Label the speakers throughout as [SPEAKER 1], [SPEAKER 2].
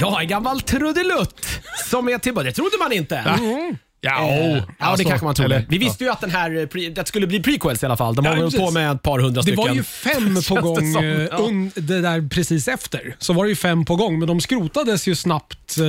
[SPEAKER 1] Ja, en gammal trudelutt som är tillbaka. Det trodde man inte.
[SPEAKER 2] Mm.
[SPEAKER 1] Eh,
[SPEAKER 3] Ja,
[SPEAKER 1] Ja,
[SPEAKER 2] Alltså,
[SPEAKER 1] det kanske man trodde.
[SPEAKER 3] eller-
[SPEAKER 1] Vi visste ju att den här, eh, pre- att det skulle bli prequels i alla fall. De
[SPEAKER 2] Ja,
[SPEAKER 1] har hållit
[SPEAKER 2] precis.
[SPEAKER 1] på med ett par hundra
[SPEAKER 2] Det
[SPEAKER 1] stycken.
[SPEAKER 2] var ju fem på
[SPEAKER 1] det
[SPEAKER 2] gång
[SPEAKER 1] som,
[SPEAKER 2] eh,
[SPEAKER 1] ja.
[SPEAKER 2] un- det där precis efter. Så var det ju fem på gång, men de skrotades ju snabbt. eh,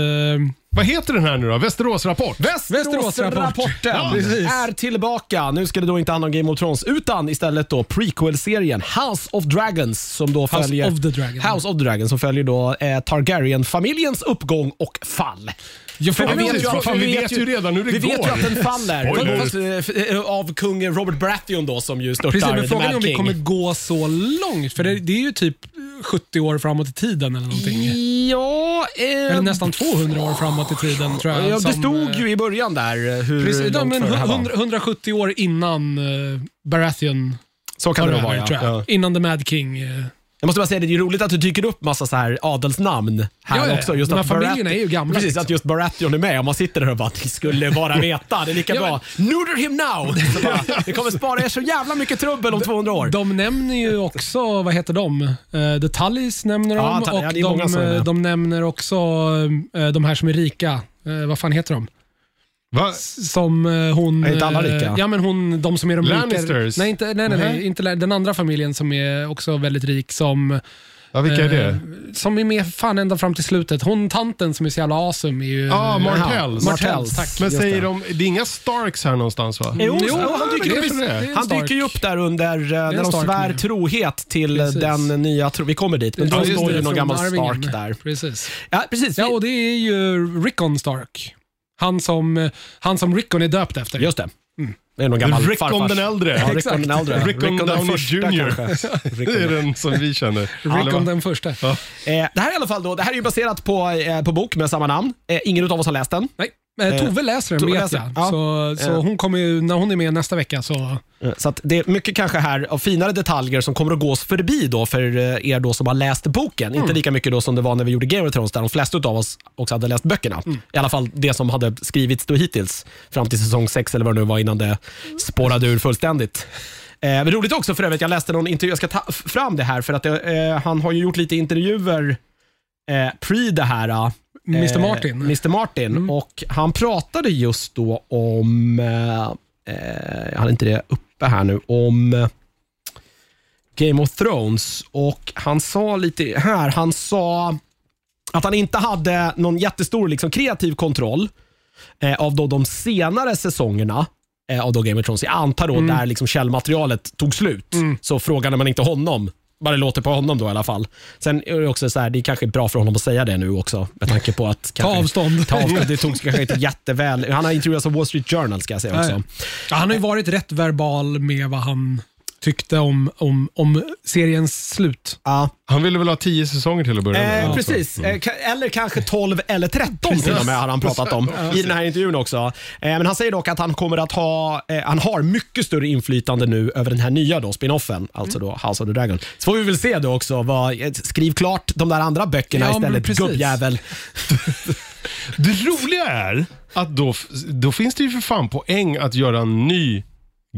[SPEAKER 3] Vad heter den här nu då? Västeråsrapport? Väst?
[SPEAKER 1] Västeråsrapporten
[SPEAKER 2] Västeråsrapporten. Ja, precis.
[SPEAKER 1] är tillbaka. Nu ska det då inte handla om Game of Thrones utan istället då prequel-serien House of Dragons som då
[SPEAKER 2] House
[SPEAKER 1] följer
[SPEAKER 2] of the Dragon.
[SPEAKER 1] House of the Dragon som följer då eh, Targaryen-familjens uppgång och fall.
[SPEAKER 2] Ja, för
[SPEAKER 1] För
[SPEAKER 3] vi vet ju-
[SPEAKER 1] att-
[SPEAKER 3] fan, vi vet ju redan hur det
[SPEAKER 1] Vi vet
[SPEAKER 3] går.
[SPEAKER 1] ju att den faller.
[SPEAKER 3] Spoiler.
[SPEAKER 1] Fast, eh, f- eh, av kung Robert Baratheon då som ju störtar
[SPEAKER 2] Precis, men
[SPEAKER 1] The
[SPEAKER 2] frågan
[SPEAKER 1] Mad
[SPEAKER 2] är om vi
[SPEAKER 1] King.
[SPEAKER 2] kommer gå så långt. För det, det är ju typ 70 år framåt i tiden eller någonting.
[SPEAKER 1] Ja, eh,
[SPEAKER 2] Eller nästan 200 år framåt i tiden tror jag.
[SPEAKER 1] ja, det
[SPEAKER 2] som,
[SPEAKER 1] stod
[SPEAKER 2] eh,
[SPEAKER 1] ju i början där eh, hur
[SPEAKER 2] Precis, ja,
[SPEAKER 1] långt
[SPEAKER 2] men
[SPEAKER 1] före det här var.
[SPEAKER 2] 100, 170 år innan eh, Baratheon
[SPEAKER 1] Så kan
[SPEAKER 2] tar
[SPEAKER 1] det nog
[SPEAKER 2] över,
[SPEAKER 1] vara ja.
[SPEAKER 2] tror jag.
[SPEAKER 1] Ja.
[SPEAKER 2] Innan The Mad King. eh,
[SPEAKER 1] Jag måste bara säga det, det är roligt att det dyker upp massa så här adelsnamn här
[SPEAKER 2] Ja, ja, ja.
[SPEAKER 1] också. Just
[SPEAKER 2] De här
[SPEAKER 1] att
[SPEAKER 2] familjerna
[SPEAKER 1] Baratheon-
[SPEAKER 2] är ju gamla,
[SPEAKER 1] Precis,
[SPEAKER 2] liksom.
[SPEAKER 1] att just Baratheon är med och man sitter där och bara, ni skulle bara veta. Det är lika
[SPEAKER 2] Ja, men-
[SPEAKER 1] bra. Nuder him now! Så bara, det kommer spara er så jävla mycket trubbel om 200 år.
[SPEAKER 2] De nämner ju också, vad heter de? Eh, The Tullys nämner de
[SPEAKER 1] Ja, Tully-
[SPEAKER 2] och
[SPEAKER 1] ja, det är många
[SPEAKER 2] de,
[SPEAKER 1] som är med.
[SPEAKER 2] eh, de nämner också eh, de här som är rika. Eh, vad fan heter de?
[SPEAKER 3] Va?
[SPEAKER 2] Som eh, hon...
[SPEAKER 1] Är inte alla
[SPEAKER 2] eh,
[SPEAKER 1] rika?
[SPEAKER 2] Ja, men hon, de som är de
[SPEAKER 3] Lannisters?
[SPEAKER 2] rika. Nej, inte, nej, nej, nej, inte Lan- den andra familjen som är också väldigt rik som, eh,
[SPEAKER 3] Ja, vilka är det?
[SPEAKER 2] som är med fan ända fram till slutet. Hon tanten som är så jävla awesome är ju...
[SPEAKER 3] Ja,
[SPEAKER 1] Jaha,
[SPEAKER 3] Martells.
[SPEAKER 1] Martells.
[SPEAKER 2] tack.
[SPEAKER 3] Men
[SPEAKER 1] Just
[SPEAKER 3] säger
[SPEAKER 1] det.
[SPEAKER 3] de, det är inga Starks här någonstans va?
[SPEAKER 1] Jo,
[SPEAKER 2] Jo,
[SPEAKER 1] jo, han
[SPEAKER 3] men
[SPEAKER 1] dyker
[SPEAKER 3] det
[SPEAKER 1] upp.
[SPEAKER 3] är det.
[SPEAKER 2] Det är en
[SPEAKER 1] Han dyker
[SPEAKER 2] Stark.
[SPEAKER 1] ju upp där under eh, när de
[SPEAKER 2] Stark
[SPEAKER 1] svär
[SPEAKER 2] med.
[SPEAKER 1] trohet till eh,
[SPEAKER 2] Precis.
[SPEAKER 1] den nya tro. Vi kommer dit, men då
[SPEAKER 2] Ja, just
[SPEAKER 1] står ju
[SPEAKER 2] det,
[SPEAKER 1] någon
[SPEAKER 2] från
[SPEAKER 1] gammal
[SPEAKER 2] Arvingen.
[SPEAKER 1] Stark där.
[SPEAKER 2] Precis.
[SPEAKER 1] Ja, precis.
[SPEAKER 2] Ja,
[SPEAKER 1] Vi-
[SPEAKER 2] och det är ju Rickon Stark. Han som, han som Rickon är döpt efter.
[SPEAKER 1] Just det.
[SPEAKER 2] Mm.
[SPEAKER 1] Det är någon gammal
[SPEAKER 3] Rickon
[SPEAKER 1] farfars-
[SPEAKER 3] den äldre.
[SPEAKER 1] Ja, Rickon
[SPEAKER 2] Exakt.
[SPEAKER 1] den äldre.
[SPEAKER 3] Rickon Downey Jr.
[SPEAKER 1] kanske. Rickon
[SPEAKER 3] Det är den som vi känner.
[SPEAKER 2] Rickon
[SPEAKER 3] Eller
[SPEAKER 2] den första.
[SPEAKER 1] Eh, det här är i alla fall då, det här är ju baserat på, eh, på bok med samma namn. Eh, ingen utav oss har läst den.
[SPEAKER 2] Nej, eh, Tove läser den
[SPEAKER 1] Tove
[SPEAKER 2] vet
[SPEAKER 1] läser
[SPEAKER 2] jag.
[SPEAKER 1] den. Ja.
[SPEAKER 2] Så, så
[SPEAKER 1] Eh.
[SPEAKER 2] hon kommer ju, när hon är med nästa vecka så...
[SPEAKER 1] Eh, Så att det är mycket kanske här av finare detaljer som kommer att gås förbi då för eh, er då som har läst boken. Inte lika mycket då som det var när vi gjorde Game of Thrones där de flesta utav oss också hade läst böckerna. I alla fall det som hade skrivits då hittills fram till säsong 6 eller vad det nu var innan det spårade ur fullständigt. Eh, men roligt också för övrigt, jag läste någon intervju, jag ska ta f- fram det här för att det, eh, han har ju gjort lite intervjuer eh, pre det här. eh,
[SPEAKER 2] Mr. Martin.
[SPEAKER 1] Mr Martin. Och han pratade just då om, eh, eh, jag hade inte det uppe här nu, om eh, Game of Thrones. Och han sa lite här, han sa att han inte hade någon jättestor liksom, kreativ kontroll eh, av då de senare säsongerna eh, av då Game of Thrones. Jag antar då där liksom källmaterialet tog slut. Så frågade man inte honom. Bara det låter på honom då i alla fall. Sen är det också så här, det är kanske bra för honom att säga det nu också. Med tanke på att... kanske-
[SPEAKER 2] avstånd.
[SPEAKER 1] Ta avstånd. Det togs kanske inte jätteväl. Han har intervjuats av Wall Street Journal ska jag säga också.
[SPEAKER 2] Nej. Ja, han har ju varit rätt verbal med vad han tyckte om, om, om seriens slut.
[SPEAKER 1] Ja.
[SPEAKER 3] Han ville väl ha tio säsonger till att börja med?
[SPEAKER 1] Eh,
[SPEAKER 3] alltså.
[SPEAKER 1] precis,
[SPEAKER 2] Mm.
[SPEAKER 1] Eh, ka- eller kanske 12 eller 13 till och med har han pratat om i den här intervjun också. Eh, men han säger dock att han kommer att ha, eh, han har mycket större inflytande nu över den här nya då, spinoffen, alltså då House of the Dragon. Så får vi väl se då också, vad, eh, skriv klart de där andra böckerna
[SPEAKER 2] Ja, men
[SPEAKER 1] istället
[SPEAKER 2] precis.
[SPEAKER 1] gubbjävel.
[SPEAKER 3] Det roliga är att då, f- då finns det ju för fan poäng att göra en ny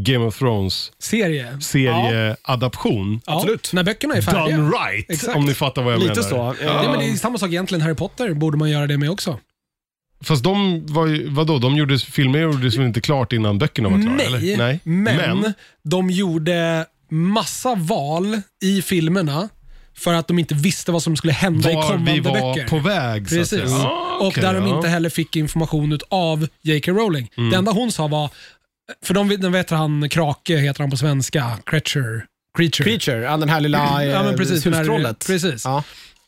[SPEAKER 3] Game of Thrones
[SPEAKER 2] Serie.
[SPEAKER 3] serieadaption.
[SPEAKER 2] Ja,
[SPEAKER 1] Absolut.
[SPEAKER 2] När böckerna är färdiga.
[SPEAKER 3] Done right,
[SPEAKER 2] Exakt.
[SPEAKER 3] om ni fattar vad jag
[SPEAKER 1] Lite
[SPEAKER 3] menar.
[SPEAKER 1] så.
[SPEAKER 2] Ja,
[SPEAKER 1] Eh,
[SPEAKER 2] men det är samma sak egentligen. Harry Potter borde man göra det med också.
[SPEAKER 3] Fast de var ju, vadå, de gjordes, filmer gjordes väl inte klart innan böckerna var klara?
[SPEAKER 2] Nej,
[SPEAKER 3] eller? Nej,
[SPEAKER 2] Men, de gjorde massa val i filmerna för att de inte visste vad som skulle hända i
[SPEAKER 3] var
[SPEAKER 2] kommande
[SPEAKER 3] vi var
[SPEAKER 2] böcker.
[SPEAKER 3] på väg så att
[SPEAKER 2] Precis.
[SPEAKER 3] säga.
[SPEAKER 1] Ah,
[SPEAKER 3] Ah,
[SPEAKER 2] och där de inte heller fick information ut av J.K. Rowling.
[SPEAKER 3] Mm.
[SPEAKER 2] Det enda hon sa var, för de, de vet han, Krake heter han på svenska, Creature. Creature.
[SPEAKER 1] Creature, ja, den här lilla eh,
[SPEAKER 2] Ja, men precis, den här-
[SPEAKER 1] hustrollet.
[SPEAKER 2] precis.
[SPEAKER 1] Ja.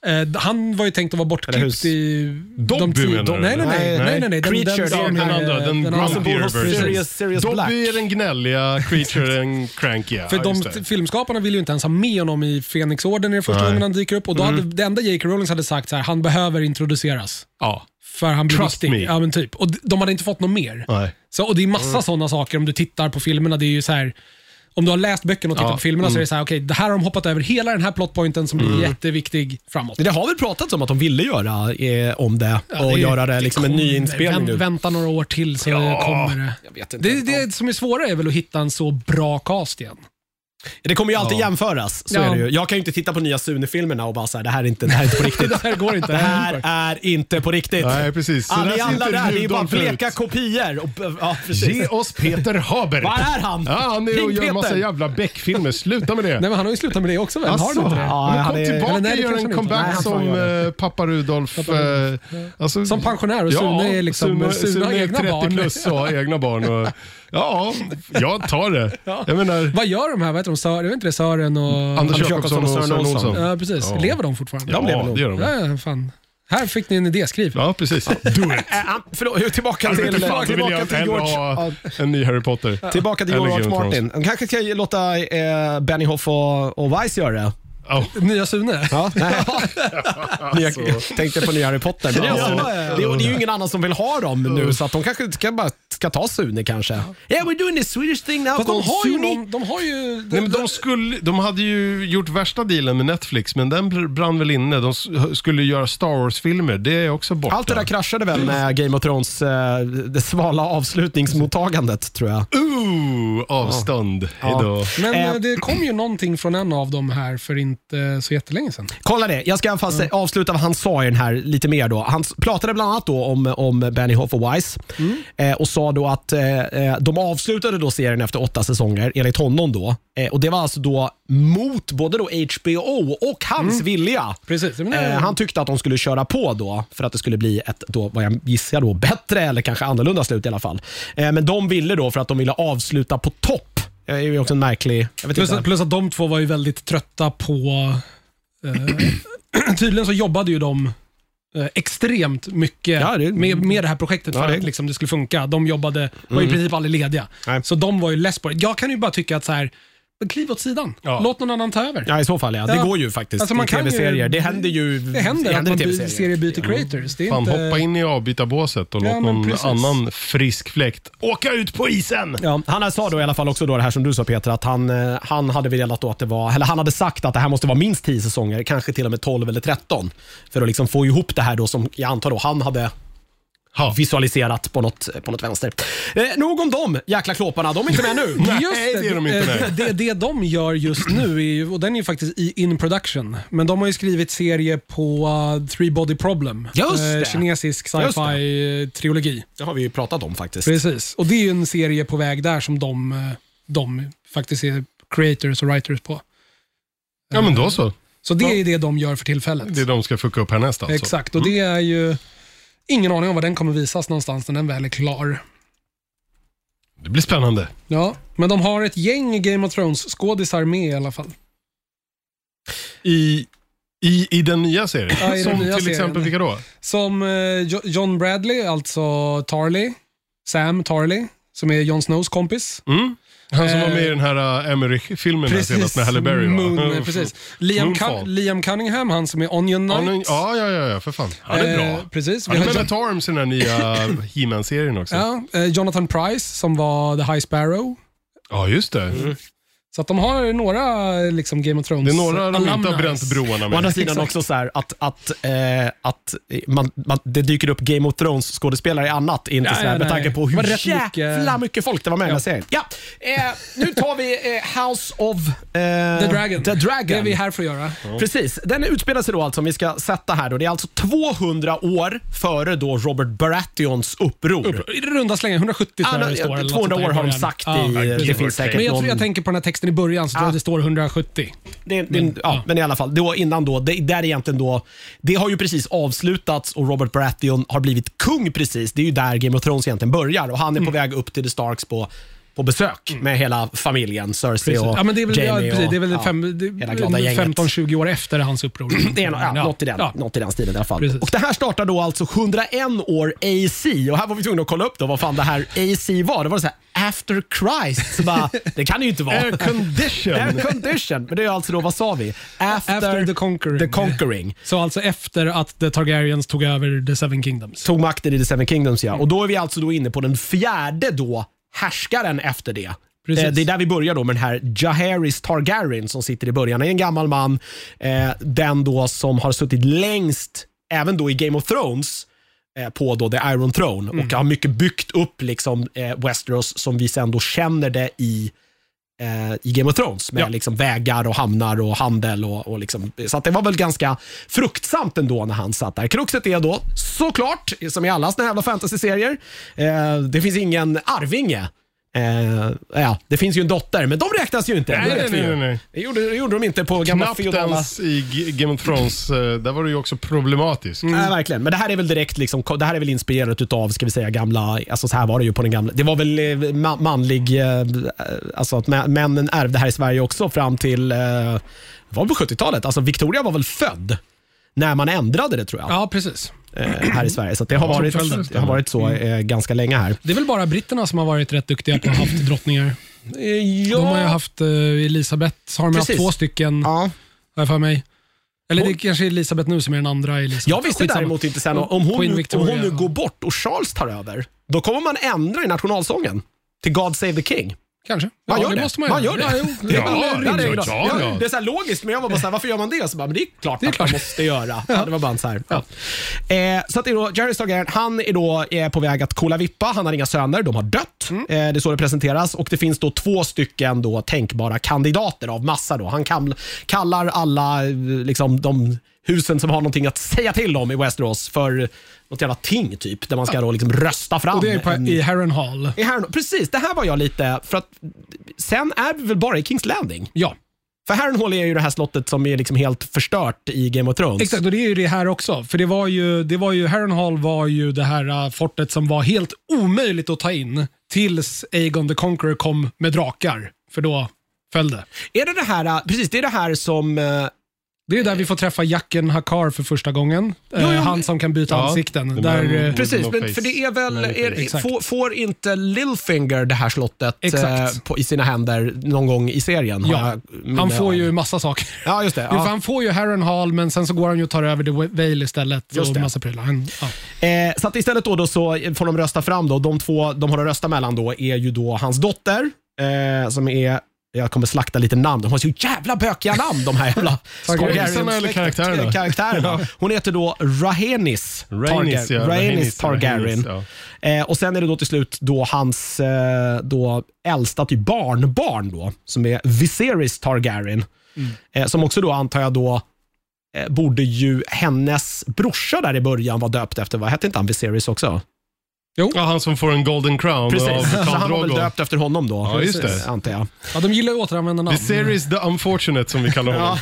[SPEAKER 2] Eh, han var ju tänkt att vara
[SPEAKER 1] Eller
[SPEAKER 2] bortklippt
[SPEAKER 1] hus-
[SPEAKER 2] i...
[SPEAKER 3] Dobby menar du?
[SPEAKER 2] Nej, nej, nej.
[SPEAKER 1] Nej,
[SPEAKER 2] nej, nej, nej.
[SPEAKER 1] Creature, det är
[SPEAKER 2] som
[SPEAKER 1] den
[SPEAKER 2] är-
[SPEAKER 3] andra, den
[SPEAKER 1] Alltså,
[SPEAKER 3] Vampire
[SPEAKER 1] bor hos
[SPEAKER 3] version.
[SPEAKER 1] Sirius, Sirius Black.
[SPEAKER 3] Dobby är den gnälliga, Creature är den crankiga.
[SPEAKER 2] För
[SPEAKER 3] Ja,
[SPEAKER 2] de
[SPEAKER 3] just det.
[SPEAKER 2] filmskaparna vill ju inte ens ha med honom i Fenixorden i den första
[SPEAKER 3] Nej.
[SPEAKER 2] gången han dyker upp. Och
[SPEAKER 1] Mm.
[SPEAKER 2] då hade, det enda J.K. Rowling hade sagt så här, han behöver introduceras.
[SPEAKER 3] ja.
[SPEAKER 2] För han blir
[SPEAKER 3] Trust
[SPEAKER 2] viktig.
[SPEAKER 3] me.
[SPEAKER 2] Ja, men typ. Och d- de hade inte fått något mer.
[SPEAKER 3] Nej.
[SPEAKER 2] Så, och Det är massa
[SPEAKER 1] Mm.
[SPEAKER 2] sådana saker om du tittar på filmerna. Det är ju så här, om du har läst böckerna och tittat
[SPEAKER 3] Ja,
[SPEAKER 2] på filmerna
[SPEAKER 1] Mm.
[SPEAKER 2] så är det så här, okej, det här har de hoppat över hela den här plotpointen som blir jätteviktig framåt.
[SPEAKER 1] Men Mm. Det har väl pratats om att de ville göra eh, om det och
[SPEAKER 2] det är-
[SPEAKER 1] göra det liksom en ny inspelning
[SPEAKER 2] Vänt-
[SPEAKER 1] nu.
[SPEAKER 2] Vänta några år till så kommer det.
[SPEAKER 1] Jag vet inte.
[SPEAKER 2] Det, det som är svårare är väl att hitta en så bra cast igen.
[SPEAKER 1] Det kommer ju alltid
[SPEAKER 3] Ja.
[SPEAKER 1] jämföras. Så
[SPEAKER 2] Ja.
[SPEAKER 1] är det ju. Jag kan ju inte titta på nya Sune-filmerna och bara så här, det här är inte, det här är inte på riktigt.
[SPEAKER 2] Det här går inte.
[SPEAKER 1] Det här är inte på riktigt.
[SPEAKER 3] Nej, precis. Så
[SPEAKER 1] Ja,
[SPEAKER 3] där
[SPEAKER 1] ni
[SPEAKER 3] ser
[SPEAKER 1] alla
[SPEAKER 3] inte
[SPEAKER 1] där, det är bara
[SPEAKER 3] Rudolf ut.
[SPEAKER 1] bleka kopior. Och, ja, precis.
[SPEAKER 3] Ge oss Peter Haber.
[SPEAKER 1] Var är han?
[SPEAKER 3] Ja, han är och
[SPEAKER 1] Ring
[SPEAKER 3] gör
[SPEAKER 1] Peter.
[SPEAKER 3] massa jävla Beck-filmer. Sluta med det.
[SPEAKER 2] Nej, men han har ju slutat med det också väl? Har
[SPEAKER 3] Alltså,
[SPEAKER 2] han inte det?
[SPEAKER 1] Ja,
[SPEAKER 3] men
[SPEAKER 1] han
[SPEAKER 3] kom
[SPEAKER 1] är-
[SPEAKER 3] tillbaka
[SPEAKER 2] eller nej,
[SPEAKER 3] och
[SPEAKER 2] det
[SPEAKER 3] gör
[SPEAKER 2] kanske han
[SPEAKER 3] en
[SPEAKER 2] inte.
[SPEAKER 3] comeback
[SPEAKER 1] Nej, han får
[SPEAKER 3] som
[SPEAKER 1] göra
[SPEAKER 3] eh, pappa Rudolf. eh, alltså,
[SPEAKER 2] Som pensionär och Sune är liksom- Sune har egna
[SPEAKER 3] 30
[SPEAKER 2] barn.
[SPEAKER 3] plus och har egna barn. Och, ja, jag tar det. Jag menar,
[SPEAKER 2] Vad gör de här, vad heter de, Sören, vet inte det, Sören och...
[SPEAKER 3] Anders
[SPEAKER 1] Anders
[SPEAKER 3] Jacobsson
[SPEAKER 1] Jacobsson
[SPEAKER 3] och
[SPEAKER 1] och
[SPEAKER 3] Sören
[SPEAKER 1] Olsson.
[SPEAKER 3] Olsson.
[SPEAKER 2] Ja, precis.
[SPEAKER 3] Ja.
[SPEAKER 2] Lever de fortfarande?
[SPEAKER 3] Ja,
[SPEAKER 1] de lever nog.
[SPEAKER 3] det gör de.
[SPEAKER 2] Ja, fan. Här fick ni en idéskriv.
[SPEAKER 3] Ja, precis. Do it.
[SPEAKER 1] Äh, han- förlåt, tillbaka
[SPEAKER 3] Jag
[SPEAKER 1] till,
[SPEAKER 3] vet inte fan, det vill
[SPEAKER 1] tillbaka
[SPEAKER 3] jag
[SPEAKER 1] till
[SPEAKER 3] hellre
[SPEAKER 1] George.
[SPEAKER 3] ha
[SPEAKER 1] Ja,
[SPEAKER 3] en ny Harry Potter.
[SPEAKER 1] Tillbaka till
[SPEAKER 3] Eller
[SPEAKER 1] George
[SPEAKER 3] Game of Thrones.
[SPEAKER 1] Martin. Han kanske ska låta eh, Benioff och, och Weiss göra det.
[SPEAKER 3] Ja.
[SPEAKER 2] Nya Sune.
[SPEAKER 1] Ja, nej. Nya,
[SPEAKER 3] Alltså.
[SPEAKER 1] tänkte på nya Harry Potter. Men det, är
[SPEAKER 2] Ja.
[SPEAKER 1] Sune. det, är- det är ju ingen annan som vill ha dem nu, så att de kanske ska, bara, ska ta Sune kanske. Yeah, we're doing the Swedish thing now.
[SPEAKER 2] Fast de
[SPEAKER 1] called
[SPEAKER 2] har ju
[SPEAKER 1] Sune.
[SPEAKER 2] någon, de har ju...
[SPEAKER 3] Nej, men de, skulle, de hade ju gjort värsta dealen med Netflix, men den br- brann väl inne. De s- skulle göra Star Wars-filmer, det är också borta.
[SPEAKER 1] Allt det där kraschade väl med Game of Thrones, eh, det svala avslutningsmottagandet tror jag.
[SPEAKER 3] Ooh, avstånd. Hejdå.
[SPEAKER 2] Men
[SPEAKER 1] Eh.
[SPEAKER 2] eh, det kom ju någonting från en av dem här för inte eh, så jättelänge sedan.
[SPEAKER 1] Kolla det. Jag ska fast avsluta vad han sa i den här lite mer. då. Han s- pratade bland annat då om, om Benioff och Weiss eh, och sa då att eh, eh, de avslutade då serien efter åtta säsonger, enligt honom. då. Eh, och Det var alltså då mot både då HBO och hans vilja.
[SPEAKER 2] Precis. Men,
[SPEAKER 1] Eh, han tyckte att de skulle köra på då för att det skulle bli ett, då, vad jag gissar, då, bättre eller kanske annorlunda slut i alla fall. Eh, men de ville då för att de ville avsluta på topp. Eh, Det är ju också en märklig... Jag vet
[SPEAKER 2] plus,
[SPEAKER 1] inte.
[SPEAKER 2] att, plus att de två var ju väldigt trötta på... Eh, tydligen så jobbade ju de eh, extremt mycket
[SPEAKER 1] Ja, det-
[SPEAKER 2] med, med det här projektet för
[SPEAKER 1] Ja, det- Mm.
[SPEAKER 2] att liksom, det skulle funka. De jobbade, var i princip aldrig lediga.
[SPEAKER 1] Nej.
[SPEAKER 2] Så de var ju less på det. Jag kan ju bara tycka att så här, kliv åt sidan.
[SPEAKER 3] Ja.
[SPEAKER 2] Låt någon annan ta över.
[SPEAKER 1] Ja, i så fall ja. Det
[SPEAKER 2] Ja.
[SPEAKER 1] går ju faktiskt
[SPEAKER 2] Alltså, man
[SPEAKER 1] i
[SPEAKER 2] kan ju-
[SPEAKER 1] tv-serier. Det händer ju
[SPEAKER 2] Det händer att
[SPEAKER 1] i
[SPEAKER 2] man by-
[SPEAKER 1] tv-serier.
[SPEAKER 2] serier byter creators. Det är
[SPEAKER 3] Fan,
[SPEAKER 2] inte...
[SPEAKER 3] hoppa in i avbytarbåset och
[SPEAKER 2] Ja,
[SPEAKER 3] låt
[SPEAKER 2] men
[SPEAKER 3] någon
[SPEAKER 2] precis.
[SPEAKER 3] annan frisk fläkt åka ut på isen.
[SPEAKER 1] Ja, han sa då i alla fall också då det här som du sa Peter, att han, eh, han hade velat då att det var, eller han hade sagt att det här måste vara minst 10 säsonger, kanske till och med 12 eller 13. För att liksom få ihop det här då som jag antar då han hade
[SPEAKER 3] Ha.
[SPEAKER 1] visualiserat på något, på något vänster. Eh, nog om dem, jäkla klåparna. De är inte med nu.
[SPEAKER 2] Just
[SPEAKER 3] Nej, det är de inte, nej.
[SPEAKER 2] Eh, det, det de gör just nu, är ju, och den är ju faktiskt i in production, men de har ju skrivit serie på uh, Three Body Problem. Eh,
[SPEAKER 1] Just det.
[SPEAKER 2] kinesisk
[SPEAKER 1] Just
[SPEAKER 2] sci-fi-trilogi.
[SPEAKER 1] Det har vi ju pratat om faktiskt.
[SPEAKER 2] Precis. Och det är ju en serie på väg där som de, eh, de faktiskt är creators och writers på. Eh,
[SPEAKER 3] Ja, men då så.
[SPEAKER 2] Så det är det de gör för tillfället.
[SPEAKER 3] Det är de ska fucka upp härnäst alltså.
[SPEAKER 2] Exakt, och det är ju ingen aning om var den kommer visas någonstans när den väl är klar.
[SPEAKER 3] Mm. Det blir spännande.
[SPEAKER 2] Ja, men de har ett gäng Game of Thrones-skådisar med i alla fall.
[SPEAKER 3] I, i, i den nya serien.
[SPEAKER 2] Ja, i den
[SPEAKER 3] Som
[SPEAKER 2] nya
[SPEAKER 3] till
[SPEAKER 2] serien.
[SPEAKER 3] exempel, vilka då?
[SPEAKER 2] Som eh, Jo- John Bradley, alltså Tarly, Sam Tarly, som är Jon Snows kompis.
[SPEAKER 3] Mm? Han som
[SPEAKER 2] Eh,
[SPEAKER 3] var med i den här uh, Emmerich-filmen här senast med Halle Berry va? Mm.
[SPEAKER 2] Moon, eh, precis. Liam,
[SPEAKER 3] Moonfall.
[SPEAKER 2] Cun- Liam Cunningham, han som är Onion
[SPEAKER 3] Ja,
[SPEAKER 2] Knight.
[SPEAKER 3] men- ja, ja, ja, ja, för fan. Han är bra.
[SPEAKER 2] Eh, precis. Vi
[SPEAKER 3] Han är
[SPEAKER 2] har
[SPEAKER 3] med
[SPEAKER 2] Jo-
[SPEAKER 3] at Arms i den här nya He-Man-serien också. Ja,
[SPEAKER 2] ja, eh, Jonathan Price som var The High Sparrow.
[SPEAKER 3] just det.
[SPEAKER 2] Mm. Så att de har några eh, liksom Game of Thrones
[SPEAKER 3] Det är några de inte har
[SPEAKER 2] alumnis.
[SPEAKER 3] bränt broarna
[SPEAKER 1] Å andra
[SPEAKER 3] med.
[SPEAKER 1] sidan också så här att, att, eh, att man, man, det dyker upp Game of Thrones skådespelare i annat. Inte
[SPEAKER 2] Ja,
[SPEAKER 1] så här,
[SPEAKER 2] ja,
[SPEAKER 1] med
[SPEAKER 2] nej.
[SPEAKER 1] tanke på
[SPEAKER 2] Det var
[SPEAKER 1] hur
[SPEAKER 2] rätt
[SPEAKER 1] jävla mycket...
[SPEAKER 2] mycket-
[SPEAKER 1] folk det var med i den här
[SPEAKER 2] Ja.
[SPEAKER 1] serien. Ja, eh, nu tar vi eh, House of eh,
[SPEAKER 2] The Dragon.
[SPEAKER 1] The Dragon.
[SPEAKER 2] Det är vi här för att göra.
[SPEAKER 1] Precis. Den utspelar sig då alltså, om vi ska sätta här då, det är alltså 200 år före då Robert Baratheons uppror.
[SPEAKER 2] I runda slängar, 170 tror
[SPEAKER 1] Alla-
[SPEAKER 2] jag det står. eller något
[SPEAKER 1] 200
[SPEAKER 2] sånt där
[SPEAKER 1] år
[SPEAKER 2] i
[SPEAKER 1] har de
[SPEAKER 2] början.
[SPEAKER 1] sagt
[SPEAKER 2] Ja.
[SPEAKER 1] i... Det
[SPEAKER 3] precis.
[SPEAKER 1] finns säkert
[SPEAKER 2] Men jag tror
[SPEAKER 1] någon- Ah.
[SPEAKER 2] jag tänker på den här texten i början, så tror jag det står 170.
[SPEAKER 1] Det, det, ja, men i alla fall, då, innan då, det, där egentligen då, det har ju precis avslutats och Robert Baratheon har blivit kung precis. Det är ju där Game of Thrones egentligen börjar och han är
[SPEAKER 2] Mm.
[SPEAKER 1] på väg upp till The Starks på, på besök med hela familjen, Cersei och
[SPEAKER 2] Ja, men det är väl, ja,
[SPEAKER 1] Jaime
[SPEAKER 2] precis,
[SPEAKER 1] och
[SPEAKER 2] det är väl
[SPEAKER 1] ja,
[SPEAKER 2] fem- det-
[SPEAKER 1] hela glada gänget.
[SPEAKER 2] 15-20 år efter hans uppror.
[SPEAKER 1] Det är, nå- ja, något, i den,
[SPEAKER 2] Ja.
[SPEAKER 1] något i den stilen i alla fall.
[SPEAKER 2] Precis.
[SPEAKER 1] Och Det här startar då alltså 101 år AC och här var vi tvungna att kolla upp då vad fan det här AC var. Det var så här after Christ. Så bara, det kan det ju inte vara.
[SPEAKER 3] Air condition.
[SPEAKER 1] Air condition. Men det är alltså då, vad sa vi? After,
[SPEAKER 2] After the Conquering.
[SPEAKER 1] the Conquering.
[SPEAKER 2] Så alltså efter att The Targaryens tog över The Seven Kingdoms.
[SPEAKER 1] Tog makten i The Seven Kingdoms ja. Och då är vi alltså då inne på den fjärde då härskaren efter det.
[SPEAKER 2] Precis.
[SPEAKER 1] Eh, Det är där vi börjar då med den här Jaehaerys Targaryen som sitter i början. Han är en gammal man. Eh, Den då som har suttit längst, även då i Game of Thrones, eh, på då The Iron Throne
[SPEAKER 2] Mm.
[SPEAKER 1] och har mycket byggt upp liksom eh, Westeros som vi sen då känner det i eh, i Game of Thrones med
[SPEAKER 3] Ja.
[SPEAKER 1] liksom vägar och hamnar och handel. Och, och liksom, så att det var väl ganska fruktsamt ändå när han satt där. Kruxet är då såklart, som i alla såna här jävla fantasyserier, eh, det finns ingen arvinge. Eh, ja, det finns ju en dotter, men de räknas ju inte.
[SPEAKER 3] Nej,
[SPEAKER 1] det,
[SPEAKER 3] nej,
[SPEAKER 1] vet vi ju.
[SPEAKER 3] nej, nej.
[SPEAKER 1] Det, gjorde, det gjorde de inte på gamla
[SPEAKER 3] Knappt
[SPEAKER 1] feodala...
[SPEAKER 3] ens i G- Game of Thrones, eh, där var det ju också problematisk.
[SPEAKER 1] Nej, verkligen. Men det här är väl direkt liksom, det här är väl inspirerat utav, ska vi säga, gamla, alltså så här var det ju på den gamla, det var väl eh, ma- manlig, eh, alltså att mä- männen ärvde här i Sverige också fram till, eh, det var väl på 70-talet, alltså Victoria var väl född när man ändrade det tror jag,
[SPEAKER 2] Ja, precis.
[SPEAKER 1] eh, här i Sverige. Så att det har varit,
[SPEAKER 2] följden.
[SPEAKER 1] det har varit så eh, ganska länge här.
[SPEAKER 2] Det är väl bara britterna som har varit rätt duktiga på att ha haft drottningar. De har ju haft eh, Elisabeth, har de
[SPEAKER 1] Precis.
[SPEAKER 2] haft två stycken, har
[SPEAKER 1] ja.
[SPEAKER 2] jag för mig. Eller det
[SPEAKER 1] Hon-
[SPEAKER 2] är kanske är Elisabeth nu som är den andra Elisabeth.
[SPEAKER 1] Jag visste
[SPEAKER 2] Skitsamma.
[SPEAKER 1] däremot inte sen om hon,
[SPEAKER 2] Queen
[SPEAKER 1] nu, om
[SPEAKER 2] Victoria.
[SPEAKER 1] hon nu går bort och Charles tar över, då kommer man ändra i nationalsången till God save the King.
[SPEAKER 2] Kanske.
[SPEAKER 1] Man
[SPEAKER 2] ja,
[SPEAKER 1] gör
[SPEAKER 2] det.
[SPEAKER 1] det.
[SPEAKER 2] måste man
[SPEAKER 1] Man
[SPEAKER 2] göra.
[SPEAKER 1] gör det.
[SPEAKER 2] Ja, jo,
[SPEAKER 1] Det
[SPEAKER 2] det
[SPEAKER 1] är
[SPEAKER 2] är
[SPEAKER 3] Ja,
[SPEAKER 1] väl
[SPEAKER 2] väl
[SPEAKER 1] en rimlig-
[SPEAKER 3] det är
[SPEAKER 2] rimligt.
[SPEAKER 3] klart.
[SPEAKER 1] Ja,
[SPEAKER 3] ja.
[SPEAKER 1] Det är så här logiskt, men jag var bara så här, varför gör man det? Så bara, men det är klart att man
[SPEAKER 2] klart.
[SPEAKER 1] måste göra. Ja. Det var bara så här. Ja. Eh, så att det är då, Jerry Targaryen, han är då eh, på väg att kolla vippa. Han har inga söner, de har dött.
[SPEAKER 2] Mm.
[SPEAKER 1] Eh, det är så det presenteras. Och det finns då två stycken då tänkbara kandidater av massa. Då. Han kam- kallar alla eh, liksom, de husen som har någonting att säga till om i Westeros för något jävla ting typ, där man ska då liksom rösta fram.
[SPEAKER 2] Och det är på,
[SPEAKER 1] en-
[SPEAKER 2] i Harren Hall.
[SPEAKER 1] i Harrenhal. Precis, det här var jag lite, för att sen är vi väl bara i Kings Landing?
[SPEAKER 2] Ja,
[SPEAKER 1] För Harrenhal är ju det här slottet som är liksom helt förstört i Game of Thrones.
[SPEAKER 2] exakt. Och det är ju det här också. För det var ju, det var ju Harren Hall var ju det här äh, fortet som var helt omöjligt att ta in tills Aegon the Conqueror kom med drakar. För då föll det.
[SPEAKER 1] Är det det här, äh, precis, det är det här som... eh,
[SPEAKER 2] Det är där vi får träffa Jacken Hakar för första gången. Eh,
[SPEAKER 1] ja,
[SPEAKER 2] han
[SPEAKER 1] men-
[SPEAKER 2] som kan byta
[SPEAKER 3] Ja,
[SPEAKER 2] ansikten.
[SPEAKER 3] det
[SPEAKER 2] Där,
[SPEAKER 3] men-
[SPEAKER 2] eh,
[SPEAKER 1] Precis,
[SPEAKER 3] No
[SPEAKER 1] men
[SPEAKER 3] face.
[SPEAKER 1] för det är väl,
[SPEAKER 3] No face.
[SPEAKER 1] är,
[SPEAKER 2] Exakt.
[SPEAKER 1] får, får inte Littlefinger det här slottet
[SPEAKER 2] Exakt.
[SPEAKER 1] eh, på, i sina händer någon gång i serien? Har
[SPEAKER 2] ja,
[SPEAKER 1] jag minne
[SPEAKER 2] han får
[SPEAKER 1] av.
[SPEAKER 2] ju massa saker.
[SPEAKER 1] Ja, just det.
[SPEAKER 2] Jo, för
[SPEAKER 1] Ja.
[SPEAKER 2] Han får ju Harren Hall, men sen så går han ju och tar över The Vale istället.
[SPEAKER 1] Just
[SPEAKER 2] och
[SPEAKER 1] det.
[SPEAKER 2] massa prylar. Han, ja.
[SPEAKER 1] Eh, så att istället då, då så får de rösta fram då. De två de har att rösta mellan då är ju då hans dotter eh, som är jag kommer slakta lite namn. De har så jävla bökiga namn de här jävla
[SPEAKER 3] Skådisarna eller karaktärerna?
[SPEAKER 1] karaktärerna. Hon heter då Rhaenys,
[SPEAKER 3] Rhaenys,
[SPEAKER 1] Targa-
[SPEAKER 3] ja,
[SPEAKER 1] Rhaenys
[SPEAKER 3] Rhaenys,
[SPEAKER 1] Targaryen.
[SPEAKER 3] Rhaenys,
[SPEAKER 1] eh, och sen är det då till slut då hans eh, då äldsta typ barnbarn då, som är Viserys Targaryen. Eh, som också då antar jag då eh, borde ju hennes brorsa där i början vara döpt efter, vad hette inte han Viserys också?
[SPEAKER 3] Ja, han som får en golden crown av
[SPEAKER 1] Precis, så
[SPEAKER 3] Khal
[SPEAKER 1] han var väl
[SPEAKER 3] Drogo.
[SPEAKER 1] döpt efter honom då,
[SPEAKER 3] Ja, just det.
[SPEAKER 1] antar jag.
[SPEAKER 2] Ja, de gillar ju att återanvända namn.
[SPEAKER 3] The series The Unfortunate som vi kallar honom.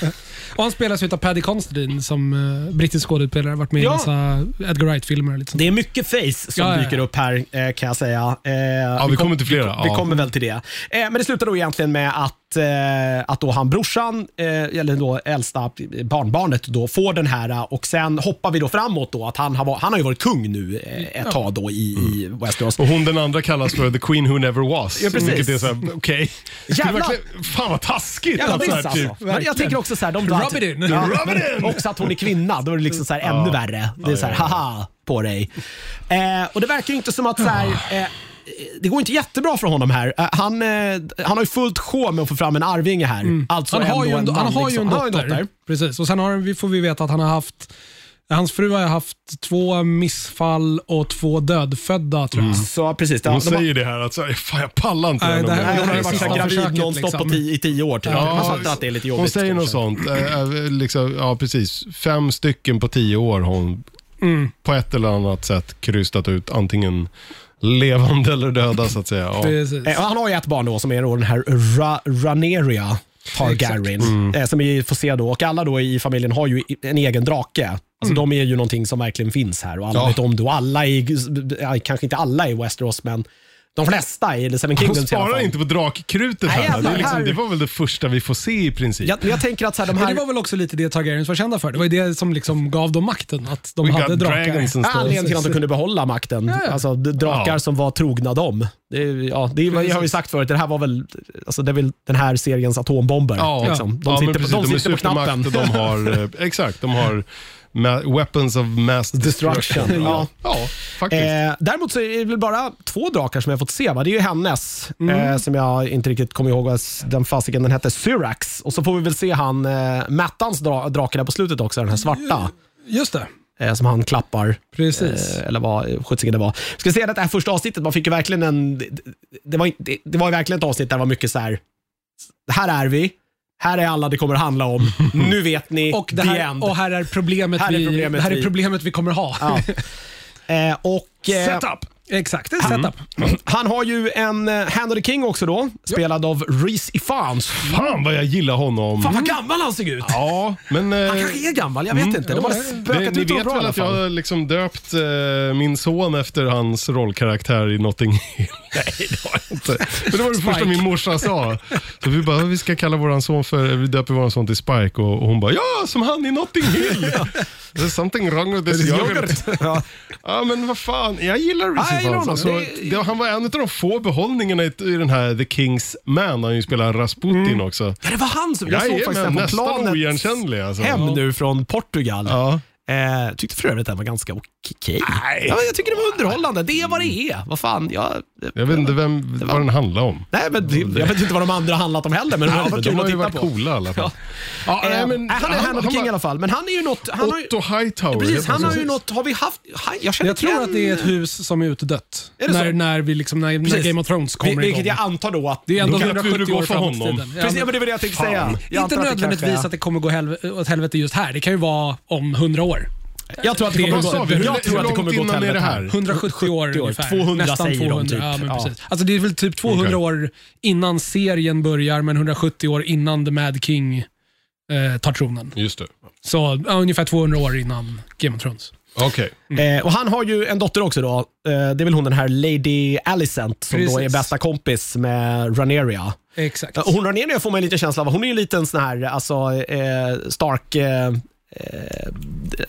[SPEAKER 2] Och han spelas ju av Paddy Considine som eh, brittisk skådespelare. Varit med i
[SPEAKER 1] Ja.
[SPEAKER 2] massa Edgar Wright-filmer. och Lite sånt.
[SPEAKER 1] Det är mycket face som
[SPEAKER 2] Ja, ja, ja.
[SPEAKER 1] dyker upp här eh, kan jag säga. Eh,
[SPEAKER 3] Ja, vi kommer till flera.
[SPEAKER 1] Vi
[SPEAKER 3] Ja.
[SPEAKER 1] kommer väl till det. Eh, men det slutar då egentligen med att, eh, att då han brorsan, eh, eller då äldsta barnbarnet, då får den här eh, och sen hoppar vi då framåt då att han har, va- han har ju varit kung nu eh, ett tag då i, i
[SPEAKER 3] Mm.
[SPEAKER 1] Westeros.
[SPEAKER 3] Och hon den andra kallas för The Queen Who Never Was.
[SPEAKER 1] Ja, precis.
[SPEAKER 3] Vilket är såhär, okej. Det skulle
[SPEAKER 1] Jävlar.
[SPEAKER 3] verkligen- Fan vad taskigt.
[SPEAKER 1] Jävla
[SPEAKER 3] att så här typ-
[SPEAKER 1] diss alltså. Men jag tänker också så här, de
[SPEAKER 2] typ, Rub it in.
[SPEAKER 3] Rub it in.
[SPEAKER 1] Också att hon är kvinna, då är det liksom så här ännu värre. Det är så här, haha på dig. Eh, och det verkar ju inte som att så här,
[SPEAKER 2] Ah.
[SPEAKER 1] eh, det går inte jättebra för honom här. Eh, han, eh, han har ju fullt sjå med att få fram en arvinge här. Alltså
[SPEAKER 2] Mm. Han har, ju
[SPEAKER 1] ändå
[SPEAKER 2] en, han
[SPEAKER 1] manlig
[SPEAKER 2] har ju
[SPEAKER 1] son.
[SPEAKER 2] en
[SPEAKER 1] Han har ju
[SPEAKER 2] dotter. Precis. Och sen har, vi- får vi veta att han har haft Hans fru har haft två missfall och två dödfödda tror jag.
[SPEAKER 1] Så precis. Det,
[SPEAKER 3] Hon
[SPEAKER 1] de har,
[SPEAKER 3] säger det här att så här, fan jag pallar inte
[SPEAKER 2] Nej,
[SPEAKER 3] den
[SPEAKER 2] det här-
[SPEAKER 3] ungen.
[SPEAKER 1] Nej, hon har ju
[SPEAKER 2] det
[SPEAKER 1] varit så här
[SPEAKER 2] sista
[SPEAKER 1] gravid
[SPEAKER 2] försöket,
[SPEAKER 1] nonstop på
[SPEAKER 2] liksom.
[SPEAKER 1] tio, i tio år typ. Man
[SPEAKER 3] Ja,
[SPEAKER 1] fattar att det är lite jobbigt.
[SPEAKER 3] hon säger något
[SPEAKER 1] kanske.
[SPEAKER 3] sånt. Eh, eh, liksom, ja, precis. Fem stycken på tio år har hon på ett eller annat sätt krystat ut antingen levande eller döda så att säga. Ja.
[SPEAKER 2] Precis.
[SPEAKER 1] Eh, och han har ju ett barn då som är då den här Ra Raneria Targaryen,
[SPEAKER 3] Mm.
[SPEAKER 1] eh, som vi får se då. Och alla då i familjen har ju i- en egen drake. Alltså De är ju någonting som verkligen finns här och alla
[SPEAKER 3] Mm. Ja.
[SPEAKER 1] vet om det. Och alla i, ja, kanske inte alla i Westeros, men de flesta i The Seven
[SPEAKER 3] Hon
[SPEAKER 1] Kingdoms i alla
[SPEAKER 3] sparar
[SPEAKER 1] fall.
[SPEAKER 3] inte på drakkrutet
[SPEAKER 1] Nej,
[SPEAKER 3] här. Det,
[SPEAKER 1] jävlar,
[SPEAKER 3] är liksom,
[SPEAKER 1] här-
[SPEAKER 3] det var väl det första vi får se i princip.
[SPEAKER 1] Jag, jag tänker att så här, de
[SPEAKER 2] Men
[SPEAKER 1] här...
[SPEAKER 2] det var väl också lite det Targaryens var kända för. Det var ju det som liksom gav dem makten, att de
[SPEAKER 3] We
[SPEAKER 2] hade
[SPEAKER 3] got
[SPEAKER 2] drakar.
[SPEAKER 3] dragons and stuff.
[SPEAKER 1] Anledningen till att de Ah, kunde behålla makten.
[SPEAKER 2] ja.
[SPEAKER 1] Alltså d- drakar
[SPEAKER 3] Ja.
[SPEAKER 1] som var trogna dem. Det, är- ja, det är, jag har ju sagt förut, det här var väl, alltså, det är väl den här seriens atombomber.
[SPEAKER 3] Ja,
[SPEAKER 1] liksom. De
[SPEAKER 3] ja, men
[SPEAKER 1] sitter,
[SPEAKER 3] precis,
[SPEAKER 1] de
[SPEAKER 3] är
[SPEAKER 1] sitter på
[SPEAKER 3] supermakt
[SPEAKER 1] knappen.
[SPEAKER 3] och De har, eh, exakt, de har ma- weapons of mass destruction.
[SPEAKER 1] Destruction, ja.
[SPEAKER 3] ja. ja, faktiskt.
[SPEAKER 1] Eh, däremot så är det väl bara två drakar som jag fått se. Va? Det är ju hennes,
[SPEAKER 2] Mm.
[SPEAKER 1] eh, som jag inte riktigt kommer ihåg vad s- den fasiken den hette, Syrax. Och så får vi väl se han eh, Mattans dra- drake där på slutet också, den här svarta.
[SPEAKER 2] Just det,
[SPEAKER 1] Eh, som han klappar,
[SPEAKER 2] precis.
[SPEAKER 1] eh, eller vad eh, sjuttsingen det var. Jag ska säga att det här första avsnittet, man fick ju verkligen en... Det, det, var, ju- det, det var ju verkligen ett avsnitt där det var mycket så här här är vi. Här är alla det kommer handla om. Nu vet ni.
[SPEAKER 2] Och, det
[SPEAKER 1] the
[SPEAKER 2] här,
[SPEAKER 1] end.
[SPEAKER 2] och här är problemet,
[SPEAKER 1] Här är
[SPEAKER 2] vi,
[SPEAKER 1] problemet
[SPEAKER 2] det här
[SPEAKER 1] vi-
[SPEAKER 2] är problemet vi kommer ha.
[SPEAKER 1] Ja. Eh, och, eh,
[SPEAKER 2] Setup! Exakt, det är
[SPEAKER 1] Mm.
[SPEAKER 2] setup.
[SPEAKER 1] han har ju en eh, Hand of the King också då, spelad av Reese Ifans.
[SPEAKER 3] Fan vad jag gillar honom.
[SPEAKER 2] Mm.
[SPEAKER 1] Fan vad gammal han såg ut!
[SPEAKER 3] Ja, men... eh,
[SPEAKER 1] Han kanske är gammal, jag vet inte. De har spökat
[SPEAKER 3] ni
[SPEAKER 1] ut honom bra i
[SPEAKER 3] vet väl
[SPEAKER 1] alla
[SPEAKER 3] att
[SPEAKER 1] fall.
[SPEAKER 3] jag har liksom döpt eh, min son efter hans rollkaraktär i Notting Hill? Nej, det har jag inte. Men det var det första
[SPEAKER 1] Spike.
[SPEAKER 3] min morsa sa. Så vi bara, vi ska kalla vår son för, vi döper vår son till Spike och, och hon bara, ja, som han i Notting Hill. There's something wrong with this yoghurt.
[SPEAKER 1] Ja.
[SPEAKER 3] Ja, men vad fan. Jag gillar
[SPEAKER 1] Ja, jag
[SPEAKER 3] Reese
[SPEAKER 1] gillar
[SPEAKER 3] Ifans.
[SPEAKER 1] honom.
[SPEAKER 3] Alltså,
[SPEAKER 1] Det-
[SPEAKER 3] det- Han var en av de få behållningarna i, i den här The Kings Man. Han ju spelar Rasputin också.
[SPEAKER 1] Ja, det var han som... Mm. Jag såg
[SPEAKER 3] Jajamän,
[SPEAKER 1] faktiskt den på
[SPEAKER 3] nästan
[SPEAKER 1] planet
[SPEAKER 3] oigenkännlig. Alltså.
[SPEAKER 1] hem nu från Portugal.
[SPEAKER 3] Ja.
[SPEAKER 1] Eh, tyckte för övrigt att den var ganska okej.
[SPEAKER 3] Nej.
[SPEAKER 1] Ja, men jag tycker det var underhållande. Det är vad det är. Vad fan, jag...
[SPEAKER 3] Jag vet inte vem, vad den handlar om.
[SPEAKER 1] Nej, men det, jag vet inte vad de andra handlat om heller, men de var
[SPEAKER 3] de
[SPEAKER 1] kul att
[SPEAKER 3] har ju
[SPEAKER 1] titta
[SPEAKER 3] varit
[SPEAKER 1] på.
[SPEAKER 3] coola i alla fall. Ja,
[SPEAKER 1] Eh,
[SPEAKER 3] nej,
[SPEAKER 1] nej, han är Hand of the King i
[SPEAKER 3] var-
[SPEAKER 1] alla fall, men han är ju något... Han har, ju-
[SPEAKER 3] Otto Hightower.
[SPEAKER 1] precis,
[SPEAKER 3] heter
[SPEAKER 1] han har
[SPEAKER 3] så.
[SPEAKER 1] ju något... Har vi haft... han- Jag känner
[SPEAKER 2] Jag tror
[SPEAKER 1] igen-
[SPEAKER 2] att det är ett hus som är utdött.
[SPEAKER 1] Är det
[SPEAKER 2] när,
[SPEAKER 1] så?
[SPEAKER 2] när, vi liksom, när, när
[SPEAKER 1] Precis.
[SPEAKER 2] Game of Thrones
[SPEAKER 1] Vil-
[SPEAKER 2] kommer
[SPEAKER 1] Vilket
[SPEAKER 2] igång.
[SPEAKER 1] jag antar då att...
[SPEAKER 2] Det är ändå
[SPEAKER 3] Då vet vi hur det
[SPEAKER 2] 170
[SPEAKER 3] går
[SPEAKER 2] år
[SPEAKER 3] för
[SPEAKER 2] fram i
[SPEAKER 3] honom.
[SPEAKER 2] tiden. Ja,
[SPEAKER 1] Precis, ja, men
[SPEAKER 2] men-
[SPEAKER 1] det var det jag tänkte
[SPEAKER 3] Fan.
[SPEAKER 1] säga. Jag
[SPEAKER 2] Inte
[SPEAKER 1] antar att det
[SPEAKER 2] nödvändigtvis
[SPEAKER 1] kanske
[SPEAKER 2] att
[SPEAKER 1] är-
[SPEAKER 2] det kommer gå helv- åt helvete just här. Det kan ju vara om 100 år.
[SPEAKER 1] Jag tror att det
[SPEAKER 2] Det är-
[SPEAKER 1] kommer
[SPEAKER 3] Vad sa vi? Hur-
[SPEAKER 1] gå... Jag
[SPEAKER 3] hur
[SPEAKER 1] tror att det
[SPEAKER 3] långt
[SPEAKER 1] kommer gå åt
[SPEAKER 3] innan är det
[SPEAKER 1] helvete
[SPEAKER 3] här?
[SPEAKER 1] här.
[SPEAKER 2] 170 år,
[SPEAKER 1] 70 år.
[SPEAKER 2] ungefär.
[SPEAKER 1] 200
[SPEAKER 2] Nästan
[SPEAKER 1] säger de
[SPEAKER 2] 200.
[SPEAKER 1] typ.
[SPEAKER 2] Ja, men
[SPEAKER 1] Ja.
[SPEAKER 2] precis. Alltså det är väl typ 200
[SPEAKER 3] Okej.
[SPEAKER 2] år innan serien börjar, men 170 år innan The Mad King eh, tar tronen.
[SPEAKER 3] Just det.
[SPEAKER 2] Så ja, ungefär 200 år innan Game of Thrones.
[SPEAKER 3] Okej.
[SPEAKER 2] Mm.
[SPEAKER 1] Eh, och han har ju en dotter också då. Eh, det är väl hon den här Lady Alicent som då
[SPEAKER 2] Precis.
[SPEAKER 1] är bästa kompis med Rhaenyra.
[SPEAKER 2] Exakt.
[SPEAKER 1] Eh, Och hon Rhaenyra får man en liten känsla av, hon är ju en liten sån här, alltså eh, stark, eh, eh,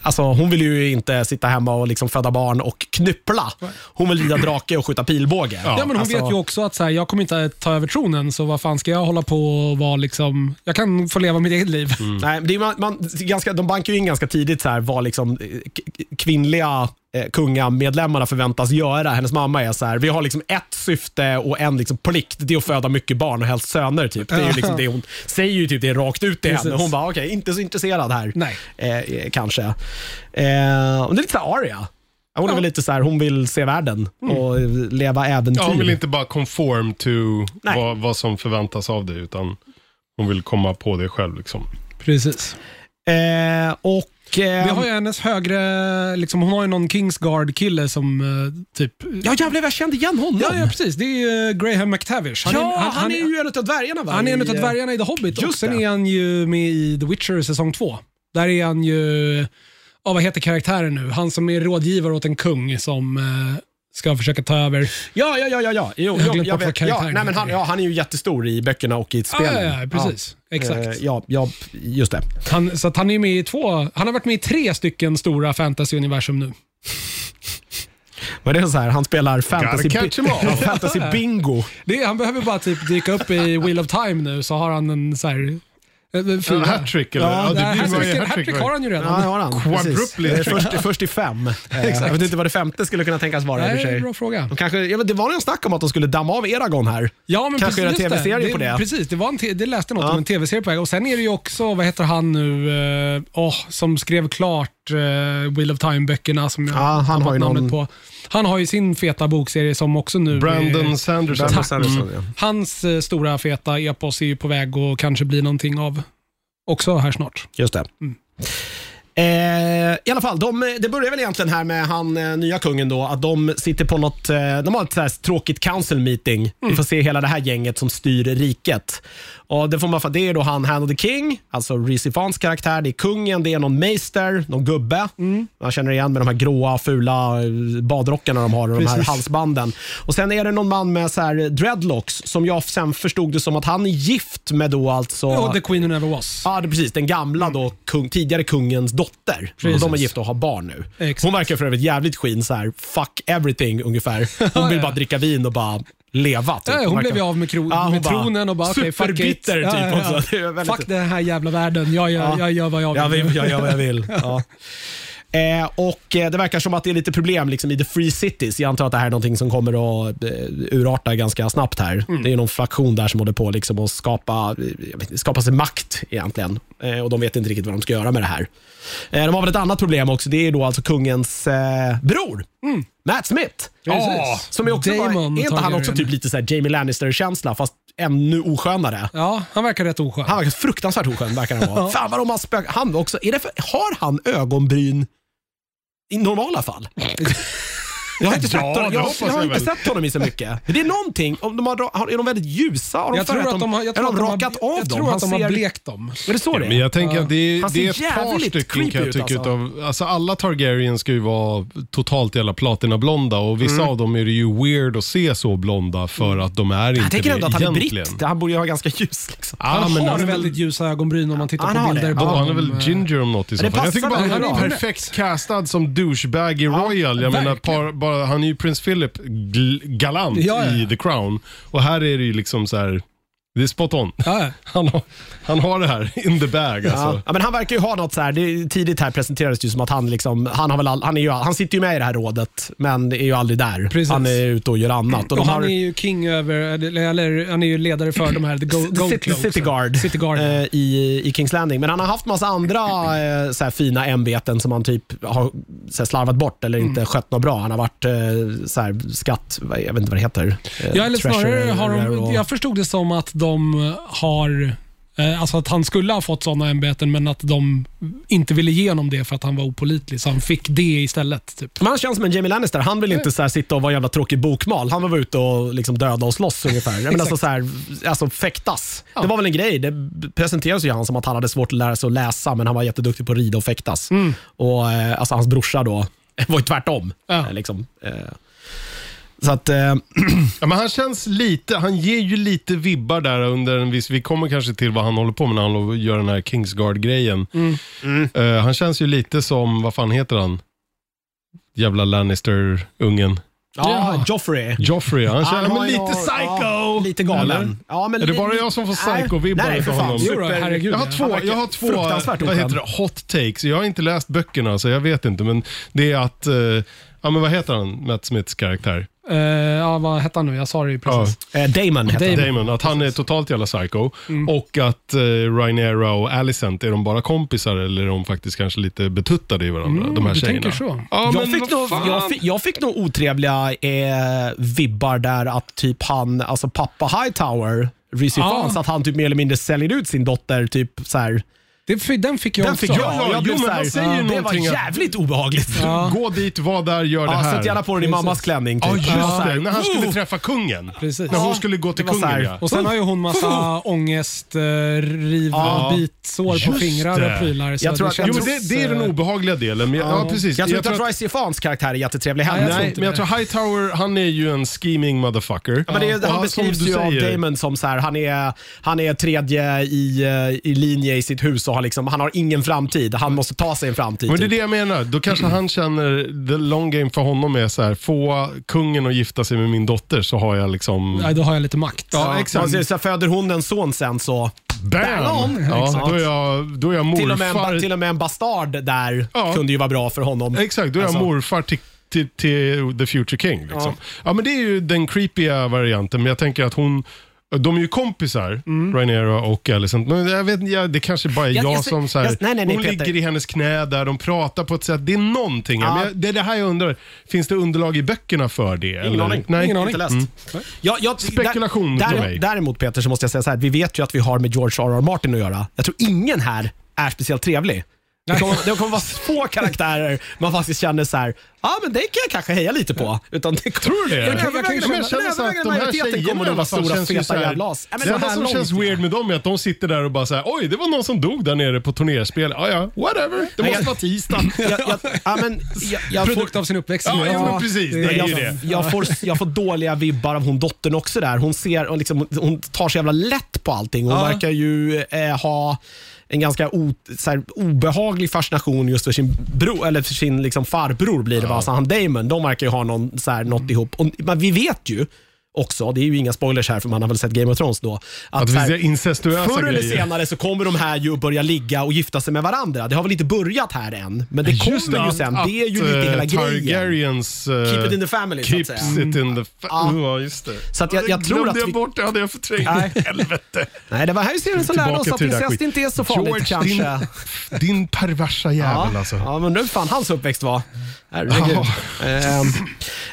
[SPEAKER 1] alltså hon vill ju inte sitta hemma och liksom föda barn och knyppla. Hon vill rida drake och skjuta pilbåge.
[SPEAKER 2] Ja, men hon
[SPEAKER 1] alltså,
[SPEAKER 2] vet ju också att så här, jag kommer inte att ta över tronen, så vad fan ska jag hålla på och vara liksom... Jag kan få leva mitt eget liv.
[SPEAKER 1] Nej, det är, man, man, ganska, de bankar ju in ganska tidigt så här, vad liksom, eh, k- kvinnliga eh, kungamedlemmarna förväntas göra. Hennes mamma är så här, vi har liksom ett syfte och en liksom plikt. Det är att föda mycket barn och helst söner. Typ. Det är ju liksom det hon säger ju typ det rakt ut till henne.
[SPEAKER 2] Precis.
[SPEAKER 1] Hon bara, okej, inte så intresserad här.
[SPEAKER 2] Nej.
[SPEAKER 1] Eh, eh, kanske. Eh, och det är lite så här Aria. Hon är väl lite så här, hon vill se världen
[SPEAKER 2] Mm.
[SPEAKER 1] och eh, leva äventyr.
[SPEAKER 3] Ja, hon vill inte bara conform to
[SPEAKER 1] Nej.
[SPEAKER 3] vad, vad som förväntas av dig, utan hon vill komma på det själv. Liksom.
[SPEAKER 2] Precis.
[SPEAKER 1] eh, och, eh,
[SPEAKER 2] Vi har ju hennes högre... Liksom, hon har ju någon Kingsguard-kille som eh, typ...
[SPEAKER 1] Ja jävlar, jag kände igen honom.
[SPEAKER 2] Ja, ja, precis. Det är ju eh, Graham McTavish.
[SPEAKER 1] Ja, han, är ju en av dvärgarna va?
[SPEAKER 2] han är en
[SPEAKER 1] I,
[SPEAKER 2] av
[SPEAKER 1] eh,
[SPEAKER 2] dvärgarna i The Hobbit och
[SPEAKER 1] just
[SPEAKER 2] sen
[SPEAKER 1] det.
[SPEAKER 2] är han ju med i The Witcher säsong 2. Där är han ju... Ja, vad heter karaktären nu? Han som är rådgivare åt en kung som eh, ska försöka ta över.
[SPEAKER 1] Ja, ja, ja. ja, ja. Jo,
[SPEAKER 2] har
[SPEAKER 1] jo,
[SPEAKER 2] glömt
[SPEAKER 1] jag
[SPEAKER 2] bort vad
[SPEAKER 1] vet. Ja,
[SPEAKER 2] karaktären
[SPEAKER 1] nej, men han,
[SPEAKER 2] heter.
[SPEAKER 1] ja, han är ju jättestor i böckerna och i spelen.
[SPEAKER 2] Ja, ja, ja, precis. Exakt.
[SPEAKER 1] Eh, Ja, ja, just det.
[SPEAKER 2] Han, så att han är med i två... Han har varit med i tre stycken stora fantasy-universum nu.
[SPEAKER 1] Men det är så här, han spelar fantasy,
[SPEAKER 3] Gotta catch 'em all.
[SPEAKER 1] Ja, fantasy bingo.
[SPEAKER 2] Det, är- han behöver bara typ dyka upp i Wheel of Time nu så har han en så här... eh,
[SPEAKER 3] En
[SPEAKER 2] Fyra.
[SPEAKER 3] Hattrick, eller?
[SPEAKER 1] Ja,
[SPEAKER 3] Ja,
[SPEAKER 2] Nej,
[SPEAKER 3] det blir varje
[SPEAKER 2] Hattrick
[SPEAKER 3] hattrick.
[SPEAKER 2] hattrick har
[SPEAKER 3] varje-
[SPEAKER 2] han ju
[SPEAKER 1] Ja,
[SPEAKER 2] redan.
[SPEAKER 1] det har han. Precis.
[SPEAKER 3] Quadruply
[SPEAKER 1] Eh,
[SPEAKER 3] hattrick.
[SPEAKER 1] Först, först i fem. Eh, Jag vet inte vad det femte skulle kunna tänkas vara i och
[SPEAKER 2] Nej,
[SPEAKER 1] för
[SPEAKER 2] det är en
[SPEAKER 1] sig.
[SPEAKER 2] bra fråga.
[SPEAKER 1] De kanske, ja, men det var någon snack om att de skulle damma av Eragon här.
[SPEAKER 2] Ja, men
[SPEAKER 1] Kanske
[SPEAKER 2] precis,
[SPEAKER 1] göra
[SPEAKER 2] just
[SPEAKER 1] TV-serie på det.
[SPEAKER 2] Precis, det, var en te- det läste jag något om en tv-serie på väg. Och sen är det ju också, vad heter han nu, eh, åh, som skrev klart eh, Wheel of Time-böckerna som jag
[SPEAKER 1] Ja, han
[SPEAKER 2] tappat
[SPEAKER 1] har ju
[SPEAKER 2] namnet
[SPEAKER 1] någon-
[SPEAKER 2] på. Han har ju sin feta bokserie som också nu...
[SPEAKER 3] Brandon
[SPEAKER 2] är,
[SPEAKER 3] Sanderson.
[SPEAKER 1] Brandon Sanderson, ja.
[SPEAKER 2] hans eh, stora feta epos är ju på väg att kanske bli någonting av också här snart.
[SPEAKER 1] Just det. Eh, I alla fall, de, det börjar väl egentligen här med han eh, nya kungen då, att de sitter på något, eh, de har ett så här tråkigt council meeting. Vi får se hela det här gänget som styr riket. Och det, får man, det är då han Hand of the King, alltså Reece Fans karaktär, det är kungen, det är någon meister, någon gubbe. Man känner igen med de här gråa, fula eh, badrockarna de har och de här
[SPEAKER 2] Precis.
[SPEAKER 1] halsbanden. Och sen är det någon man med så här dreadlocks, som jag sen förstod det som att han är gift med då alltså...
[SPEAKER 2] Och The Queen Who Never Was.
[SPEAKER 1] Ja, det är precis. Den gamla då, kung, tidigare kungens dotter. Och
[SPEAKER 2] Precis.
[SPEAKER 1] de är gifta och har barn nu.
[SPEAKER 2] Exakt.
[SPEAKER 1] Hon verkar för övrigt jävligt skin, så här, fuck everything ungefär. Hon vill
[SPEAKER 2] Ja, ja.
[SPEAKER 1] bara dricka vin och bara leva. Typ.
[SPEAKER 2] Ja, hon
[SPEAKER 1] verkar-
[SPEAKER 2] blev ju av med, kro-
[SPEAKER 1] Ja, hon
[SPEAKER 2] med
[SPEAKER 1] bara,
[SPEAKER 2] tronen och bara okej, fuck it.
[SPEAKER 1] superbitter typ också. Det är väldigt-
[SPEAKER 2] Fuck den här jävla världen, jag gör,
[SPEAKER 1] Ja.
[SPEAKER 2] jag gör vad jag
[SPEAKER 1] Jag
[SPEAKER 2] vill.
[SPEAKER 1] vill, jag gör vad jag vill. Ja. Eh, och eh, Det verkar som att det är lite problem liksom, i the free cities. Jag antar att det här är någonting som kommer att eh, urarta ganska snabbt här. Det är någon fraktion där som håller på liksom, att skapa, eh, jag vet, inte, skapa sig makt egentligen. Eh, och De vet inte riktigt vad de ska göra med det här. Eh, de har väl ett annat problem också. Det är då alltså kungens eh, bror, Matt Smith.
[SPEAKER 2] Precis.
[SPEAKER 1] Ja, som är också bara,
[SPEAKER 2] Damon
[SPEAKER 1] är inte han typ
[SPEAKER 2] Targaryen.
[SPEAKER 1] också typ lite så här Jamie Lannister-känsla, fast ännu oskönare.
[SPEAKER 2] Ja, han verkar rätt oskön.
[SPEAKER 1] Han verkar fruktansvärt oskön, verkar han vara. Fan vad de har spökat. Han också. Är det för, har han ögonbryn i normala fall? Jag har inte, sett,
[SPEAKER 3] Ja,
[SPEAKER 1] honom,
[SPEAKER 3] det
[SPEAKER 1] jag,
[SPEAKER 3] hoppas
[SPEAKER 1] jag har
[SPEAKER 3] jag
[SPEAKER 1] inte
[SPEAKER 3] väl.
[SPEAKER 1] sett honom i så mycket. Men det är någonting, om de har, dra- har- är de väldigt ljusa? Har de
[SPEAKER 2] Jag tror
[SPEAKER 1] färgat dem?
[SPEAKER 2] att de har, jag
[SPEAKER 1] är
[SPEAKER 2] tror
[SPEAKER 1] de
[SPEAKER 2] att de
[SPEAKER 1] rakat
[SPEAKER 2] har,
[SPEAKER 1] av
[SPEAKER 2] jag
[SPEAKER 1] dem?
[SPEAKER 2] tror
[SPEAKER 1] Han
[SPEAKER 2] att de
[SPEAKER 1] ser-
[SPEAKER 2] har blekt dem.
[SPEAKER 1] Är det så det
[SPEAKER 3] Men
[SPEAKER 1] är?
[SPEAKER 3] jag tänker att det,
[SPEAKER 1] Han
[SPEAKER 3] det är
[SPEAKER 1] ser
[SPEAKER 3] ett par
[SPEAKER 1] jävligt
[SPEAKER 3] stycken
[SPEAKER 1] creepy
[SPEAKER 3] kan jag
[SPEAKER 1] ut,
[SPEAKER 3] tycka
[SPEAKER 1] alltså.
[SPEAKER 3] utav, alltså alla Targaryen ska ju vara totalt jävla platinablonda och vissa av dem är det ju weird att se så blonda för att de är inte
[SPEAKER 1] Jag tänker
[SPEAKER 3] det
[SPEAKER 1] ändå att han är
[SPEAKER 3] egentligen.
[SPEAKER 1] britt. Han borde ju ha ganska ljus. Liksom.
[SPEAKER 3] Ja,
[SPEAKER 2] Han
[SPEAKER 3] men
[SPEAKER 2] har
[SPEAKER 3] han är väl,
[SPEAKER 2] väldigt ljusa ögonbryn om man tittar
[SPEAKER 1] Han
[SPEAKER 2] på
[SPEAKER 1] har
[SPEAKER 2] bilder. eh,
[SPEAKER 1] det.
[SPEAKER 2] på
[SPEAKER 3] ja, han är väl
[SPEAKER 2] honom.
[SPEAKER 3] ginger om något i så
[SPEAKER 1] det
[SPEAKER 3] fall. Jag
[SPEAKER 1] passar
[SPEAKER 3] tycker bara
[SPEAKER 1] honom
[SPEAKER 3] han
[SPEAKER 1] bra.
[SPEAKER 3] är perfekt castad som douchebag i Royal. Jag menar, par, bara, han är ju prins Philip gl- galant
[SPEAKER 2] Ja, ja, ja.
[SPEAKER 3] i The Crown och här är det ju liksom så här. Det är spot on.
[SPEAKER 2] Ja,
[SPEAKER 3] Han har, han har det här in the bag alltså.
[SPEAKER 1] Ja. Ja, men han verkar ju ha något så här, det, tidigt här presenterades det ju som att han, liksom, han, har väl all, han, är ju, han sitter ju med i det här rådet, men är ju aldrig där.
[SPEAKER 2] Precis.
[SPEAKER 1] Han är ute och gör annat. Och de
[SPEAKER 2] Och
[SPEAKER 1] har,
[SPEAKER 2] han är ju king över, eller, eller han är ju ledare för de här The Go- Gold
[SPEAKER 1] City,
[SPEAKER 2] Cloaks.
[SPEAKER 1] City Guard,
[SPEAKER 2] City Guard.
[SPEAKER 1] eh, i, i Kings Landing. Men han har haft massa andra eh, så här, fina ämbeten som han typ har så här, slarvat bort eller
[SPEAKER 2] Mm.
[SPEAKER 1] inte skött något bra. Han har varit eh, så här, skatt, vad- jag vet inte vad det heter. Eh,
[SPEAKER 2] Ja, eller snarare
[SPEAKER 1] treasurer
[SPEAKER 2] har de,
[SPEAKER 1] och-
[SPEAKER 2] jag förstod det som att de har, eh, alltså att han skulle ha fått sådana ämbeten men att de inte ville ge honom det för att han var opolitlig, så han fick det istället. Typ.
[SPEAKER 1] Men han känns som en Jamie Lannister. Han vill inte så här sitta och vara en jävla tråkig bokmal. Han vill vara ute och liksom döda och slåss ungefär. Men alltså, så här, alltså fäktas. Det var väl en grej. Det presenterades ju han som att han hade svårt att lära sig att läsa, men han var jätteduktig på att rida och fäktas.
[SPEAKER 2] Mm.
[SPEAKER 3] Mm.
[SPEAKER 1] Och, eh, alltså, hans brorsa då var ju tvärtom.
[SPEAKER 2] Ja.
[SPEAKER 1] Eh, Liksom. Eh, Så att, eh,
[SPEAKER 3] Ja, men han känns lite, han ger ju lite vibbar där under en viss, vi kommer kanske till vad han håller på med när han gör den här Kingsguard-grejen.
[SPEAKER 1] Mm.
[SPEAKER 3] Eh, han känns ju lite som, vad fan heter han? Jävla Lannister-ungen.
[SPEAKER 1] ja, Joffrey.
[SPEAKER 3] Joffrey, han känns
[SPEAKER 1] har ju
[SPEAKER 3] men lite
[SPEAKER 1] någon-
[SPEAKER 3] psycho.
[SPEAKER 1] Ah, Ja, lite galen.
[SPEAKER 3] Eller?
[SPEAKER 1] Ja, men
[SPEAKER 3] Är det
[SPEAKER 1] li-
[SPEAKER 3] bara jag som får
[SPEAKER 1] Nej.
[SPEAKER 3] psycho-vibbar
[SPEAKER 1] Nej, för
[SPEAKER 3] utav
[SPEAKER 1] fan.
[SPEAKER 3] honom?
[SPEAKER 1] Jo,
[SPEAKER 2] Jo då,
[SPEAKER 1] super-
[SPEAKER 2] herregud.
[SPEAKER 3] Jag har två,
[SPEAKER 1] verkar
[SPEAKER 3] jag har två
[SPEAKER 1] fruktansvärt
[SPEAKER 3] vad heter
[SPEAKER 1] oskön.
[SPEAKER 3] det, hot takes. Jag har inte läst böckerna så jag vet inte. Men det är att, eh, ja men vad heter han, Matt Smiths karaktär?
[SPEAKER 2] Eh, ja, vad hette han nu? Jag sa det ju
[SPEAKER 3] Ja,
[SPEAKER 2] precis.
[SPEAKER 1] Eh, Damon Mm. heter han.
[SPEAKER 2] Damon.
[SPEAKER 3] Damon. Att han är totalt jävla psycho. Och att eh, Rhaenyra och Alicent, är de bara kompisar eller är de faktiskt kanske lite betuttade i varandra?
[SPEAKER 1] Mm,
[SPEAKER 3] de här
[SPEAKER 2] du
[SPEAKER 3] tjejerna.
[SPEAKER 2] tänker så.
[SPEAKER 3] Ja,
[SPEAKER 1] Jag
[SPEAKER 3] men
[SPEAKER 1] fick,
[SPEAKER 3] vad
[SPEAKER 1] nog,
[SPEAKER 3] fan.
[SPEAKER 1] jag, fick, jag fick nog otrevliga eh, vibbar där att typ han, alltså pappa Hightower, Rizzy
[SPEAKER 2] Ja.
[SPEAKER 1] Fans, att han typ mer eller mindre säljer ut sin dotter. Typ så här.
[SPEAKER 2] Det, fi- den fick jag
[SPEAKER 1] Den
[SPEAKER 2] också.
[SPEAKER 1] fick jag.
[SPEAKER 3] ja,
[SPEAKER 1] jag
[SPEAKER 3] jo,
[SPEAKER 1] blev
[SPEAKER 3] men
[SPEAKER 1] så här,
[SPEAKER 3] han säger ju
[SPEAKER 1] det var
[SPEAKER 3] någonting att-
[SPEAKER 1] jävligt obehagligt. Ja.
[SPEAKER 2] Ja,
[SPEAKER 3] Gå dit, var där, gör det här.
[SPEAKER 1] sätt gärna på den i mammas
[SPEAKER 2] Precis.
[SPEAKER 1] klänning. Typ.
[SPEAKER 3] Ja, just
[SPEAKER 1] Det var så här,
[SPEAKER 3] det. När han skulle
[SPEAKER 1] "Oh!"
[SPEAKER 3] träffa kungen.
[SPEAKER 2] Precis.
[SPEAKER 3] När hon
[SPEAKER 1] Ja,
[SPEAKER 3] skulle gå till
[SPEAKER 1] det var så här.
[SPEAKER 3] kungen, ja.
[SPEAKER 2] Och sen har ju hon massa ångest, eh, riv,
[SPEAKER 3] Ja.
[SPEAKER 2] bitsår på
[SPEAKER 3] Just
[SPEAKER 2] fingrar
[SPEAKER 3] det.
[SPEAKER 2] och prylar. Så
[SPEAKER 1] Jag tror
[SPEAKER 2] det
[SPEAKER 1] att- jag
[SPEAKER 3] Jo, men
[SPEAKER 1] tror-
[SPEAKER 3] det, det är den obehagliga delen. Men, jag- ja, precis.
[SPEAKER 1] eh, Jag tror
[SPEAKER 3] Jag
[SPEAKER 1] inte
[SPEAKER 3] tror
[SPEAKER 1] att Rizzy Fans karaktär är jättetrevlig heller.
[SPEAKER 2] jag tror
[SPEAKER 3] Nej,
[SPEAKER 2] inte
[SPEAKER 3] men jag
[SPEAKER 2] det.
[SPEAKER 3] tror Hightower, han är ju en scheming motherfucker.
[SPEAKER 1] Ja, Men det,
[SPEAKER 3] Och
[SPEAKER 1] han
[SPEAKER 3] som
[SPEAKER 1] beskrivs
[SPEAKER 3] du
[SPEAKER 1] ju av
[SPEAKER 3] säger-
[SPEAKER 1] Damon som så här, han, är, han är tredje i, eh, i linje i sitt hus och har liksom, han har ingen framtid. Han måste ta sig en framtid.
[SPEAKER 3] Men det är
[SPEAKER 1] typ.
[SPEAKER 3] det jag menar. Då kanske han känner, the long game för honom är så här, få kungen att gifta sig med min dotter så har jag liksom...
[SPEAKER 2] Nej, då har jag lite makt.
[SPEAKER 3] Ja,
[SPEAKER 1] Man
[SPEAKER 3] exakt.
[SPEAKER 1] ser, så här, föder hon en son sen så
[SPEAKER 3] Bam!
[SPEAKER 1] Bam!
[SPEAKER 3] Ja,
[SPEAKER 1] Exakt.
[SPEAKER 3] då, är jag, då är jag
[SPEAKER 1] Till och, med en, ba-
[SPEAKER 3] morfar.
[SPEAKER 1] till och med en bastard där
[SPEAKER 3] Ja.
[SPEAKER 1] kunde ju vara bra för honom.
[SPEAKER 3] Exakt, då är jag
[SPEAKER 1] Alltså.
[SPEAKER 3] morfar till, till, till the future king. Liksom. Ja. men det är ju den creepiga varianten, men jag tänker att hon de är ju kompisar, Rhaenyra och Alicent. Men jag vet, inte, ja, det kanske bara är
[SPEAKER 1] Jag-
[SPEAKER 3] jag,
[SPEAKER 1] Mm. jag ser-
[SPEAKER 3] som så här,
[SPEAKER 1] jag- nej, nej, nej,
[SPEAKER 3] Hon
[SPEAKER 1] Peter.
[SPEAKER 3] ligger i hennes knä där, de pratar på ett sätt. Det är någonting.
[SPEAKER 1] Ja.
[SPEAKER 3] Men jag, det är det här jag undrar. Finns det underlag i böckerna för det?
[SPEAKER 1] Ingen aning.
[SPEAKER 3] Nej. Mm.
[SPEAKER 1] Ingen aning. Inte läst. Jag, jag,
[SPEAKER 3] Spekulation
[SPEAKER 1] där,
[SPEAKER 3] från
[SPEAKER 1] där,
[SPEAKER 3] mig.
[SPEAKER 1] Däremot Peter så måste jag säga så här, vi vet ju att vi har med George R.R. Martin att göra. Jag tror ingen här är speciellt trevlig. Det kommer, det kommer vara få karaktärer man faktiskt känner så här, ja ah, men det kan jag kanske heja lite på. Utan det
[SPEAKER 3] Tror du det?
[SPEAKER 1] Jag kan,
[SPEAKER 2] Jag kan ju
[SPEAKER 3] Men jag känner så att de här
[SPEAKER 1] kommer
[SPEAKER 3] tjejerna
[SPEAKER 1] nog
[SPEAKER 3] i
[SPEAKER 1] vara
[SPEAKER 3] alla fall
[SPEAKER 1] stora
[SPEAKER 3] känns ju så
[SPEAKER 1] feta
[SPEAKER 3] här-
[SPEAKER 1] jävla as. Ja, men
[SPEAKER 3] Det
[SPEAKER 1] så
[SPEAKER 3] enda
[SPEAKER 1] här
[SPEAKER 3] som
[SPEAKER 1] långt.
[SPEAKER 3] känns weird med dem är att de sitter där och bara säger oj det var någon som dog där nere på turnerspel. Ja, ja, whatever. Det
[SPEAKER 1] Nej, jag-
[SPEAKER 3] måste vara tisdag.
[SPEAKER 1] Jag, jag, ja, men, jag, jag får-
[SPEAKER 2] Produkt av sin uppväxt.
[SPEAKER 3] Ja, ja, men precis. Det är
[SPEAKER 1] jag,
[SPEAKER 3] ju det.
[SPEAKER 1] Jag, får, jag får dåliga vibbar av hon dottern också där. Hon, ser, och liksom, hon tar så jävla lätt på allting. Hon
[SPEAKER 2] Ja.
[SPEAKER 1] verkar ju eh, ha en ganska o, så här, obehaglig fascination just för sin, bro, eller för sin liksom, farbror. blir det va? Alltså, han Damon, de verkar ju ha någon, så här,
[SPEAKER 3] Mm.
[SPEAKER 1] något ihop. Och, men vi vet ju också, det är ju inga spoilers här för man har väl sett Game of Thrones då. Att,
[SPEAKER 3] Att
[SPEAKER 1] så
[SPEAKER 3] det
[SPEAKER 1] här,
[SPEAKER 3] finns incestuösa
[SPEAKER 1] Förr eller
[SPEAKER 3] grejer.
[SPEAKER 1] senare så kommer de här ju att börja ligga och gifta sig med varandra. Det har väl inte börjat här än, men det kommer ju sen. Det är ju lite hela grejen.
[SPEAKER 3] eh, Targaryens, eh,
[SPEAKER 1] Keep it in the family, så att
[SPEAKER 3] keeps
[SPEAKER 1] säga.
[SPEAKER 3] it in the fa-
[SPEAKER 1] Ja.
[SPEAKER 3] Ja, just det.
[SPEAKER 1] Så att jag- jag
[SPEAKER 3] Det
[SPEAKER 1] tror
[SPEAKER 3] glömde
[SPEAKER 1] att
[SPEAKER 3] jag
[SPEAKER 1] vi-
[SPEAKER 3] bort, det hade jag förträngt.
[SPEAKER 1] Nej.
[SPEAKER 3] Helvete.
[SPEAKER 1] Nej, det var här vi ser som lärde
[SPEAKER 3] Tillbaka
[SPEAKER 1] oss att
[SPEAKER 3] till det där
[SPEAKER 1] incest
[SPEAKER 3] skit.
[SPEAKER 1] inte är så farligt
[SPEAKER 3] George,
[SPEAKER 1] kanske.
[SPEAKER 3] Din, din perversa jävel
[SPEAKER 1] Ja,
[SPEAKER 3] alltså.
[SPEAKER 1] ja, men undrar hur fan hans uppväxt var. Herregud. Ehm,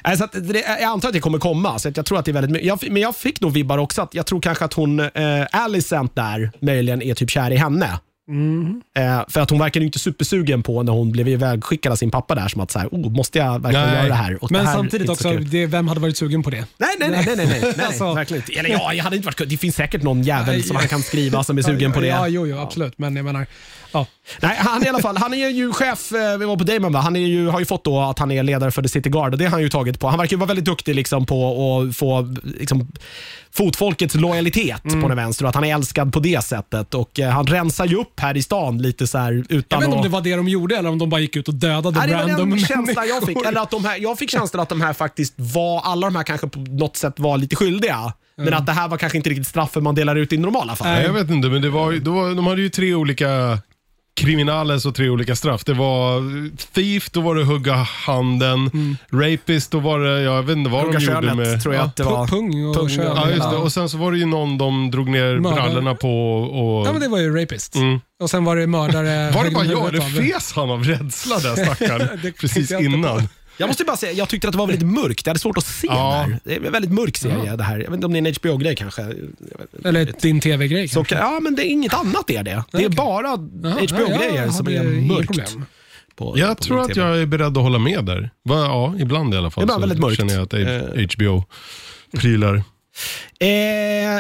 [SPEAKER 1] Nej, så att det, jag antar att det kommer komma, så att jag tror att det är väldigt mycket. Jag, men jag fick nog vibbar också att jag tror kanske att hon, eh, Alicent där, möjligen är typ kär i henne.
[SPEAKER 3] Mm.
[SPEAKER 1] Eh, för att hon verkar ju inte supersugen på när hon blev ivägskickad av sin pappa där, som att så här, oh, måste jag verkligen
[SPEAKER 3] Nej.
[SPEAKER 1] göra det här? Och det
[SPEAKER 2] Men
[SPEAKER 1] här är
[SPEAKER 2] samtidigt
[SPEAKER 1] inte så
[SPEAKER 2] också,
[SPEAKER 1] kul.
[SPEAKER 2] det, vem hade varit sugen på det?
[SPEAKER 1] Nej, nej, nej. nej, nej, nej, nej
[SPEAKER 2] Alltså-
[SPEAKER 1] verkligen inte. Eller ja, jag hade inte varit kul. Det finns säkert någon jävel
[SPEAKER 2] Nej.
[SPEAKER 1] som han kan skriva som är sugen på det.
[SPEAKER 2] Ja, jo, jo, absolut. Men jag menar, ja.
[SPEAKER 1] Nej, han i alla fall, han är ju chef, eh, vi var på Damon va? Han är ju, har ju fått då att han är ledare för The City Guard och det har han ju tagit på. Han verkar ju vara väldigt duktig liksom på att få liksom, fotfolkets lojalitet
[SPEAKER 2] Mm.
[SPEAKER 1] på den vänster och att han är älskad på det sättet. Och eh, han rensar ju upp här i stan lite så här
[SPEAKER 2] Jag
[SPEAKER 1] utan
[SPEAKER 2] vet inte om
[SPEAKER 1] att-
[SPEAKER 2] det var det de gjorde eller om de bara gick ut och dödade
[SPEAKER 1] Nej, det var
[SPEAKER 2] random
[SPEAKER 1] den
[SPEAKER 2] människor.
[SPEAKER 1] känslan jag fick. Eller att de här, jag fick känslan att de här faktiskt var, alla de här kanske på något sätt var lite skyldiga. Men
[SPEAKER 2] Mm.
[SPEAKER 1] att det här var kanske inte riktigt straffen man delar ut i normala fall.
[SPEAKER 3] Nej, jag vet inte, men det var, ju- det var, de hade ju tre olika kriminales och tre olika straff. Det var thief, då var det hugga handen.
[SPEAKER 2] Mm.
[SPEAKER 3] Rapist, då var det, jag vet inte vad
[SPEAKER 1] Hugga
[SPEAKER 3] de gjorde
[SPEAKER 1] könet
[SPEAKER 3] med...
[SPEAKER 1] tror jag att det var.
[SPEAKER 2] Pu- Pung och
[SPEAKER 1] Pung,
[SPEAKER 2] kön.
[SPEAKER 1] ja.
[SPEAKER 3] Ja, just det. Och sen så var det ju någon de drog ner
[SPEAKER 2] Mördare.
[SPEAKER 3] brallorna på. Och...
[SPEAKER 2] Ja, men det var ju rapist.
[SPEAKER 3] Mm.
[SPEAKER 2] Och sen var det mördare.
[SPEAKER 3] Var det bara
[SPEAKER 2] högg
[SPEAKER 3] jag?
[SPEAKER 2] huvudet
[SPEAKER 3] Eller
[SPEAKER 2] av.
[SPEAKER 3] fes han av rädsla där stackaren? Precis
[SPEAKER 2] tänkte jag inte
[SPEAKER 3] innan.
[SPEAKER 1] Jag måste bara säga, jag tyckte att det var väldigt mörkt. Jag hade svårt att se
[SPEAKER 3] Ja.
[SPEAKER 1] där. Det är en väldigt mörk serie det här. Jag vet inte om det är en HBO-grej kanske. Jag vet inte.
[SPEAKER 2] Eller din tv-grej
[SPEAKER 1] Så,
[SPEAKER 2] kanske.
[SPEAKER 1] ja, men det är inget annat är det. Det är
[SPEAKER 2] Okej.
[SPEAKER 1] bara
[SPEAKER 2] Jaha,
[SPEAKER 1] HBO-grejer
[SPEAKER 2] ja,
[SPEAKER 1] som
[SPEAKER 2] det
[SPEAKER 1] är
[SPEAKER 2] är inga
[SPEAKER 1] mörkt.
[SPEAKER 2] problem.
[SPEAKER 1] På, på
[SPEAKER 3] Jag tror
[SPEAKER 1] min
[SPEAKER 3] att
[SPEAKER 1] TV.
[SPEAKER 3] jag är beredd att hålla med där. Va, ja, ibland i alla fall.
[SPEAKER 1] Ibland
[SPEAKER 3] så
[SPEAKER 1] väldigt mörkt.
[SPEAKER 3] känner jag att HBO-prylar.
[SPEAKER 1] Eh,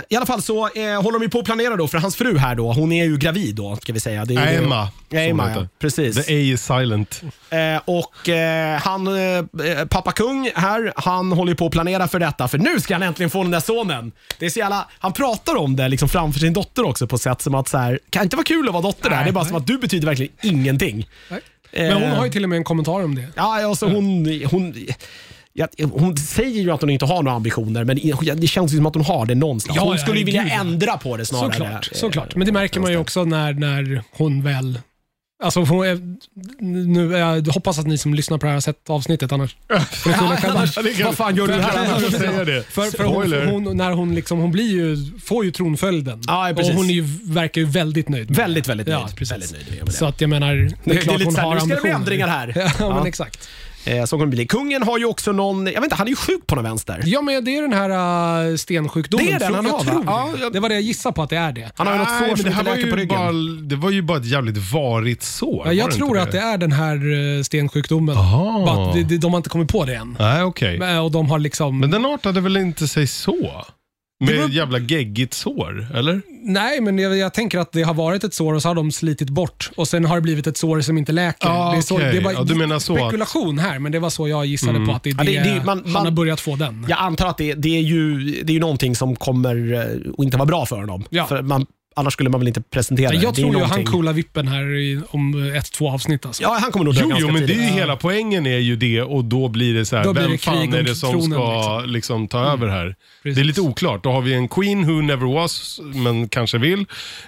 [SPEAKER 1] I alla fall så eh, håller de ju på att planera då, för hans fru här då, hon är ju gravid då, ska vi säga. Det är ju-
[SPEAKER 3] Emma. som
[SPEAKER 1] Emma,
[SPEAKER 3] hon
[SPEAKER 1] ja.
[SPEAKER 3] heter.
[SPEAKER 1] Precis.
[SPEAKER 3] The A is silent.
[SPEAKER 1] Eh, och eh, han, eh, eh, pappa kung här, han håller ju på att planera för detta för nu ska han äntligen få den där sonen. Det är så jävla, han pratar om det liksom framför sin dotter också på ett sätt som att så här, kan inte vara kul att vara dotter där,
[SPEAKER 2] Nej,
[SPEAKER 1] det är bara
[SPEAKER 2] nej.
[SPEAKER 1] som att du betyder verkligen ingenting.
[SPEAKER 2] Nej. Men hon
[SPEAKER 1] Eh,
[SPEAKER 2] har ju till och med en kommentar om det.
[SPEAKER 1] Ja, alltså hon, hon, ja, hon säger ju att hon inte har några ambitioner, men i- det känns ju som att hon har det någonstans.
[SPEAKER 2] Ja,
[SPEAKER 1] hon
[SPEAKER 2] ja,
[SPEAKER 1] skulle ju vilja
[SPEAKER 2] herregud.
[SPEAKER 1] ändra på det snarare.
[SPEAKER 2] Såklart,
[SPEAKER 1] Eh,
[SPEAKER 2] såklart. Men det märker man ju också när, när hon väl... Alltså hon är, nu, jag hoppas att ni som lyssnar på det här har sett avsnittet annars. får ni skylla själva.
[SPEAKER 1] Vad fan gör du här?
[SPEAKER 3] Jag säger det.
[SPEAKER 2] För, för hon,
[SPEAKER 3] Spoiler.
[SPEAKER 2] hon, när hon, liksom, hon blir ju, får ju tronföljden.
[SPEAKER 1] Ja,
[SPEAKER 2] och
[SPEAKER 1] precis.
[SPEAKER 2] hon är ju, verkar ju väldigt nöjd. med
[SPEAKER 1] Väldigt, väldigt nöjd.
[SPEAKER 2] Ja, precis.
[SPEAKER 1] Väldigt nöjd med det.
[SPEAKER 2] det. Så att jag menar, det är,
[SPEAKER 1] Det är, det är
[SPEAKER 2] klart
[SPEAKER 1] lite
[SPEAKER 2] hon
[SPEAKER 1] såhär,
[SPEAKER 2] har
[SPEAKER 1] nu ska det bli
[SPEAKER 2] ambitioner.
[SPEAKER 1] ändringar här.
[SPEAKER 2] Ja, men
[SPEAKER 1] Ja.
[SPEAKER 2] exakt.
[SPEAKER 1] Eh, så kommer det bli. Kungen har ju också någon, jag vet inte, han är ju sjuk på någon vänster.
[SPEAKER 2] Ja, men det är den här äh, stensjukdomen.
[SPEAKER 1] Det är den
[SPEAKER 2] tror-
[SPEAKER 1] han
[SPEAKER 2] jag
[SPEAKER 1] har, va?
[SPEAKER 2] tror
[SPEAKER 1] Ja,
[SPEAKER 2] det.
[SPEAKER 1] jag-
[SPEAKER 2] Det var det jag gissade på att det är det.
[SPEAKER 1] Han har ju något
[SPEAKER 3] Nej,
[SPEAKER 1] sår
[SPEAKER 3] men
[SPEAKER 1] som
[SPEAKER 3] det, här
[SPEAKER 1] inte
[SPEAKER 3] var
[SPEAKER 1] läker på
[SPEAKER 3] ju
[SPEAKER 1] ryggen.
[SPEAKER 3] bara, det var ju bara ett jävligt varigt sår.
[SPEAKER 2] Ja,
[SPEAKER 3] var
[SPEAKER 2] jag tror
[SPEAKER 3] inte
[SPEAKER 2] att det är den här eh, stensjukdomen.
[SPEAKER 3] Aha.
[SPEAKER 2] Bara att de, de har inte kommit på det än.
[SPEAKER 3] Nej, okej.
[SPEAKER 2] Men- Och de har liksom...
[SPEAKER 3] Men den artade väl inte sig så? Med
[SPEAKER 2] Det var-
[SPEAKER 3] jävla geggigt sår, eller?
[SPEAKER 2] Nej, men jag, jag tänker att det har varit ett sår och så har de slitit bort och sen har det blivit ett sår som inte läker.
[SPEAKER 3] Ah,
[SPEAKER 2] det är, så,
[SPEAKER 3] okej.
[SPEAKER 2] det är bara
[SPEAKER 3] Ja, du menar så att- Mm.
[SPEAKER 2] spekulation här, men det var så jag gissade på att det är
[SPEAKER 1] Ja,
[SPEAKER 2] det,
[SPEAKER 1] det- det- man-
[SPEAKER 2] han
[SPEAKER 1] man-
[SPEAKER 2] har börjat få den.
[SPEAKER 1] Jag antar att det, det, är ju, det är ju någonting som kommer eh, att inte vara bra för honom.
[SPEAKER 2] Ja.
[SPEAKER 1] För man, annars skulle man väl inte presentera
[SPEAKER 2] jag
[SPEAKER 1] det. det är
[SPEAKER 2] tror ju han
[SPEAKER 1] någonting-
[SPEAKER 2] coola vippen här i, om eh, ett, två avsnitt. Alltså.
[SPEAKER 1] Ja, han kommer nog dö
[SPEAKER 3] Jo,
[SPEAKER 1] ganska
[SPEAKER 3] jo, men det är
[SPEAKER 1] tidigt.
[SPEAKER 3] ju hela poängen är ju det och då blir det så här,
[SPEAKER 2] Då blir
[SPEAKER 3] vem
[SPEAKER 2] det krig
[SPEAKER 3] fan är
[SPEAKER 2] om
[SPEAKER 3] det som
[SPEAKER 2] tronen,
[SPEAKER 3] ska
[SPEAKER 2] liksom.
[SPEAKER 3] liksom. ta över här?
[SPEAKER 2] Precis.
[SPEAKER 3] Det är lite oklart. Då har vi en queen who never was, men kanske vill.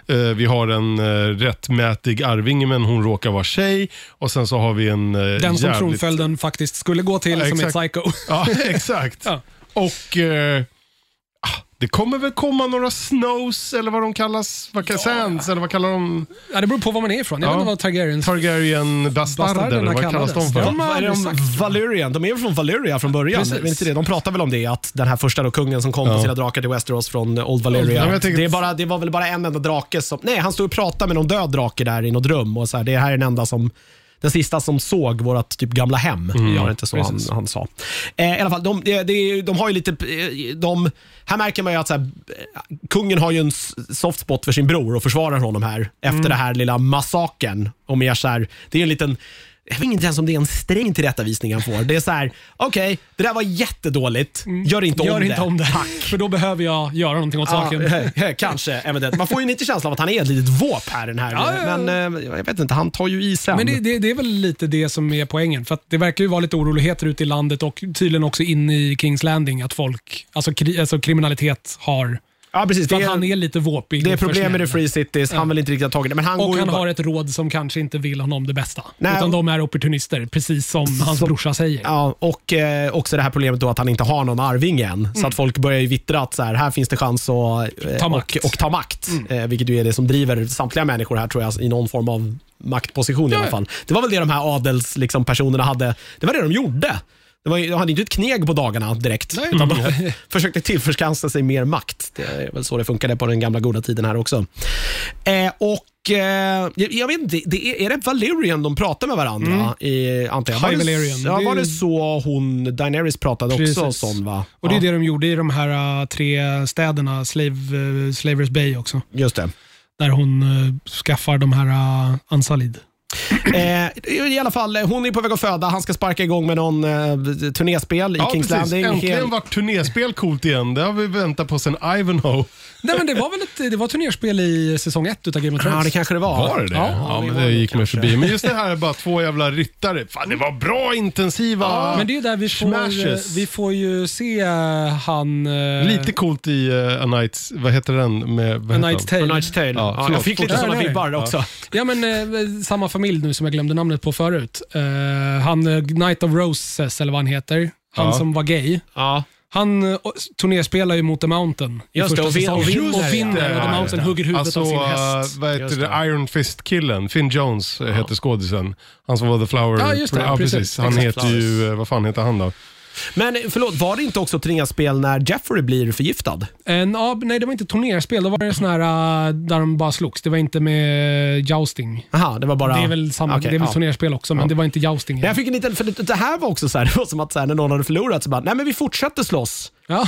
[SPEAKER 3] Eh, vi har en eh, rättmätig arvinge, men hon råkar vara tjej. Och sen så har vi en eh,
[SPEAKER 2] den som
[SPEAKER 3] jävligt-
[SPEAKER 2] tronföljden faktiskt skulle gå till
[SPEAKER 3] Ja,
[SPEAKER 2] som ett
[SPEAKER 3] exakt.
[SPEAKER 2] psycho.
[SPEAKER 3] Ja, exakt.
[SPEAKER 2] Ja.
[SPEAKER 3] Och eh, ah, det kommer väl komma några snows, eller vad de kallas, vad, sands, eller vad kallar de?
[SPEAKER 2] Ja, det beror på var man är ifrån. Jag
[SPEAKER 3] Ja.
[SPEAKER 2] vet inte vad Targaryens...
[SPEAKER 3] Targaryen-bastarder,
[SPEAKER 2] Bastarderna
[SPEAKER 3] vad kallas de
[SPEAKER 2] kallades.
[SPEAKER 3] för?
[SPEAKER 2] Ja.
[SPEAKER 1] Vad är det om
[SPEAKER 2] Exakt.
[SPEAKER 1] Valyrian? De är ju från Valyria från början.
[SPEAKER 2] Precis.
[SPEAKER 1] Men inte det. De pratar väl om det, att den här första då, kungen som kom på sina drakar till Westeros från eh, Old Valyria.
[SPEAKER 3] Ja, men jag tänker-
[SPEAKER 1] det, är bara, det var väl bara en enda drake som... Nej, han stod och pratade med någon död drake där i något rum. Och så här, det här är den enda som... Den sista som såg vårt typ gamla hem.
[SPEAKER 3] Mm.
[SPEAKER 1] Var det inte så han,
[SPEAKER 2] Mm, precis.
[SPEAKER 1] han sa. Eh, I alla fall, de, det, det, är ju- de har ju lite... eh, De, här märker man ju att så här, eh, kungen har ju en s- soft spot för sin bror och försvarar honom här efter
[SPEAKER 2] Mm.
[SPEAKER 1] det här lilla massakern. Och mer så här, det är en liten... Jag vet inte ens om det är en sträng tillrättavisning han får. Det är så här, okej, det där var jättedåligt. Gör inte
[SPEAKER 2] Mm. Gör
[SPEAKER 1] om
[SPEAKER 2] inte
[SPEAKER 1] det. Ah,
[SPEAKER 2] om det. För då behöver jag göra någonting åt saken.
[SPEAKER 1] Ja, kanske, eventuellt. Man får ju lite känsla av att han är ett litet våp här. Den här.
[SPEAKER 2] Ja, ja, ja.
[SPEAKER 1] Men eh, jag vet inte, han tar ju i sen.
[SPEAKER 2] Men det, det, det är väl lite det som är poängen. För att det verkar ju vara lite oroligheter ute i landet och tydligen också in i Kings Landing. Att folk, alltså, kri, alltså kriminalitet har...
[SPEAKER 1] ja, precis. Det
[SPEAKER 2] För att
[SPEAKER 1] är,
[SPEAKER 2] han är lite våpig.
[SPEAKER 1] det är
[SPEAKER 2] och för
[SPEAKER 1] problem med
[SPEAKER 2] snäll.
[SPEAKER 1] the Free Cities. Han vill inte riktigt ha tagit det. Men han
[SPEAKER 2] Och
[SPEAKER 1] går ju
[SPEAKER 2] han
[SPEAKER 1] bara-
[SPEAKER 2] har ett råd som kanske inte vill honom det bästa.
[SPEAKER 1] Nej,
[SPEAKER 2] utan
[SPEAKER 1] och-
[SPEAKER 2] de är opportunister, precis som hans brorsa säger.
[SPEAKER 1] Ja, och eh, också det här problemet då att han inte har någon arvinge än. Så att folk börjar ju vittra att så här, här finns det chans att eh,
[SPEAKER 2] Mm. Ta makt. Mm.
[SPEAKER 1] Och, och ta makt. Eh, vilket ju är det som driver samtliga människor här tror jag, i någon form av maktposition i alla fall. Det var väl det de här adels, liksom, personerna hade. Det var det de gjorde. Det var, ju- de hade inte ett kneg på dagarna direkt. utan de försökte tillförskansa sig mer makt. Det är väl så det funkade på den gamla goda tiden här också. Eh, och eh, jag, jag vet inte, det är, är det Valerian de pratar med varandra?
[SPEAKER 2] Mm.
[SPEAKER 1] I, antar jag. Var,
[SPEAKER 2] High
[SPEAKER 1] det,
[SPEAKER 2] Valyrian.
[SPEAKER 1] ja,
[SPEAKER 2] Det är
[SPEAKER 1] var
[SPEAKER 2] ju-
[SPEAKER 1] det så hon, Daenerys pratade också?
[SPEAKER 2] Precis.
[SPEAKER 1] Sån, va?
[SPEAKER 2] Och det är
[SPEAKER 1] ja,
[SPEAKER 2] det de gjorde i de här äh, tre städerna, Slave, eh, Slavers Bay också.
[SPEAKER 1] Just det.
[SPEAKER 2] Där hon eh, skaffar de här äh, Ansalid.
[SPEAKER 1] Eh, I alla fall, eh, hon är på väg att föda. Han ska sparka igång med någon eh, turnéspel i
[SPEAKER 3] Ja,
[SPEAKER 1] Kings
[SPEAKER 3] precis.
[SPEAKER 1] Landing.
[SPEAKER 3] Äntligen
[SPEAKER 1] Hel-
[SPEAKER 3] vart turnéspel coolt igen. Det har vi väntat på sen Ivanhoe.
[SPEAKER 2] Nej, men det var väl ett, det var turnerspel i säsong ett utav Game of Thrones?
[SPEAKER 1] Ja, det kanske det var.
[SPEAKER 3] Var det det? Ja,
[SPEAKER 1] det
[SPEAKER 3] men
[SPEAKER 1] var
[SPEAKER 3] det
[SPEAKER 1] det
[SPEAKER 3] gick mig
[SPEAKER 1] kanske.
[SPEAKER 3] förbi. Men just det här är bara två jävla ryttare. Fan, det var bra intensiva
[SPEAKER 2] Men det är ju där vi
[SPEAKER 3] Ah, smashes.
[SPEAKER 2] får, vi får ju se eh, han... eh,
[SPEAKER 3] Lite coolt i eh, A Nights, vad heter den? Med, vad
[SPEAKER 2] A
[SPEAKER 3] heter
[SPEAKER 2] Knight's
[SPEAKER 3] han?
[SPEAKER 1] A
[SPEAKER 2] Tale.
[SPEAKER 1] Knight's Tale.
[SPEAKER 3] Ja,
[SPEAKER 1] Ja, jag
[SPEAKER 3] förlåt.
[SPEAKER 1] fick lite
[SPEAKER 2] Ja,
[SPEAKER 1] sådana
[SPEAKER 2] det är det.
[SPEAKER 1] vibbar där också.
[SPEAKER 2] Ja, men eh, samma familj nu som jag glömde namnet på förut. Eh, han eh, Knight of Roses, eller vad han heter. Han
[SPEAKER 3] Ja.
[SPEAKER 2] som var gay.
[SPEAKER 1] Ja.
[SPEAKER 2] Han eh, turnerspelar ju mot The Mountain i
[SPEAKER 1] Just det,
[SPEAKER 2] första
[SPEAKER 1] och vin-
[SPEAKER 2] säsongen.
[SPEAKER 1] och vinner,
[SPEAKER 2] Och
[SPEAKER 1] ja.
[SPEAKER 2] vinner. Och The
[SPEAKER 3] Ja,
[SPEAKER 2] Mountain
[SPEAKER 3] just det.
[SPEAKER 2] hugger huvudet
[SPEAKER 3] Alltså,
[SPEAKER 2] av sin
[SPEAKER 3] eh,
[SPEAKER 2] häst.
[SPEAKER 3] vad heter
[SPEAKER 1] Just
[SPEAKER 3] det?
[SPEAKER 1] det.
[SPEAKER 3] Iron Fist-killen, Finn Jones eh, heter skådisen. Han som var The Flower.
[SPEAKER 2] Ja, just det.
[SPEAKER 3] precis.
[SPEAKER 2] Precis.
[SPEAKER 3] Han
[SPEAKER 1] Exakt.
[SPEAKER 3] heter ju, eh, vad fan heter han då?
[SPEAKER 1] Men eh, förlåt, var det inte också turnéspel när Jeffrey blir förgiftad?
[SPEAKER 2] En, ja, nej, det var inte turnerspel. Det var det sån här eh, där de bara slogs. Det var inte med jousting.
[SPEAKER 1] Aha, det var bara...
[SPEAKER 2] Det är väl, samma,
[SPEAKER 1] Okej,
[SPEAKER 2] det är väl
[SPEAKER 1] ja.
[SPEAKER 2] turnerspel också, men det var inte jousting.
[SPEAKER 1] Men Jag fick en liten, för det, det här var också så här, det var som att så här, när någon hade förlorat så bara, nej men vi fortsätter slåss.
[SPEAKER 2] Ja.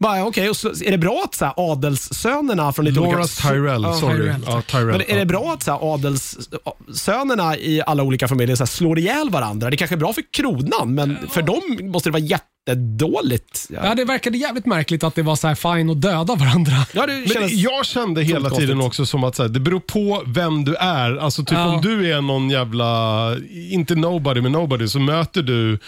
[SPEAKER 1] Bara, ja, okej, och så, är det bra att så här, adelssönerna från lite
[SPEAKER 3] Laura
[SPEAKER 1] olika...
[SPEAKER 3] Tyrell, sorry.
[SPEAKER 2] Tyrell,
[SPEAKER 3] ja, Tyrell
[SPEAKER 1] Men är
[SPEAKER 3] ja.
[SPEAKER 1] det bra att så här, adelssönerna i alla olika familjer så här, slår ihjäl varandra? Det kanske är bra för kronan, men för dem måste det vara jättedåligt.
[SPEAKER 2] ja, det verkade jävligt märkligt att det var så här fine att döda varandra.
[SPEAKER 1] Ja, det
[SPEAKER 3] Men
[SPEAKER 1] kändes...
[SPEAKER 3] det- jag kände hela
[SPEAKER 1] otroligt
[SPEAKER 3] tiden
[SPEAKER 1] konstigt.
[SPEAKER 3] också som att så här, det beror på vem du är. Alltså typ
[SPEAKER 2] Ja.
[SPEAKER 3] om du är någon jävla, inte nobody men nobody, så möter du,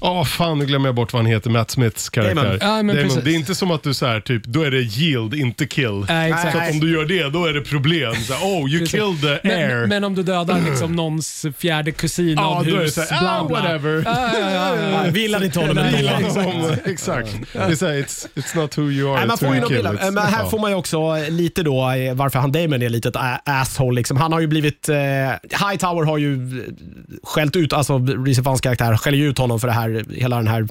[SPEAKER 3] ja ah, fan nu glömmer jag bort vad han heter, Matt Smiths karaktär.
[SPEAKER 1] Damon.
[SPEAKER 2] Ja, men
[SPEAKER 3] Damon.
[SPEAKER 2] precis.
[SPEAKER 3] det är inte som att du så här, typ, då är det yield, inte kill.
[SPEAKER 2] Nej,
[SPEAKER 3] så
[SPEAKER 2] exakt.
[SPEAKER 3] att om du gör det, då är det problem. Så här, oh, you
[SPEAKER 2] Precis.
[SPEAKER 3] killed the air.
[SPEAKER 2] Men, men om du dödar liksom någons fjärde kusin
[SPEAKER 3] ja,
[SPEAKER 2] av
[SPEAKER 3] då är det
[SPEAKER 2] hus,
[SPEAKER 3] så här,
[SPEAKER 2] bla
[SPEAKER 3] ah,
[SPEAKER 2] bla.
[SPEAKER 3] whatever.
[SPEAKER 2] Ja, ja, ja, ja.
[SPEAKER 1] Nej, Vilan inte honom
[SPEAKER 2] Nej,
[SPEAKER 1] ändå.
[SPEAKER 3] Bilan
[SPEAKER 2] exakt.
[SPEAKER 3] som, exakt. Det är så här, it's, it's not who you are,
[SPEAKER 1] Nej, man
[SPEAKER 3] it's
[SPEAKER 1] får
[SPEAKER 3] who
[SPEAKER 1] ju
[SPEAKER 3] you
[SPEAKER 1] någon
[SPEAKER 3] kill.
[SPEAKER 1] bild av-
[SPEAKER 3] It's-
[SPEAKER 1] men här
[SPEAKER 3] ja.
[SPEAKER 1] får man ju också eh, lite då eh, varför han Damon är lite ett a- asshole. Liksom. Han har ju blivit, eh, Hightower har ju eh, skällt ut, alltså Reese Fans karaktär skäller ju ut honom för det här, hela den här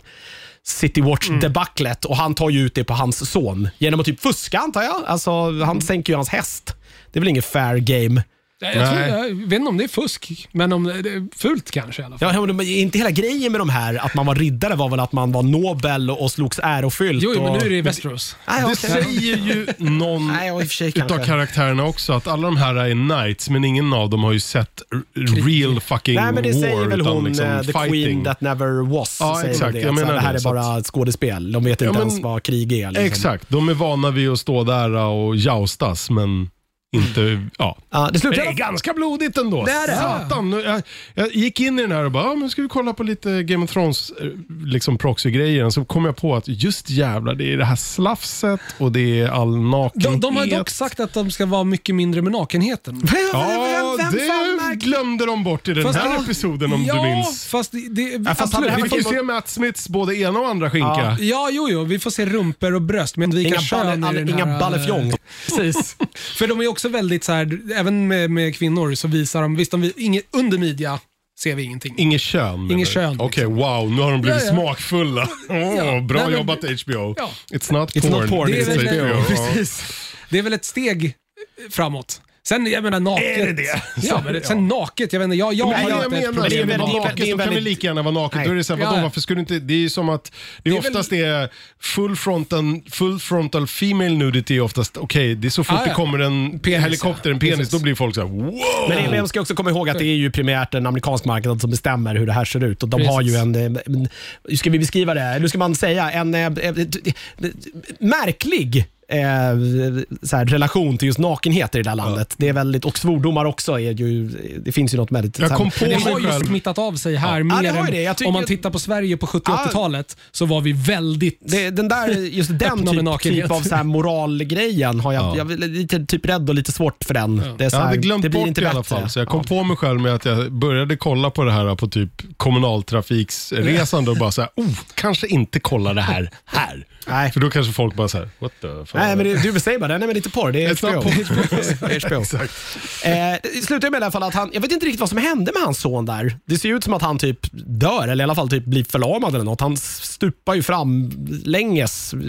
[SPEAKER 1] City Watch
[SPEAKER 2] Mm.
[SPEAKER 1] debaclet och han tar ju ut det på hans son genom att typ fuska antar jag. Alltså, han
[SPEAKER 2] Mm.
[SPEAKER 1] sänker ju hans häst. Det är väl ingen fair game.
[SPEAKER 2] Nej, Jag, tror,
[SPEAKER 3] Nej.
[SPEAKER 2] jag vet inte om det är fusk, men om det är fult kanske i alla fall.
[SPEAKER 1] Ja, men inte hela grejen med de här, att man var riddare var väl att man var nobel och slogs ärofyllt.
[SPEAKER 2] Jo, jo, men
[SPEAKER 1] och...
[SPEAKER 2] nu är det i Västerås.
[SPEAKER 1] Nej,
[SPEAKER 3] Det
[SPEAKER 1] okej.
[SPEAKER 3] säger ju någon
[SPEAKER 1] Nej, ja, i och för sig
[SPEAKER 3] utav
[SPEAKER 1] kanske.
[SPEAKER 3] karaktärerna också att alla de här är knights men ingen av dem har ju sett r- real fucking
[SPEAKER 1] Nej, men det
[SPEAKER 3] war
[SPEAKER 1] säger väl
[SPEAKER 3] utan
[SPEAKER 1] hon,
[SPEAKER 3] liksom
[SPEAKER 1] eh, the
[SPEAKER 3] fighting.
[SPEAKER 1] queen that never was.
[SPEAKER 3] Ja,
[SPEAKER 1] säger väl
[SPEAKER 3] exakt.
[SPEAKER 1] Det.
[SPEAKER 3] Jag
[SPEAKER 1] Att så här,
[SPEAKER 3] menar
[SPEAKER 1] det här
[SPEAKER 3] det,
[SPEAKER 1] är
[SPEAKER 3] så
[SPEAKER 1] bara ett skådespel. De vet inte
[SPEAKER 3] men-
[SPEAKER 1] ens vad krig är. Liksom.
[SPEAKER 3] Exakt, de är vana vid att stå där och joustas men inte, ja.
[SPEAKER 1] Ja, det
[SPEAKER 3] Men
[SPEAKER 1] slutar
[SPEAKER 3] Det är ganska blodigt ändå.
[SPEAKER 1] Det är det.
[SPEAKER 3] Satan. nu- Jag, jag gick in i den här och bara, ja, men ska vi kolla på lite Game of Thrones eh, liksom proxy-grejen. Så kom jag på att just jävlar, det är det här slafset och det är all nakenhet.
[SPEAKER 2] De, de har dock sagt att de ska vara mycket mindre med nakenheten.
[SPEAKER 3] Ja, det glömde de bort i den
[SPEAKER 2] Fast-
[SPEAKER 3] här
[SPEAKER 2] Ja.
[SPEAKER 3] episoden om
[SPEAKER 2] ja,
[SPEAKER 3] du minns.
[SPEAKER 2] fast det... det
[SPEAKER 1] Ja, fast
[SPEAKER 2] absolut,
[SPEAKER 1] han-
[SPEAKER 3] Vi
[SPEAKER 2] vi
[SPEAKER 3] fick ju
[SPEAKER 2] får,
[SPEAKER 3] se Matt Smiths både ena och andra skinka.
[SPEAKER 2] ja, jo, jo, vi får se rumpor och bröst, men undvika
[SPEAKER 1] Inga,
[SPEAKER 2] kön i
[SPEAKER 1] balle,
[SPEAKER 2] den
[SPEAKER 1] inga
[SPEAKER 2] här,
[SPEAKER 3] eh,
[SPEAKER 1] ballefjong.
[SPEAKER 2] Precis. För de är också väldigt så här, även med, med kvinnor så visar de, visst de, vi- inget, under midja ser vi ingenting.
[SPEAKER 3] Inget kön? liksom. menar
[SPEAKER 2] Inget
[SPEAKER 3] du?
[SPEAKER 2] kön,
[SPEAKER 3] Okej, wow. Nu har de blivit
[SPEAKER 2] Ja, ja.
[SPEAKER 3] smakfulla. Åh,
[SPEAKER 2] Ja.
[SPEAKER 3] Bra
[SPEAKER 2] Nej, men-
[SPEAKER 3] jobbat HBO.
[SPEAKER 2] Ja.
[SPEAKER 3] It's not
[SPEAKER 1] It's
[SPEAKER 3] porn.
[SPEAKER 1] not porn,
[SPEAKER 2] Det är,
[SPEAKER 1] Precis,
[SPEAKER 2] väl,
[SPEAKER 1] HBO, ja.
[SPEAKER 2] precis. det är väl ett steg framåt. Sen, jag menar naket.
[SPEAKER 3] Är det det?
[SPEAKER 2] Ja, men det- sen naket, jag vet inte. Jag, jag
[SPEAKER 3] Men
[SPEAKER 2] har
[SPEAKER 3] det är
[SPEAKER 2] inte
[SPEAKER 3] jag
[SPEAKER 2] ett
[SPEAKER 3] menar,
[SPEAKER 2] problem
[SPEAKER 3] det är
[SPEAKER 1] med
[SPEAKER 3] väldigt,
[SPEAKER 1] naket,
[SPEAKER 3] naket,
[SPEAKER 1] det är
[SPEAKER 3] då kan vi
[SPEAKER 1] väldigt-
[SPEAKER 3] lika gärna vara naket.
[SPEAKER 1] Nej.
[SPEAKER 3] Då är det så här, vadå,
[SPEAKER 2] Ja.
[SPEAKER 3] varför skulle du inte, det är ju som att, det är,
[SPEAKER 2] Det är väl-
[SPEAKER 3] oftast det är full frontal, full frontal female nudity är oftast, okej, det är så fort
[SPEAKER 2] Ah,
[SPEAKER 3] det
[SPEAKER 2] ja.
[SPEAKER 3] kommer en
[SPEAKER 2] Penis,
[SPEAKER 3] helikopter, en
[SPEAKER 2] ja.
[SPEAKER 3] penis,
[SPEAKER 2] Precis.
[SPEAKER 3] då blir folk så här, wow!
[SPEAKER 1] Men man ska också komma ihåg att det är ju primärt en amerikansk marknad som bestämmer hur det här ser ut. Och de har ju
[SPEAKER 2] Precis.
[SPEAKER 1] en, eh, en, hur ska vi beskriva det? Hur ska man säga? En eh, eh, t- märklig eh, så här, relation till just nakenhet i det där landet. Det är väldigt, och svordomar också. Är ju, det finns ju något väldigt...
[SPEAKER 3] Jag
[SPEAKER 1] så här-
[SPEAKER 3] kom på
[SPEAKER 2] Det
[SPEAKER 3] mig
[SPEAKER 2] har ju
[SPEAKER 3] själv.
[SPEAKER 2] smittat av sig här
[SPEAKER 1] Ja, det
[SPEAKER 2] mer
[SPEAKER 1] har ju
[SPEAKER 2] än,
[SPEAKER 1] det. Jag tycker-
[SPEAKER 2] om man tittar på Sverige på 70
[SPEAKER 1] Ja.
[SPEAKER 2] 80-talet så var vi väldigt...
[SPEAKER 1] Det, den där, just den
[SPEAKER 2] Öppna med
[SPEAKER 1] typ,
[SPEAKER 2] nakenhet.
[SPEAKER 1] typ av så här moralgrejen har jag,
[SPEAKER 3] Ja.
[SPEAKER 1] jag är lite typ rädd och lite svårt för den. Det är så
[SPEAKER 3] Jag
[SPEAKER 1] här,
[SPEAKER 3] hade glömt
[SPEAKER 1] det blir
[SPEAKER 3] bort
[SPEAKER 1] inte
[SPEAKER 3] i alla
[SPEAKER 1] bättre.
[SPEAKER 3] fall, så jag kom på mig själv med att jag började kolla på det här på typ kommunaltrafiksresande och bara så här, oh, kanske inte kolla det här här.
[SPEAKER 1] Nej.
[SPEAKER 3] För då kanske folk bara så här, what the fuck.
[SPEAKER 1] Nej, men det, du säger bara den är väl lite porr. Det är
[SPEAKER 3] It's not
[SPEAKER 1] HBO. HBO. Eh, det slutar med i alla fall att han, jag vet inte riktigt vad som hände med hans son där. Det ser ju ut som att han typ dör, eller i alla fall typ blir förlamad eller något. Han stupar ju fram länges eh,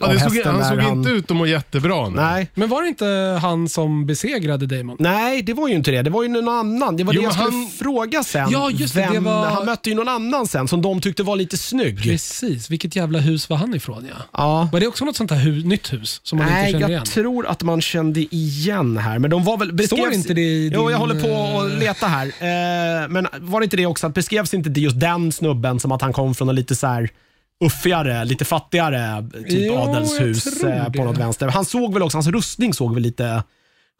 [SPEAKER 3] Ja,
[SPEAKER 1] av
[SPEAKER 3] det såg,
[SPEAKER 1] hästen
[SPEAKER 3] han
[SPEAKER 1] där
[SPEAKER 3] såg inte ut att må jättebra. nu.
[SPEAKER 1] Nej.
[SPEAKER 2] Men var det inte han som besegrade Damon?
[SPEAKER 1] Nej, det var ju inte det. Det var ju någon annan. Det var
[SPEAKER 3] Jo,
[SPEAKER 1] det jag
[SPEAKER 3] men
[SPEAKER 1] skulle
[SPEAKER 3] han-
[SPEAKER 1] fråga sen.
[SPEAKER 2] Ja, just det,
[SPEAKER 1] Vem-
[SPEAKER 2] det var-
[SPEAKER 1] Han mötte ju någon annan sen som de tyckte var lite snygg.
[SPEAKER 2] Precis, vilket jävla hus var han ifrån ja.
[SPEAKER 1] Ja.
[SPEAKER 2] Var det också något sånt här hu- nytt hus som man
[SPEAKER 1] Nej,
[SPEAKER 2] inte känner
[SPEAKER 1] jag
[SPEAKER 2] igen?
[SPEAKER 1] tror att man kände igen här, men de var väl...
[SPEAKER 2] Står inte det i
[SPEAKER 1] Jo,
[SPEAKER 2] din,
[SPEAKER 1] jag håller på att
[SPEAKER 2] eh,
[SPEAKER 1] leta här. Eh, men var det inte det också, att beskrevs inte det just den snubben som att han kom från en lite så här uffigare, lite fattigare typ
[SPEAKER 2] Jo, jag
[SPEAKER 1] adelshus
[SPEAKER 2] tror
[SPEAKER 1] eh, på
[SPEAKER 2] det.
[SPEAKER 1] något vänster? Han såg väl också, hans rustning såg väl lite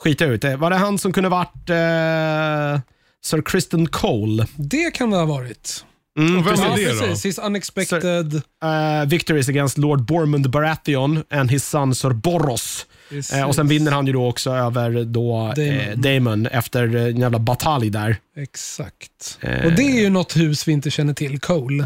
[SPEAKER 1] skit ut. Eh, Var det han som kunde varit eh, Sir Kristen Cole?
[SPEAKER 2] Det kan det ha varit.
[SPEAKER 1] Mm,
[SPEAKER 3] Och vem
[SPEAKER 1] precis.
[SPEAKER 3] är det
[SPEAKER 2] ja,
[SPEAKER 3] då?
[SPEAKER 2] precis. His unexpected...
[SPEAKER 1] Eh, victories against Lord Bormund Baratheon and his son Sir Boros. Eh, och sen
[SPEAKER 2] Precis.
[SPEAKER 1] vinner han ju då också över då, Damon. Eh,
[SPEAKER 2] Daemon.
[SPEAKER 1] Damon efter eh, en jävla batalj där.
[SPEAKER 2] Exakt.
[SPEAKER 1] Eh.
[SPEAKER 2] Och det är ju något hus vi inte känner till, Cole.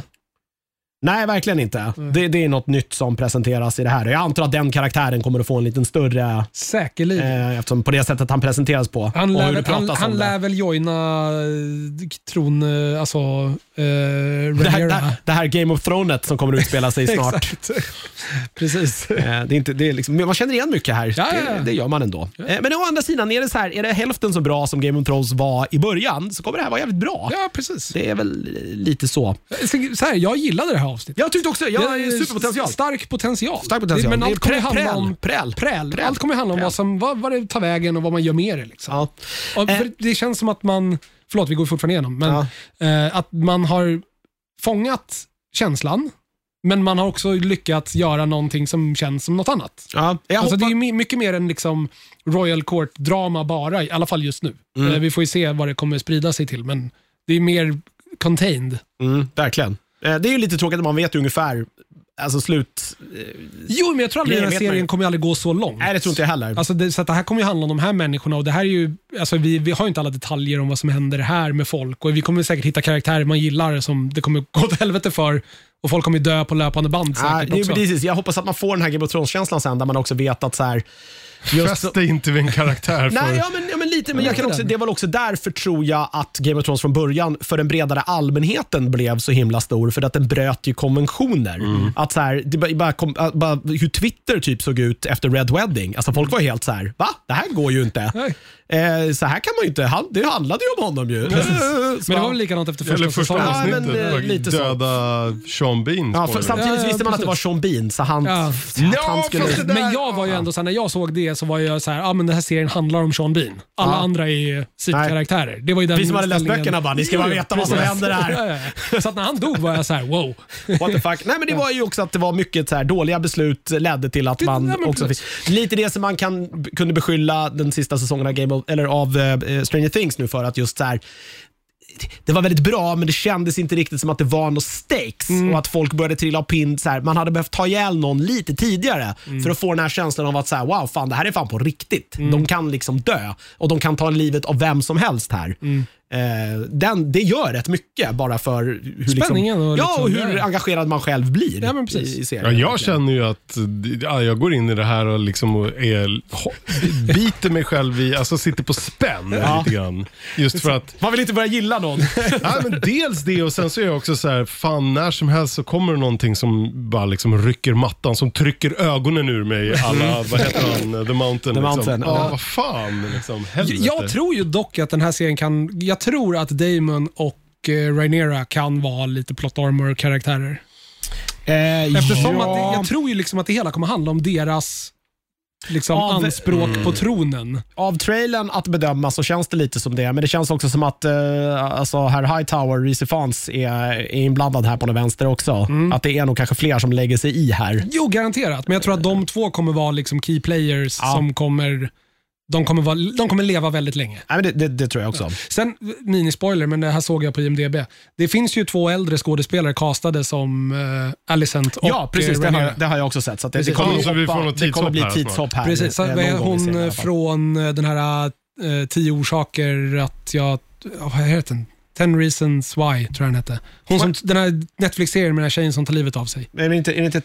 [SPEAKER 1] Nej, verkligen inte.
[SPEAKER 2] Mm.
[SPEAKER 1] Det, det är något nytt som presenteras i det här. Jag antar att den karaktären kommer att få en liten större,
[SPEAKER 2] Säkerligen.
[SPEAKER 1] eh, eftersom på det sättet han presenteras på.
[SPEAKER 2] Mm. Han
[SPEAKER 1] och
[SPEAKER 2] lär,
[SPEAKER 1] hur det
[SPEAKER 2] väl- han,
[SPEAKER 1] pratas
[SPEAKER 2] han
[SPEAKER 1] om det.
[SPEAKER 2] lär väl joina eh, tron, eh, alltså eh,
[SPEAKER 1] Det här,
[SPEAKER 2] Rhaenyra.
[SPEAKER 1] det, här, det här Game of Thrones som kommer att utspela sig snart.
[SPEAKER 2] Exakt. Precis.
[SPEAKER 1] Eh, Det är inte, det är liksom, men man känner igen mycket här.
[SPEAKER 2] Ja, ja,
[SPEAKER 1] det,
[SPEAKER 2] ja.
[SPEAKER 1] det gör man ändå. Eh, Men å andra sidan, är det, så här, är det hälften så bra som Game of Thrones var i början så kommer det här vara jävligt bra.
[SPEAKER 2] Ja, precis.
[SPEAKER 1] Det är väl eh, lite så.
[SPEAKER 2] Så- Så här, jag gillade det här avsnittet.
[SPEAKER 1] Jag tyckte också, jag har superpotential.
[SPEAKER 2] Stark potential.
[SPEAKER 1] Stark potential.
[SPEAKER 2] Men
[SPEAKER 1] Det är
[SPEAKER 2] allt kommer
[SPEAKER 1] prä-
[SPEAKER 2] handla
[SPEAKER 1] präl,
[SPEAKER 2] om
[SPEAKER 1] präl,
[SPEAKER 2] präl.
[SPEAKER 1] präl,
[SPEAKER 2] Allt kommer handla om
[SPEAKER 1] präl.
[SPEAKER 2] Vad, som, vad, vad det tar vägen och vad man gör med det. Liksom.
[SPEAKER 1] Ja.
[SPEAKER 2] Och
[SPEAKER 1] Eh.
[SPEAKER 2] för det känns som att man, förlåt vi går fortfarande igenom, men eh, att man har fångat känslan, men man har också lyckats göra någonting som känns som något annat.
[SPEAKER 1] Ja. Jag
[SPEAKER 2] Alltså, det är
[SPEAKER 1] hoppas-
[SPEAKER 2] ju my- mycket mer än liksom Royal Court-drama bara, i alla fall just nu.
[SPEAKER 1] Mm.
[SPEAKER 2] Eh, Vi får ju se vad det kommer sprida sig till, men det är mer contained.
[SPEAKER 1] mm, verkligen. Eh, Det är ju lite tråkigt att man vet ju ungefär alltså slut.
[SPEAKER 2] Jo, men jag tror aldrig
[SPEAKER 1] Nej,
[SPEAKER 2] den här
[SPEAKER 1] vet man ju.
[SPEAKER 2] serien kommer aldrig gå så långt.
[SPEAKER 1] Nej, det tror inte jag heller.
[SPEAKER 2] Alltså det, så att det här kommer ju handla om de här människorna och det här är ju, alltså vi, vi har ju inte alla detaljer om vad som händer här med folk och vi kommer säkert hitta karaktärer man gillar som det kommer gå åt helvete för och folk kommer ju dö på löpande band
[SPEAKER 1] Nej,
[SPEAKER 2] säkert
[SPEAKER 1] det är ju
[SPEAKER 2] också.
[SPEAKER 1] precis, jag hoppas att man får den här Game of Thrones-känslan sen där man också vet att så här, just
[SPEAKER 3] Fäst dig inte vid en karaktär. För...
[SPEAKER 1] Nej, ja, men, ja, men lite. Men jag kan också, det var också därför tror jag att Game of Thrones från början för den bredare allmänheten blev så himla stor. För att den bröt ju konventioner.
[SPEAKER 2] Mm.
[SPEAKER 1] Att så här, det bara, bara kom, att bara, hur Twitter typ såg ut efter Red Wedding. Alltså folk var helt så här, va? Det här går ju inte.
[SPEAKER 2] Nej.
[SPEAKER 1] Eh, så här kan man ju inte. Han, det handlade ju om honom ju. Eh, så
[SPEAKER 2] Men det
[SPEAKER 1] bara-
[SPEAKER 2] var väl likadant efter första,
[SPEAKER 3] Eller första
[SPEAKER 2] säsongen.
[SPEAKER 1] Ja,
[SPEAKER 3] avsnittet.
[SPEAKER 1] men, eh,
[SPEAKER 3] var
[SPEAKER 1] lite så.
[SPEAKER 3] döda Sean Bean.
[SPEAKER 1] ja, för,
[SPEAKER 3] spoiler.
[SPEAKER 1] samtidigt
[SPEAKER 2] Ja, ja,
[SPEAKER 1] visste man att det var
[SPEAKER 2] precis.
[SPEAKER 1] Sean Bean, så han,
[SPEAKER 2] Ja.
[SPEAKER 1] att han skulle...
[SPEAKER 3] fast det där-
[SPEAKER 2] Men jag var ju ändå såhär, när jag såg det så var jag såhär, ah, men den här serien handlar om Sean Bean. Alla
[SPEAKER 1] Ja.
[SPEAKER 2] andra är ju sidokaraktärer. Det var ju den
[SPEAKER 1] Vi som hade läst
[SPEAKER 2] inställningen.
[SPEAKER 1] böckerna bara, ni ska bara
[SPEAKER 2] Jo, jo,
[SPEAKER 1] veta vad som
[SPEAKER 2] precis.
[SPEAKER 1] händer här.
[SPEAKER 2] Ja, ja, ja. Så att när han dog var jag såhär, wow.
[SPEAKER 1] What the fuck? Nej, men det var ju också att det var mycket så här, dåliga beslut ledde till att
[SPEAKER 2] Det-
[SPEAKER 1] man
[SPEAKER 2] nej, men
[SPEAKER 1] också fick...
[SPEAKER 2] precis.
[SPEAKER 1] Lite det som man kan, kunde beskylla den sista säsongen av, Game of, eller av eh, Stranger Things nu för att just så här, det var väldigt bra, men det kändes inte riktigt som att det var något stakes
[SPEAKER 2] Mm.
[SPEAKER 1] och att folk började trilla av pinn. Så här, man hade behövt ta ihjäl någon lite tidigare
[SPEAKER 2] Mm.
[SPEAKER 1] för att få den här känslan av att så här, wow, fan, det här är fan på riktigt. De kan liksom dö och de kan ta livet av vem som helst här.
[SPEAKER 2] Mm.
[SPEAKER 1] Eh, den, det gör rätt mycket bara för hur,
[SPEAKER 2] Spänningen
[SPEAKER 1] liksom,
[SPEAKER 2] och
[SPEAKER 1] ja, och
[SPEAKER 2] liksom-
[SPEAKER 1] hur
[SPEAKER 2] ja.
[SPEAKER 1] engagerad man själv blir
[SPEAKER 2] Ja, men precis.
[SPEAKER 1] i, i serien.
[SPEAKER 3] Ja,
[SPEAKER 1] verkligen.
[SPEAKER 3] jag känner ju att ja, jag går in i det här och liksom och är, ho- biter mig själv i, alltså sitter på spänn lite grann. Just för att,
[SPEAKER 1] Man vill inte börja gilla någon.
[SPEAKER 3] ja, men dels det och sen så är jag också så här, fan när som helst så kommer det någonting som bara liksom rycker mattan, som trycker ögonen ur mig. Alla, vad heter han, The Mountain. liksom.
[SPEAKER 1] Mountain,
[SPEAKER 3] ja,
[SPEAKER 1] ja.
[SPEAKER 3] vad fan liksom, helvete.
[SPEAKER 2] Jag tror ju dock att den här serien kan, jag tror att Damon och eh, Rhaenyra kan vara lite plot armor-karaktärer.
[SPEAKER 3] Eh,
[SPEAKER 2] Eftersom att det, jag tror ju liksom att det hela kommer handla om deras liksom,
[SPEAKER 1] Ja, Mm. det-
[SPEAKER 2] anspråk på tronen.
[SPEAKER 1] av trailern att bedöma så känns det lite som det, men det känns också som att eh, alltså, herr Hightower, Reese Fans är, är inblandad här på den vänster också.
[SPEAKER 2] Mm.
[SPEAKER 1] Att det är nog kanske fler som lägger sig i här.
[SPEAKER 2] Jo, garanterat. Men jag tror att de två kommer vara liksom key players
[SPEAKER 1] Ja.
[SPEAKER 2] som kommer de kommer, vara, de kommer leva väldigt länge.
[SPEAKER 1] Nej, men det, det, det tror jag också.
[SPEAKER 2] Sen, mini-spoiler, men det här såg jag på IMDB. Det finns ju två äldre skådespelare castade som eh, Alicent och
[SPEAKER 1] Ja, precis.
[SPEAKER 2] eh,
[SPEAKER 1] Det har,
[SPEAKER 2] Rhaenyra.
[SPEAKER 1] jag- det har jag också sett. Så att det, det
[SPEAKER 2] Precis.
[SPEAKER 1] kommer,
[SPEAKER 3] Ja,
[SPEAKER 1] ju
[SPEAKER 3] så vi
[SPEAKER 1] hoppa-
[SPEAKER 3] får något
[SPEAKER 1] det kommer
[SPEAKER 3] tidshopp
[SPEAKER 1] bli
[SPEAKER 3] här snart.
[SPEAKER 1] tidshopp här.
[SPEAKER 2] Precis, så
[SPEAKER 1] eh,
[SPEAKER 2] vad är
[SPEAKER 1] någon gång i serien
[SPEAKER 2] hon
[SPEAKER 1] i alla
[SPEAKER 2] eh,
[SPEAKER 1] fall.
[SPEAKER 2] från eh, den här eh, tio orsaker att jag... ja, Vad heter den? Ten reasons why, tror jag den hette. Hon som, den här Netflix-serien med den här tjejen som tar livet av sig.
[SPEAKER 1] Men är det inte, är det inte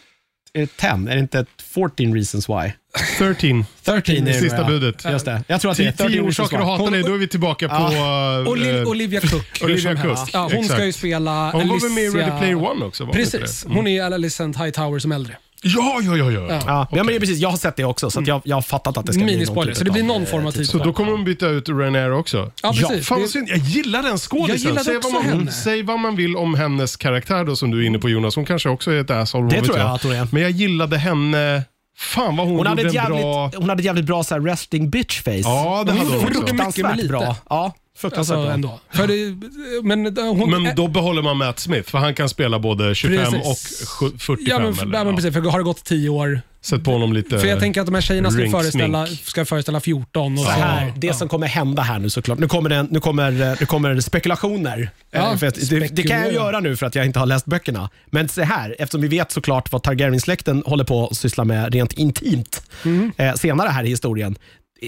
[SPEAKER 1] är det 10? Är det inte 14 reasons why?
[SPEAKER 3] 13.
[SPEAKER 1] 13 är det,
[SPEAKER 3] Sista
[SPEAKER 1] ja.
[SPEAKER 3] budet.
[SPEAKER 1] Just det. Jag tror att det är
[SPEAKER 3] 10
[SPEAKER 1] 13
[SPEAKER 3] 10
[SPEAKER 1] reasons
[SPEAKER 3] orsaker att
[SPEAKER 1] why.
[SPEAKER 3] hata
[SPEAKER 1] Kom-
[SPEAKER 3] dig, då är vi tillbaka på... eh,
[SPEAKER 2] Oli-
[SPEAKER 3] eh,
[SPEAKER 2] Olivia Cook. hur
[SPEAKER 3] Olivia
[SPEAKER 2] som helst.
[SPEAKER 3] Cook,
[SPEAKER 2] Ja, hon
[SPEAKER 3] exakt.
[SPEAKER 2] ska ju spela
[SPEAKER 3] eh, hon var väl med i
[SPEAKER 2] Alicia-
[SPEAKER 3] Ready Player One också? Var hon inte
[SPEAKER 2] Precis.
[SPEAKER 3] det?
[SPEAKER 2] Hon är ju Alicent Hightower som äldre.
[SPEAKER 3] Ja, ja, ja. ja.
[SPEAKER 2] Ja.
[SPEAKER 1] Ja, men det är precis. Jag har sett det också, så att jag, jag har fattat att det ska bli någon
[SPEAKER 2] Mm. Minispoiler,
[SPEAKER 1] typ
[SPEAKER 2] så det blir
[SPEAKER 1] av,
[SPEAKER 2] någon
[SPEAKER 1] eh,
[SPEAKER 2] form av titel.
[SPEAKER 3] Så då kommer de byta ut Renera också?
[SPEAKER 2] Ja, precis.
[SPEAKER 3] Fan
[SPEAKER 2] Det-
[SPEAKER 3] vad synd. Jag gillar den
[SPEAKER 2] Jag
[SPEAKER 3] skådisen.
[SPEAKER 2] gillade
[SPEAKER 3] Säg,
[SPEAKER 2] också
[SPEAKER 3] vad man-
[SPEAKER 2] henne.
[SPEAKER 3] säg vad man vill om hennes karaktär då, som du är inne på Jonas. Hon kanske också är ett asshole.
[SPEAKER 1] Det
[SPEAKER 3] vad
[SPEAKER 1] tror
[SPEAKER 3] vet
[SPEAKER 1] jag att hon är.
[SPEAKER 3] Men jag gillade henne. Fan vad hon,
[SPEAKER 1] Hon hade,
[SPEAKER 3] gjorde
[SPEAKER 1] ett
[SPEAKER 3] en
[SPEAKER 1] jävligt,
[SPEAKER 3] bra...
[SPEAKER 1] hon hade ett jävligt bra så här, resting bitch face.
[SPEAKER 3] Ja, det hade hon
[SPEAKER 2] gjorde
[SPEAKER 3] också.
[SPEAKER 2] mycket med
[SPEAKER 1] Fruktansvärt
[SPEAKER 2] lite.
[SPEAKER 1] bra. Ja, fruktansvärt
[SPEAKER 2] Alltså,
[SPEAKER 1] bra.
[SPEAKER 2] ändå. För det, men eh, hon, eh,
[SPEAKER 3] Men då behåller man Matt Smith, för han kan spela både 25
[SPEAKER 2] Precis.
[SPEAKER 3] och sju- 45.
[SPEAKER 2] ja, men,
[SPEAKER 3] eller,
[SPEAKER 2] ja, men precis, för har det gått 10 år?
[SPEAKER 3] Sätt på honom lite...
[SPEAKER 2] För jag tänker att de här tjejerna ska ju
[SPEAKER 3] Ring-smink.
[SPEAKER 2] föreställa, ska föreställa 14. Och
[SPEAKER 1] Så
[SPEAKER 2] så.
[SPEAKER 1] här, det som kommer hända här nu såklart. Nu kommer, det, nu kommer, eh, nu kommer det spekulationer.
[SPEAKER 2] Ja,
[SPEAKER 1] Eh, för att, det, det kan jag
[SPEAKER 2] spekulera.
[SPEAKER 1] göra nu för att jag inte har läst böckerna. Men så här, eftersom vi vet såklart vad Targaryen-släkten håller på att syssla med rent intimt
[SPEAKER 2] Mm.
[SPEAKER 1] eh, senare här i historien.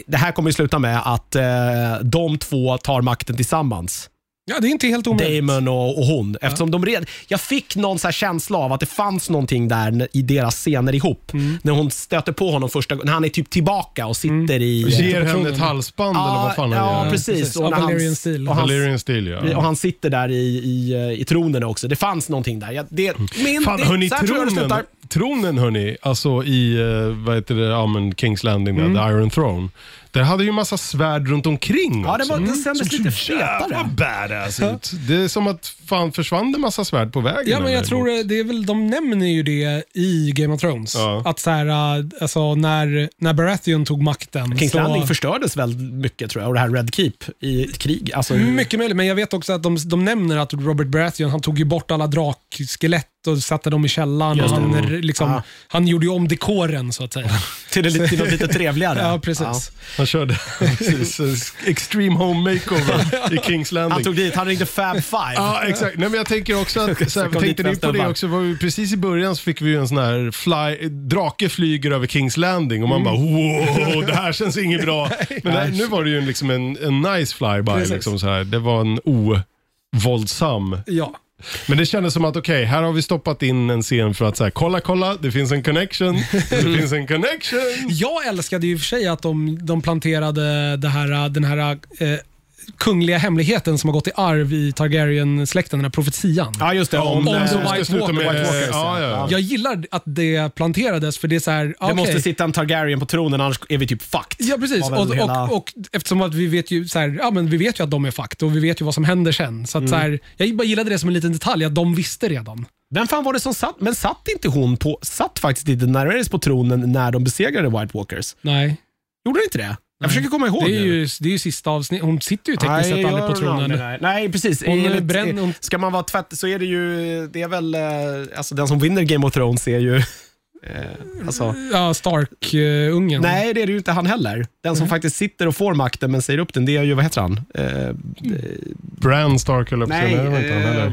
[SPEAKER 1] Det här kommer ju sluta med att eh, de två tar makten tillsammans.
[SPEAKER 2] Ja, det är inte helt omöjligt.
[SPEAKER 1] Damon och, och hon. Eftersom de red, jag fick någon så här känsla av att det fanns någonting där n- i deras scener ihop.
[SPEAKER 3] Mm.
[SPEAKER 1] När hon stöter på honom första gången, när han är typ tillbaka och sitter i...
[SPEAKER 3] Ger henne ett halsband eller vad fan han
[SPEAKER 1] ja,
[SPEAKER 3] gör.
[SPEAKER 1] precis.
[SPEAKER 2] Precis,
[SPEAKER 1] Och, när
[SPEAKER 2] Valerian
[SPEAKER 1] han,
[SPEAKER 2] Steel.
[SPEAKER 1] och, han,
[SPEAKER 3] Valerian Steel, ja.
[SPEAKER 1] och han sitter där i, i, eh, i tronen också. Det fanns någonting där. Jag, det, min,
[SPEAKER 3] Mm. Fan,
[SPEAKER 1] det,
[SPEAKER 3] hörni,
[SPEAKER 1] så här tror jag det
[SPEAKER 3] tronen,
[SPEAKER 1] slutar.
[SPEAKER 3] tronen hörni, alltså i eh, vad heter det, ja, men Kings Landing,
[SPEAKER 1] Mm.
[SPEAKER 3] där, The Iron Throne. Där hade ju massa svärd runt omkring
[SPEAKER 1] Ja, det,
[SPEAKER 3] också. Mm.
[SPEAKER 1] var, det sändes lite
[SPEAKER 3] Jävla
[SPEAKER 1] fetare.
[SPEAKER 3] badass ut. Det är som att fan försvann det massa svärd på vägen.
[SPEAKER 2] Ja, men jag
[SPEAKER 3] eller?
[SPEAKER 2] tror det det är väl, de nämner ju det i Game of Thrones.
[SPEAKER 3] Ja.
[SPEAKER 2] Att så här, äh, alltså, när, när Baratheon tog makten.
[SPEAKER 1] Kings
[SPEAKER 2] så-
[SPEAKER 1] Landing förstördes väldigt mycket tror jag och det här Red Keep i ett krig. Alltså,
[SPEAKER 2] mycket möjligt, men jag vet också att de, de nämner att Robert Baratheon han tog ju bort alla drakskelett och satte dem i källaren. Och
[SPEAKER 1] Just det.
[SPEAKER 2] han, r- liksom,
[SPEAKER 1] Ah.
[SPEAKER 2] han gjorde ju om dekoren så att säga.
[SPEAKER 1] till, det lite- till något lite trevligare.
[SPEAKER 2] ja, precis.
[SPEAKER 3] Han körde precis, eh, extreme home makeover i Kings
[SPEAKER 1] Ja. Han
[SPEAKER 3] Landing.
[SPEAKER 1] tog dit, han ringde Fab Five.
[SPEAKER 3] Ja, exakt. Nej, men jag tänker också att, så här,
[SPEAKER 1] Så kom
[SPEAKER 3] tänkte
[SPEAKER 1] dit
[SPEAKER 3] ni på det
[SPEAKER 1] festen,
[SPEAKER 3] också? Var vi, precis i början så fick vi ju en sån här fly, drake flyger över Kings Landing och man bara wow, det här känns inget bra. Men nej, nu var det ju en- liksom en, en nice flyby.
[SPEAKER 2] Precis.
[SPEAKER 3] Liksom så här. Det var en ovåldsam.
[SPEAKER 2] Ja.
[SPEAKER 3] Men det kändes som att okej, här har vi stoppat in en scen för att så här, kolla, kolla, det finns en connection, det finns en connection.
[SPEAKER 2] Jag älskade ju i och för sig att de, de planterade det här, den här eh, kungliga hemligheten som har gått i arv i Targaryen-släkten, den här profetian.
[SPEAKER 1] Ja, just det.
[SPEAKER 3] Om
[SPEAKER 1] Om,
[SPEAKER 3] det
[SPEAKER 1] eh,
[SPEAKER 2] The
[SPEAKER 3] ska
[SPEAKER 2] White
[SPEAKER 3] sluta
[SPEAKER 2] Walker-
[SPEAKER 3] med-
[SPEAKER 1] White Walkers,
[SPEAKER 3] ja, ja.
[SPEAKER 1] ja.
[SPEAKER 2] Jag gillar att det planterades för det är så här,
[SPEAKER 1] Det
[SPEAKER 2] okej.
[SPEAKER 1] måste sitta en Targaryen på tronen annars är vi typ fucked.
[SPEAKER 2] Ja precis,
[SPEAKER 1] Var
[SPEAKER 2] och,
[SPEAKER 1] väl hela-
[SPEAKER 2] och, och eftersom att vi vet ju så här, ja, men vi vet ju att de är fakt och vi vet ju vad som händer sen. Så att så
[SPEAKER 1] Mm.
[SPEAKER 2] här, jag bara gillade det som en liten detalj, att de visste redan.
[SPEAKER 1] Vem fan var det som satt? Men satt inte hon på, satt faktiskt inte Daenerys på tronen när de besegrade White Walkers?
[SPEAKER 2] Nej.
[SPEAKER 1] Gjorde det inte det? Jag försöker komma ihåg
[SPEAKER 2] Det är
[SPEAKER 1] nu.
[SPEAKER 2] ju, det är ju sista avsnittet, hon sitter ju tekniskt
[SPEAKER 1] Nej,
[SPEAKER 2] sett aldrig
[SPEAKER 1] gör
[SPEAKER 2] på
[SPEAKER 1] hon aldrig
[SPEAKER 2] tronen.
[SPEAKER 1] det? Nej, precis.
[SPEAKER 2] Hon
[SPEAKER 1] Enligt-
[SPEAKER 2] bränner- hon-
[SPEAKER 1] Ska man vara tvätt så är det ju, det är väl, eh, alltså den som vinner Game of Thrones är ju, eh, alltså,
[SPEAKER 2] Ja, eh, Stark-ungen.
[SPEAKER 1] nej det är det ju inte han heller. Den som faktiskt sitter och får makten men säger upp den, det är ju, vad heter han? Eh,
[SPEAKER 3] Bran Stark höll jag på att
[SPEAKER 1] nej,
[SPEAKER 3] säga, men det var inte han
[SPEAKER 1] eh,
[SPEAKER 3] heller.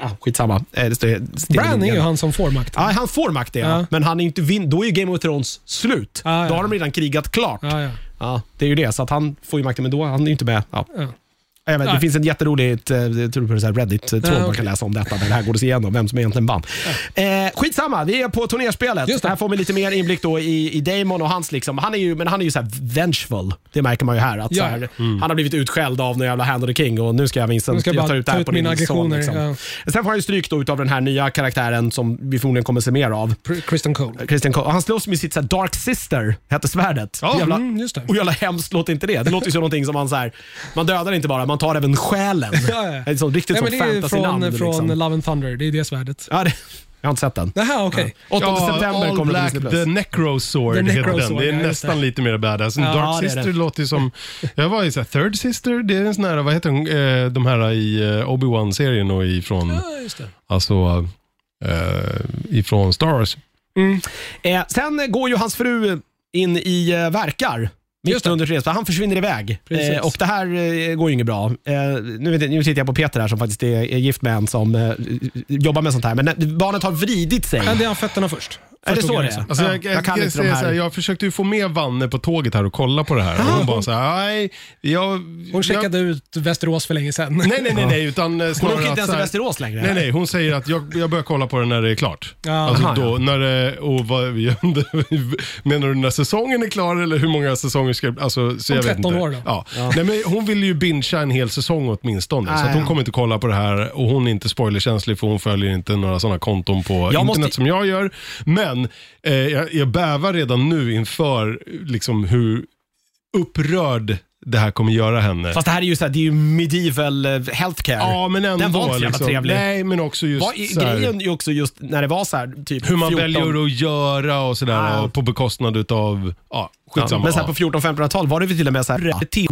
[SPEAKER 1] ah, skitsamma. Eh, det står- Steven
[SPEAKER 2] Bran är
[SPEAKER 1] Lindgren.
[SPEAKER 2] ju han som får makten.
[SPEAKER 1] Ja, han får makt det, ja.
[SPEAKER 2] Ja.
[SPEAKER 1] men han är inte vin- då är ju Game of Thrones slut.
[SPEAKER 2] Ja, ja.
[SPEAKER 1] Då har de redan krigat klart. Ja.
[SPEAKER 2] Ja, ja.
[SPEAKER 1] det är ju det, så att han får ju makten, men då han är ju inte med. Ja.
[SPEAKER 2] Ja.
[SPEAKER 1] Jag vet, det
[SPEAKER 2] Nej.
[SPEAKER 1] finns en jätterolig eh, jag tror på det så här Reddit-tråd
[SPEAKER 2] Ja,
[SPEAKER 1] man
[SPEAKER 2] okej.
[SPEAKER 1] kan läsa om detta, där det här går det igenom, vem som egentligen vann. Eh, skitsamma, vi är på turnerspelet.
[SPEAKER 2] Just det.
[SPEAKER 1] Här får vi lite mer inblick då i, i Damon och hans, liksom. han är ju, men han är ju så här vengeful. Det märker man ju här. Att
[SPEAKER 2] Ja. Mm.
[SPEAKER 1] så här Han har blivit utskälld av någon jävla Hand of the King och nu ska jag minsann
[SPEAKER 2] Nu ska jag
[SPEAKER 1] jag
[SPEAKER 2] bara
[SPEAKER 1] ta ut det här
[SPEAKER 2] ta ut
[SPEAKER 1] på din son.
[SPEAKER 2] mina aggressioner,
[SPEAKER 1] Liksom. Sen får han ju stryk då utav den här nya karaktären som vi förmodligen kommer se mer av.
[SPEAKER 2] Pr- Kristen Cole.
[SPEAKER 1] Christian Cole. Han slåss med sitt så här Dark Sister, hette svärdet.
[SPEAKER 3] Ja.
[SPEAKER 1] Jävla,
[SPEAKER 2] Mm, just det.
[SPEAKER 1] och jävla hemskt låter inte det? Det låter ju som någonting som man så här, man dödar inte bara, man tar även själen.
[SPEAKER 2] Ja, ja.
[SPEAKER 1] Det är så, riktigt
[SPEAKER 2] Nej, men
[SPEAKER 1] sånt
[SPEAKER 2] det är ju från,
[SPEAKER 1] fantasynamn.
[SPEAKER 2] från
[SPEAKER 1] Liksom.
[SPEAKER 2] Love and Thunder, det är det svärdet.
[SPEAKER 1] Ja, det, jag har inte sett den.
[SPEAKER 2] Jaha, okej.
[SPEAKER 1] 8 september
[SPEAKER 3] All
[SPEAKER 1] kommer det på
[SPEAKER 3] Black
[SPEAKER 1] Disney
[SPEAKER 3] The
[SPEAKER 1] Plus.
[SPEAKER 3] Necro Sword
[SPEAKER 2] The
[SPEAKER 3] heter
[SPEAKER 2] Necro
[SPEAKER 3] den.
[SPEAKER 2] Sword,
[SPEAKER 3] Det är
[SPEAKER 2] ja, just
[SPEAKER 3] nästan lite mer badass. En
[SPEAKER 2] Ja,
[SPEAKER 1] det är
[SPEAKER 3] Dark
[SPEAKER 1] det.
[SPEAKER 3] Sister låter ju som... Jag var ju såhär, Third Sister, det är en sån här, vad heter de, eh, de här i eh, Obi-Wan-serien och ifrån,
[SPEAKER 2] Ja, just det.
[SPEAKER 3] alltså, eh, ifrån Star Wars.
[SPEAKER 1] Eh, sen går ju hans fru in i eh, verkar. Mitt
[SPEAKER 2] Just det.
[SPEAKER 1] under resan. Han försvinner iväg.
[SPEAKER 2] Precis.
[SPEAKER 1] Eh, och det här eh, går ju inget bra. Eh, nu, vet, jag- nu tittar jag på Peter här som faktiskt är, är gift med en som eh, jobbar med sånt här. Men när, eh, barnet har vridit sig.
[SPEAKER 2] Men det är han fötterna först. liksom.
[SPEAKER 1] Är det så det
[SPEAKER 2] också.
[SPEAKER 1] är?
[SPEAKER 3] Alltså
[SPEAKER 1] Ja.
[SPEAKER 3] jag, jag,
[SPEAKER 1] jag kan
[SPEAKER 3] jag,
[SPEAKER 1] inte de
[SPEAKER 3] säger så här,
[SPEAKER 1] här.
[SPEAKER 3] jag försökte ju få med Vanne på tåget här och kolla på det här. Och hon bara så här, nej, jag...
[SPEAKER 2] Hon
[SPEAKER 3] jag,
[SPEAKER 2] checkade ut Västerås för länge sedan.
[SPEAKER 3] Nej, nej, nej, nej, utan eh,
[SPEAKER 1] Hon
[SPEAKER 3] snarare
[SPEAKER 1] åker inte ens
[SPEAKER 3] att
[SPEAKER 2] Alltså,
[SPEAKER 3] så
[SPEAKER 1] till
[SPEAKER 3] här-
[SPEAKER 1] Västerås längre.
[SPEAKER 3] Nej, nej, hon säger att jag, jag börjar kolla på det när det är klart.
[SPEAKER 2] Ja.
[SPEAKER 3] alltså
[SPEAKER 1] Aha,
[SPEAKER 3] då,
[SPEAKER 1] ja.
[SPEAKER 3] när det, och vad, menar du när säsongen är klar eller hur många säsonger ska alltså, så
[SPEAKER 2] Om
[SPEAKER 3] jag vet
[SPEAKER 2] 13
[SPEAKER 3] inte.
[SPEAKER 2] år då.
[SPEAKER 3] Ja. Nej, men hon vill ju bingea en hel säsong åtminstone. så
[SPEAKER 1] Nej.
[SPEAKER 3] att hon kommer inte kolla på det här och hon är inte spoilerkänslig för hon följer inte några sådana konton på internet
[SPEAKER 1] måste-
[SPEAKER 3] som jag gör. Men eh, jag, jag bävar redan nu inför liksom, hur upprörd det här kommer göra henne.
[SPEAKER 1] Fast det här är ju, så här, det är ju medieval eh, healthcare.
[SPEAKER 3] Ja, men ändå.
[SPEAKER 1] Den var inte så jävla
[SPEAKER 3] liksom.
[SPEAKER 1] trevlig.
[SPEAKER 3] Nej, men också just
[SPEAKER 1] Vad,
[SPEAKER 3] så här-
[SPEAKER 1] grejen är ju också just när det var så här, typ
[SPEAKER 3] hur man
[SPEAKER 1] 14
[SPEAKER 3] väljer att göra och sådär
[SPEAKER 1] Ja.
[SPEAKER 3] och på bekostnad utav, ja,
[SPEAKER 1] Ja,
[SPEAKER 3] skitsamma.
[SPEAKER 1] men så här på 1400-1500-tal var det väl till och med så här rätt till-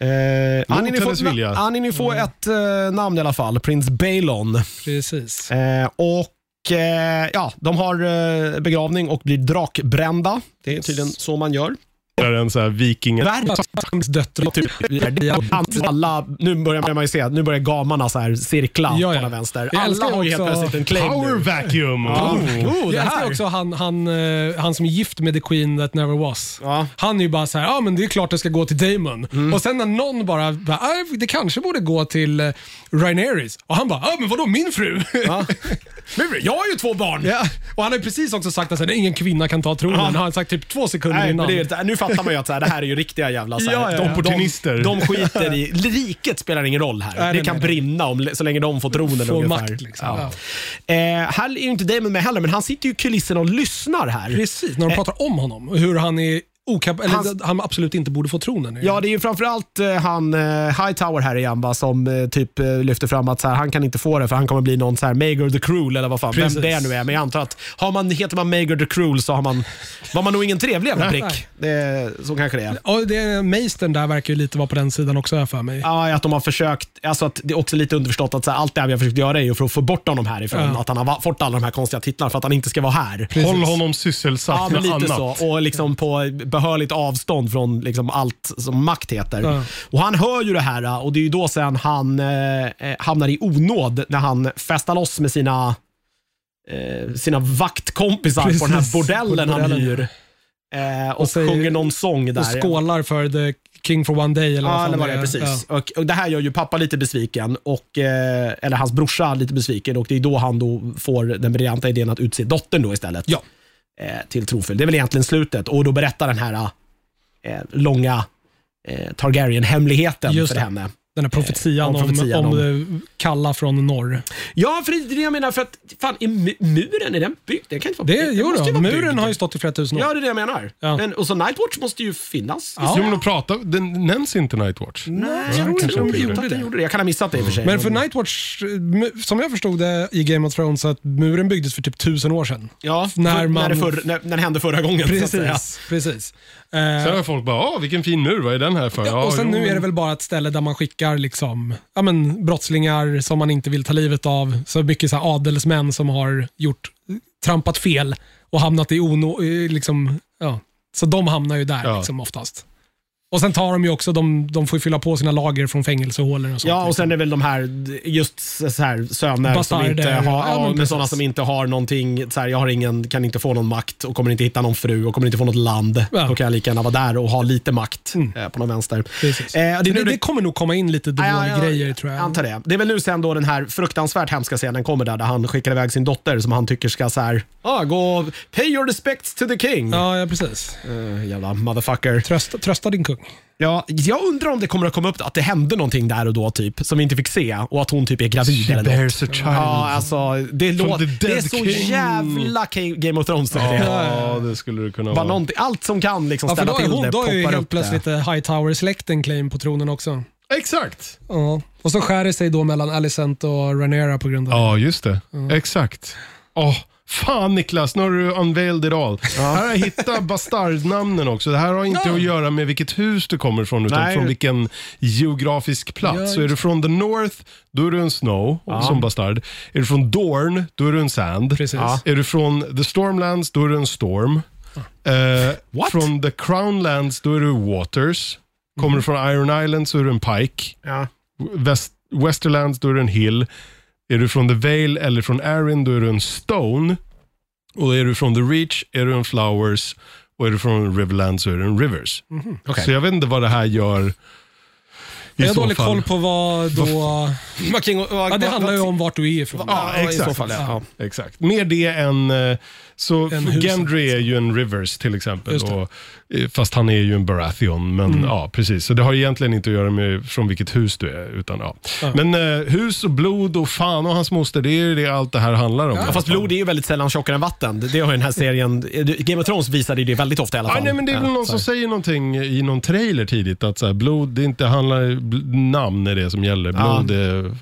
[SPEAKER 1] Eh, Annie, ni
[SPEAKER 3] hennes vilja. Mm.
[SPEAKER 1] får, Annie, ni får ett eh, namn i alla fall, prins Balon.
[SPEAKER 2] Precis.
[SPEAKER 1] Eh, och eh, ja, de har eh, begravning och blir drakbrända. Det är tydligen så man gör.
[SPEAKER 3] Där en så här viking...
[SPEAKER 2] Hans döttrar.
[SPEAKER 1] Typ, alla, nu börjar man ju se, nu börjar gamarna så här cirkla
[SPEAKER 2] Ja, ja.
[SPEAKER 1] på den vänster.
[SPEAKER 2] Jag
[SPEAKER 1] Alla
[SPEAKER 2] älskar
[SPEAKER 1] har ju helt
[SPEAKER 2] också-
[SPEAKER 1] plötsligt en claim
[SPEAKER 3] Power
[SPEAKER 1] nu.
[SPEAKER 3] vacuum! Oh.
[SPEAKER 1] Oh, det
[SPEAKER 2] jag älskar
[SPEAKER 1] här.
[SPEAKER 2] också han, han, eh, han som är gift med the queen that never was.
[SPEAKER 1] Ja. Mm.
[SPEAKER 2] Han är ju bara så här, ja ah, men det är klart det ska gå till Damon. Och sen när någon bara, bara ah, det kanske borde gå till uh, Rhaenerys. Och han bara, ja ah, men vadå min fru?
[SPEAKER 1] Ja. Men Jag har ju två barn!
[SPEAKER 2] ja. Och han har ju precis också sagt att så här, ingen kvinna kan ta tronen. Han har sagt typ två sekunder
[SPEAKER 1] Nej,
[SPEAKER 2] innan.
[SPEAKER 1] men det är, ju- nu fattar man ju att så här, det här är ju riktiga jävla så här,
[SPEAKER 2] Ja, ja, ja.
[SPEAKER 1] de-
[SPEAKER 3] Opportunister.
[SPEAKER 1] De, de skiter i... Riket spelar ingen roll här.
[SPEAKER 2] Nej,
[SPEAKER 1] det
[SPEAKER 2] nej,
[SPEAKER 1] kan
[SPEAKER 2] nej.
[SPEAKER 1] brinna om, så länge de får tronen
[SPEAKER 2] Får
[SPEAKER 1] ungefär.
[SPEAKER 2] makt, liksom.
[SPEAKER 1] ja. Eh, här är ju inte Damon med heller, men han sitter ju i kulissen och lyssnar här.
[SPEAKER 2] Precis, när de pratar om honom och hur han är okap- eller
[SPEAKER 1] Eh. Hans-
[SPEAKER 2] han absolut inte borde få tronen.
[SPEAKER 1] Ja, det är ju framförallt eh, han eh, Hightower här igen va, som eh, typ eh, lyfter fram att så här, han kan inte få det för han kommer bli någon så här Mager the Cruel eller vad fan
[SPEAKER 2] Precis.
[SPEAKER 1] vem det nu är. Men jag antar att har man, heter man Mager the Cruel så har man, var man nog ingen trevlig jävla
[SPEAKER 2] Nej.
[SPEAKER 1] prick. Eh, så kanske det är.
[SPEAKER 2] Och det Meistern där verkar ju lite vara på den sidan också har jag för mig.
[SPEAKER 1] Ja, att de har försökt, alltså att det är också lite underförstått att så här, allt det här vi har försökt göra är ju för att få bort honom härifrån.
[SPEAKER 2] Ja.
[SPEAKER 1] Att han har va- fått alla de här konstiga titlarna för att han inte ska vara här.
[SPEAKER 3] Håll honom sysselsatt
[SPEAKER 1] Ja, men
[SPEAKER 3] med
[SPEAKER 1] lite
[SPEAKER 3] annat.
[SPEAKER 1] så. Och liksom på behörigt avstånd från liksom allt som makt heter.
[SPEAKER 2] Ja.
[SPEAKER 1] Och Han hör ju det här och det är ju då sen han eh, eh, hamnar i onåd när han festar loss med sina, eh, sina vaktkompisar
[SPEAKER 2] Precis.
[SPEAKER 1] på den här bordellen, han
[SPEAKER 2] Bordellen.
[SPEAKER 1] hyr. Eh, och,
[SPEAKER 2] Och säger-
[SPEAKER 1] sjunger någon sång där.
[SPEAKER 2] och skålar för the king for one day eller vad
[SPEAKER 1] Ja,
[SPEAKER 2] fan
[SPEAKER 1] det var
[SPEAKER 2] det
[SPEAKER 1] det.
[SPEAKER 2] är.
[SPEAKER 1] Precis.
[SPEAKER 2] Ja.
[SPEAKER 1] Och, och det här gör ju pappa lite besviken, och, eh, eller hans brorsa lite besviken och det är då han då får den briljanta idén att utse dottern då istället
[SPEAKER 2] Ja.
[SPEAKER 1] eh, till tronföljd. Det är väl egentligen slutet och då berättar den här eh, långa eh, Targaryen-hemligheten
[SPEAKER 2] Just
[SPEAKER 1] för
[SPEAKER 2] det.
[SPEAKER 1] henne.
[SPEAKER 2] Den här profetian,
[SPEAKER 1] Om profetian
[SPEAKER 2] om, om,
[SPEAKER 1] om-
[SPEAKER 2] eh, Kalla från norr.
[SPEAKER 1] Ja, för det är det jag menar, för att fan, är mu- muren, är den byggd? Den kan inte vara
[SPEAKER 2] Det,
[SPEAKER 1] den
[SPEAKER 2] jo
[SPEAKER 1] måste ju
[SPEAKER 2] då,
[SPEAKER 1] vara
[SPEAKER 2] muren
[SPEAKER 1] byggd.
[SPEAKER 2] har ju stått i flera tusen år.
[SPEAKER 1] Ja, det är det jag menar.
[SPEAKER 2] Ja.
[SPEAKER 1] Men, och så Nightwatch måste ju finnas.
[SPEAKER 2] Ja.
[SPEAKER 3] Jo, men de pratar, den nämns inte Nightwatch.
[SPEAKER 1] Nej,
[SPEAKER 3] Ja,
[SPEAKER 1] jag
[SPEAKER 3] kanske
[SPEAKER 1] tror
[SPEAKER 3] de
[SPEAKER 1] inte
[SPEAKER 3] gjorde
[SPEAKER 1] att
[SPEAKER 2] det.
[SPEAKER 1] den gjorde det. Jag kan ha missat det i och för sig.
[SPEAKER 2] Men för Nightwatch, eh, mu- som jag förstod det i Game of Thrones, att muren byggdes för typ tusen år sedan.
[SPEAKER 1] Ja,
[SPEAKER 2] När
[SPEAKER 1] när,
[SPEAKER 2] man-
[SPEAKER 1] när, det förr, när, när det hände förra gången. Så att säga.
[SPEAKER 2] Precis. precis. Eh,
[SPEAKER 3] Sen har folk bara, "Ah, vilken fin mur, vad är den här för?
[SPEAKER 2] Ja, och sen
[SPEAKER 3] jo,
[SPEAKER 2] nu är det
[SPEAKER 3] men-
[SPEAKER 2] väl bara ett ställe där man skickar liksom, ja, men, brottslingar som man inte vill ta livet av. Så mycket så här, adelsmän som har gjort, trampat fel och hamnat i ono... eh, Liksom, ja. Så de hamnar ju där
[SPEAKER 3] Ja.
[SPEAKER 2] liksom, oftast. Och sen tar de ju också, de, de får ju fylla på sina lager från fängelsehålor och sånt.
[SPEAKER 1] Ja, och
[SPEAKER 2] liksom.
[SPEAKER 1] sen är det väl de här, just så här, söner som
[SPEAKER 2] Bastarder,
[SPEAKER 1] inte,
[SPEAKER 2] ja.
[SPEAKER 1] har,
[SPEAKER 2] Ja, men
[SPEAKER 1] ja, men
[SPEAKER 2] precis.
[SPEAKER 1] sådana som inte har någonting, så här, jag har ingen, kan inte få någon makt och kommer inte hitta någon fru och kommer inte få något land.
[SPEAKER 2] Ja. Mm.
[SPEAKER 1] Då kan jag lika gärna vara där och ha lite makt eh, på någon vänster.
[SPEAKER 2] Precis.
[SPEAKER 1] Eh, och det, är nu
[SPEAKER 2] det,
[SPEAKER 1] det,
[SPEAKER 2] det kommer nog komma in lite
[SPEAKER 1] Ja, ja,
[SPEAKER 2] grejer tror
[SPEAKER 1] jag
[SPEAKER 2] jag.
[SPEAKER 1] antar det. Det är väl nu sen då den här fruktansvärt hemska scenen kommer där, där han skickar iväg sin dotter som han tycker ska så här, ah, gå, och pay your respects to the king.
[SPEAKER 2] Ja, ja precis.
[SPEAKER 1] Eh, jävla motherfucker.
[SPEAKER 2] Trösta, trösta din kung.
[SPEAKER 1] Ja, jag undrar om det kommer att komma upp att det hände någonting där och då typ som vi inte fick se och att hon typ är gravid
[SPEAKER 3] She
[SPEAKER 1] eller något.
[SPEAKER 3] Alltså, bears a child.
[SPEAKER 1] Ja, alltså, det, låt,
[SPEAKER 3] the
[SPEAKER 1] det är
[SPEAKER 3] dead
[SPEAKER 1] så
[SPEAKER 3] king.
[SPEAKER 1] jävla Ke- Game of Thrones. när det är.
[SPEAKER 3] Ja, det skulle det kunna
[SPEAKER 1] Bara
[SPEAKER 3] vara.
[SPEAKER 1] någonting, allt som kan liksom
[SPEAKER 2] Ja, för
[SPEAKER 1] ställa
[SPEAKER 2] då är
[SPEAKER 1] till
[SPEAKER 2] hon
[SPEAKER 1] det
[SPEAKER 2] då är ju
[SPEAKER 1] poppar
[SPEAKER 2] helt
[SPEAKER 1] upp
[SPEAKER 2] plötsligt
[SPEAKER 1] det.
[SPEAKER 2] eh, Hightower-släkten claim på tronen också.
[SPEAKER 3] Exakt!
[SPEAKER 2] Ja. Och så skär det sig då mellan Alicent och Rhaenyra på grund av
[SPEAKER 3] Ja, just det. Exakt. Åh, fan Niklas, nu har du unveiled it all. Här har jag hittat bastardnamnen också. Det här har inte
[SPEAKER 2] Ja.
[SPEAKER 3] att göra med vilket hus du kommer ifrån, utan
[SPEAKER 1] Nej.
[SPEAKER 3] från vilken geografisk plats.
[SPEAKER 2] Ja,
[SPEAKER 3] så är du från the North, då är du en Snow som bastard. Är du från Dorn, då är du en Sand.
[SPEAKER 2] Precis.
[SPEAKER 3] Ja. Är du från the Stormlands, då är du en Storm. Eh,
[SPEAKER 1] What?
[SPEAKER 3] från the Crownlands, då är du Waters. Kommer du från Iron Island så är du en Pike.
[SPEAKER 1] Ja.
[SPEAKER 3] West, Westerlands, då är det en hill. Är du från The Vale eller från Arryn, då är du en Stone. Och är du från The Reach är du en Flowers. Och är du från Riverland så är du en Rivers.
[SPEAKER 1] Okej.
[SPEAKER 3] Så jag vet inte vad det här gör. I
[SPEAKER 2] Mhm, Jag har
[SPEAKER 3] så
[SPEAKER 2] dålig
[SPEAKER 3] fall.
[SPEAKER 2] koll på vad då...
[SPEAKER 1] Vad King och- vad-
[SPEAKER 2] Ja, det
[SPEAKER 1] vad-
[SPEAKER 2] handlar ju
[SPEAKER 1] vad-
[SPEAKER 2] om vart du är ifrån.
[SPEAKER 1] Ja,
[SPEAKER 3] Ja,
[SPEAKER 1] exakt. I så
[SPEAKER 3] exakt.
[SPEAKER 1] fall, ja. Ja.
[SPEAKER 3] Exakt. Mer det än... eh, Så
[SPEAKER 2] Än huset.
[SPEAKER 3] Gendry är ju en Rivers till exempel.
[SPEAKER 2] Just det. Mm.
[SPEAKER 3] Och, eh, fast han är ju en Baratheon. Men ja, precis. Så det har egentligen inte att göra med från vilket hus du är. Utan, ja. Men eh, hus och blod och fan och hans moster, det är ju det allt det här handlar om.
[SPEAKER 1] Ja, fast blod är ju väldigt sällan tjockare än vatten. Det det har ju den här serien, Game of Thrones visade ju det väldigt ofta i alla
[SPEAKER 3] Ja,
[SPEAKER 1] fall.
[SPEAKER 3] nej, men det är väl
[SPEAKER 1] Ja,
[SPEAKER 3] någon
[SPEAKER 1] så
[SPEAKER 3] som
[SPEAKER 1] här.
[SPEAKER 3] säger någonting i någon trailer tidigt att så här, blod, det inte handlar, bl- namn är det som gäller.
[SPEAKER 1] Ja.
[SPEAKER 3] Blod är,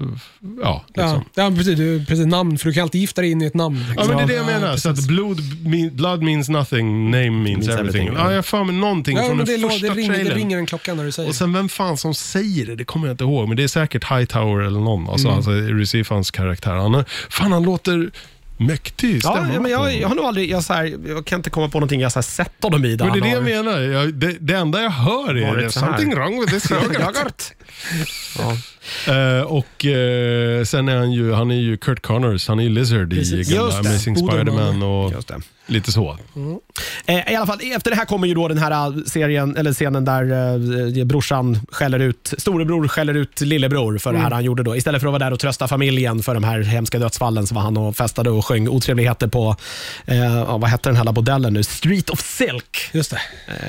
[SPEAKER 3] ja,
[SPEAKER 2] Ja,
[SPEAKER 3] liksom.
[SPEAKER 2] ja precis, du, precis. Namn, för du kan alltid gifta dig in i ett namn. liksom.
[SPEAKER 3] Ja, men det är det jag menar. Så att blood, mean- blood means nothing, name means, everything.
[SPEAKER 1] everything, ja.
[SPEAKER 3] Ja, jag har för mig någonting
[SPEAKER 2] Ja,
[SPEAKER 3] från
[SPEAKER 2] men
[SPEAKER 3] den
[SPEAKER 2] det, lå-
[SPEAKER 3] första
[SPEAKER 2] det, ringer, det
[SPEAKER 3] trailern.
[SPEAKER 2] ringer en klocka när du säger
[SPEAKER 3] Och sen vem fan som säger det, det kommer jag inte ihåg. Men det är säkert Hightower eller någon. Alltså,
[SPEAKER 1] Mm.
[SPEAKER 3] alltså Recifans karaktär. Han är, fan, han låter mäktig
[SPEAKER 1] Ja,
[SPEAKER 3] stämman.
[SPEAKER 1] men jag, jag har nog aldrig, jag, så här, jag kan inte komma på någonting jag så här, sett honom i. där
[SPEAKER 3] men det är det jag
[SPEAKER 1] han har-
[SPEAKER 3] menar. Jag, det, det enda jag hör är
[SPEAKER 1] Varit
[SPEAKER 3] det,
[SPEAKER 1] så här.
[SPEAKER 3] something wrong with this yoghurt.
[SPEAKER 1] Yoghurt. Ja.
[SPEAKER 3] Eh, och eh, sen är han ju, han är ju Kurt Connors, han är ju Lizard i
[SPEAKER 2] Precis.
[SPEAKER 3] gamla
[SPEAKER 1] Just det.
[SPEAKER 3] Amazing
[SPEAKER 2] Odoman.
[SPEAKER 3] Spider-Man och
[SPEAKER 1] Just det.
[SPEAKER 3] lite så.
[SPEAKER 1] Eh, I alla fall, efter det här kommer ju då den här eh, serien, eller scenen där eh, brorsan skäller ut, storebror skäller ut lillebror för det här han gjorde då. Istället för att vara där och trösta familjen för de här hemska dödsfallen så var han och festade och sjöng otrevligheter på, eh, ja, vad hette den här lilla bordellen nu? Street of Silk
[SPEAKER 2] det. Just det.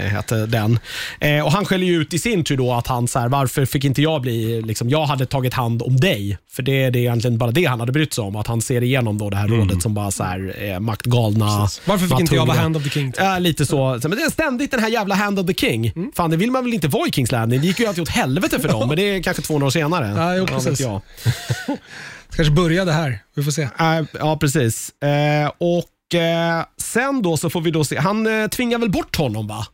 [SPEAKER 1] eh, hette den. Eh, och Han skäller ju ut i sin tur då att han så här, varför fick inte jag bli, liksom, jag hade tagit hand om dig. För det, det är egentligen bara det han hade brytt sig om, att han ser igenom då det här rådet som bara så här, eh, maktgalna.
[SPEAKER 2] Mm. Varför fick inte jag vara
[SPEAKER 1] matthungriga.
[SPEAKER 2] hand of the king? typ? Mm.
[SPEAKER 1] Ja, lite så. Men det är ständigt den här jävla Hand of the King. Fan, det vill man väl inte vara i Kings Landing? Det gick ju alltid åt helvete för dem, men det är kanske 200 år senare.
[SPEAKER 2] Ja, jo,
[SPEAKER 1] vet
[SPEAKER 2] precis.
[SPEAKER 1] jag.
[SPEAKER 2] Kanske började här. Vi får se.
[SPEAKER 1] Nej, Äh, Ja, precis. Eh, och eh, Sen då så får vi då se, han eh, tvingar väl bort honom va?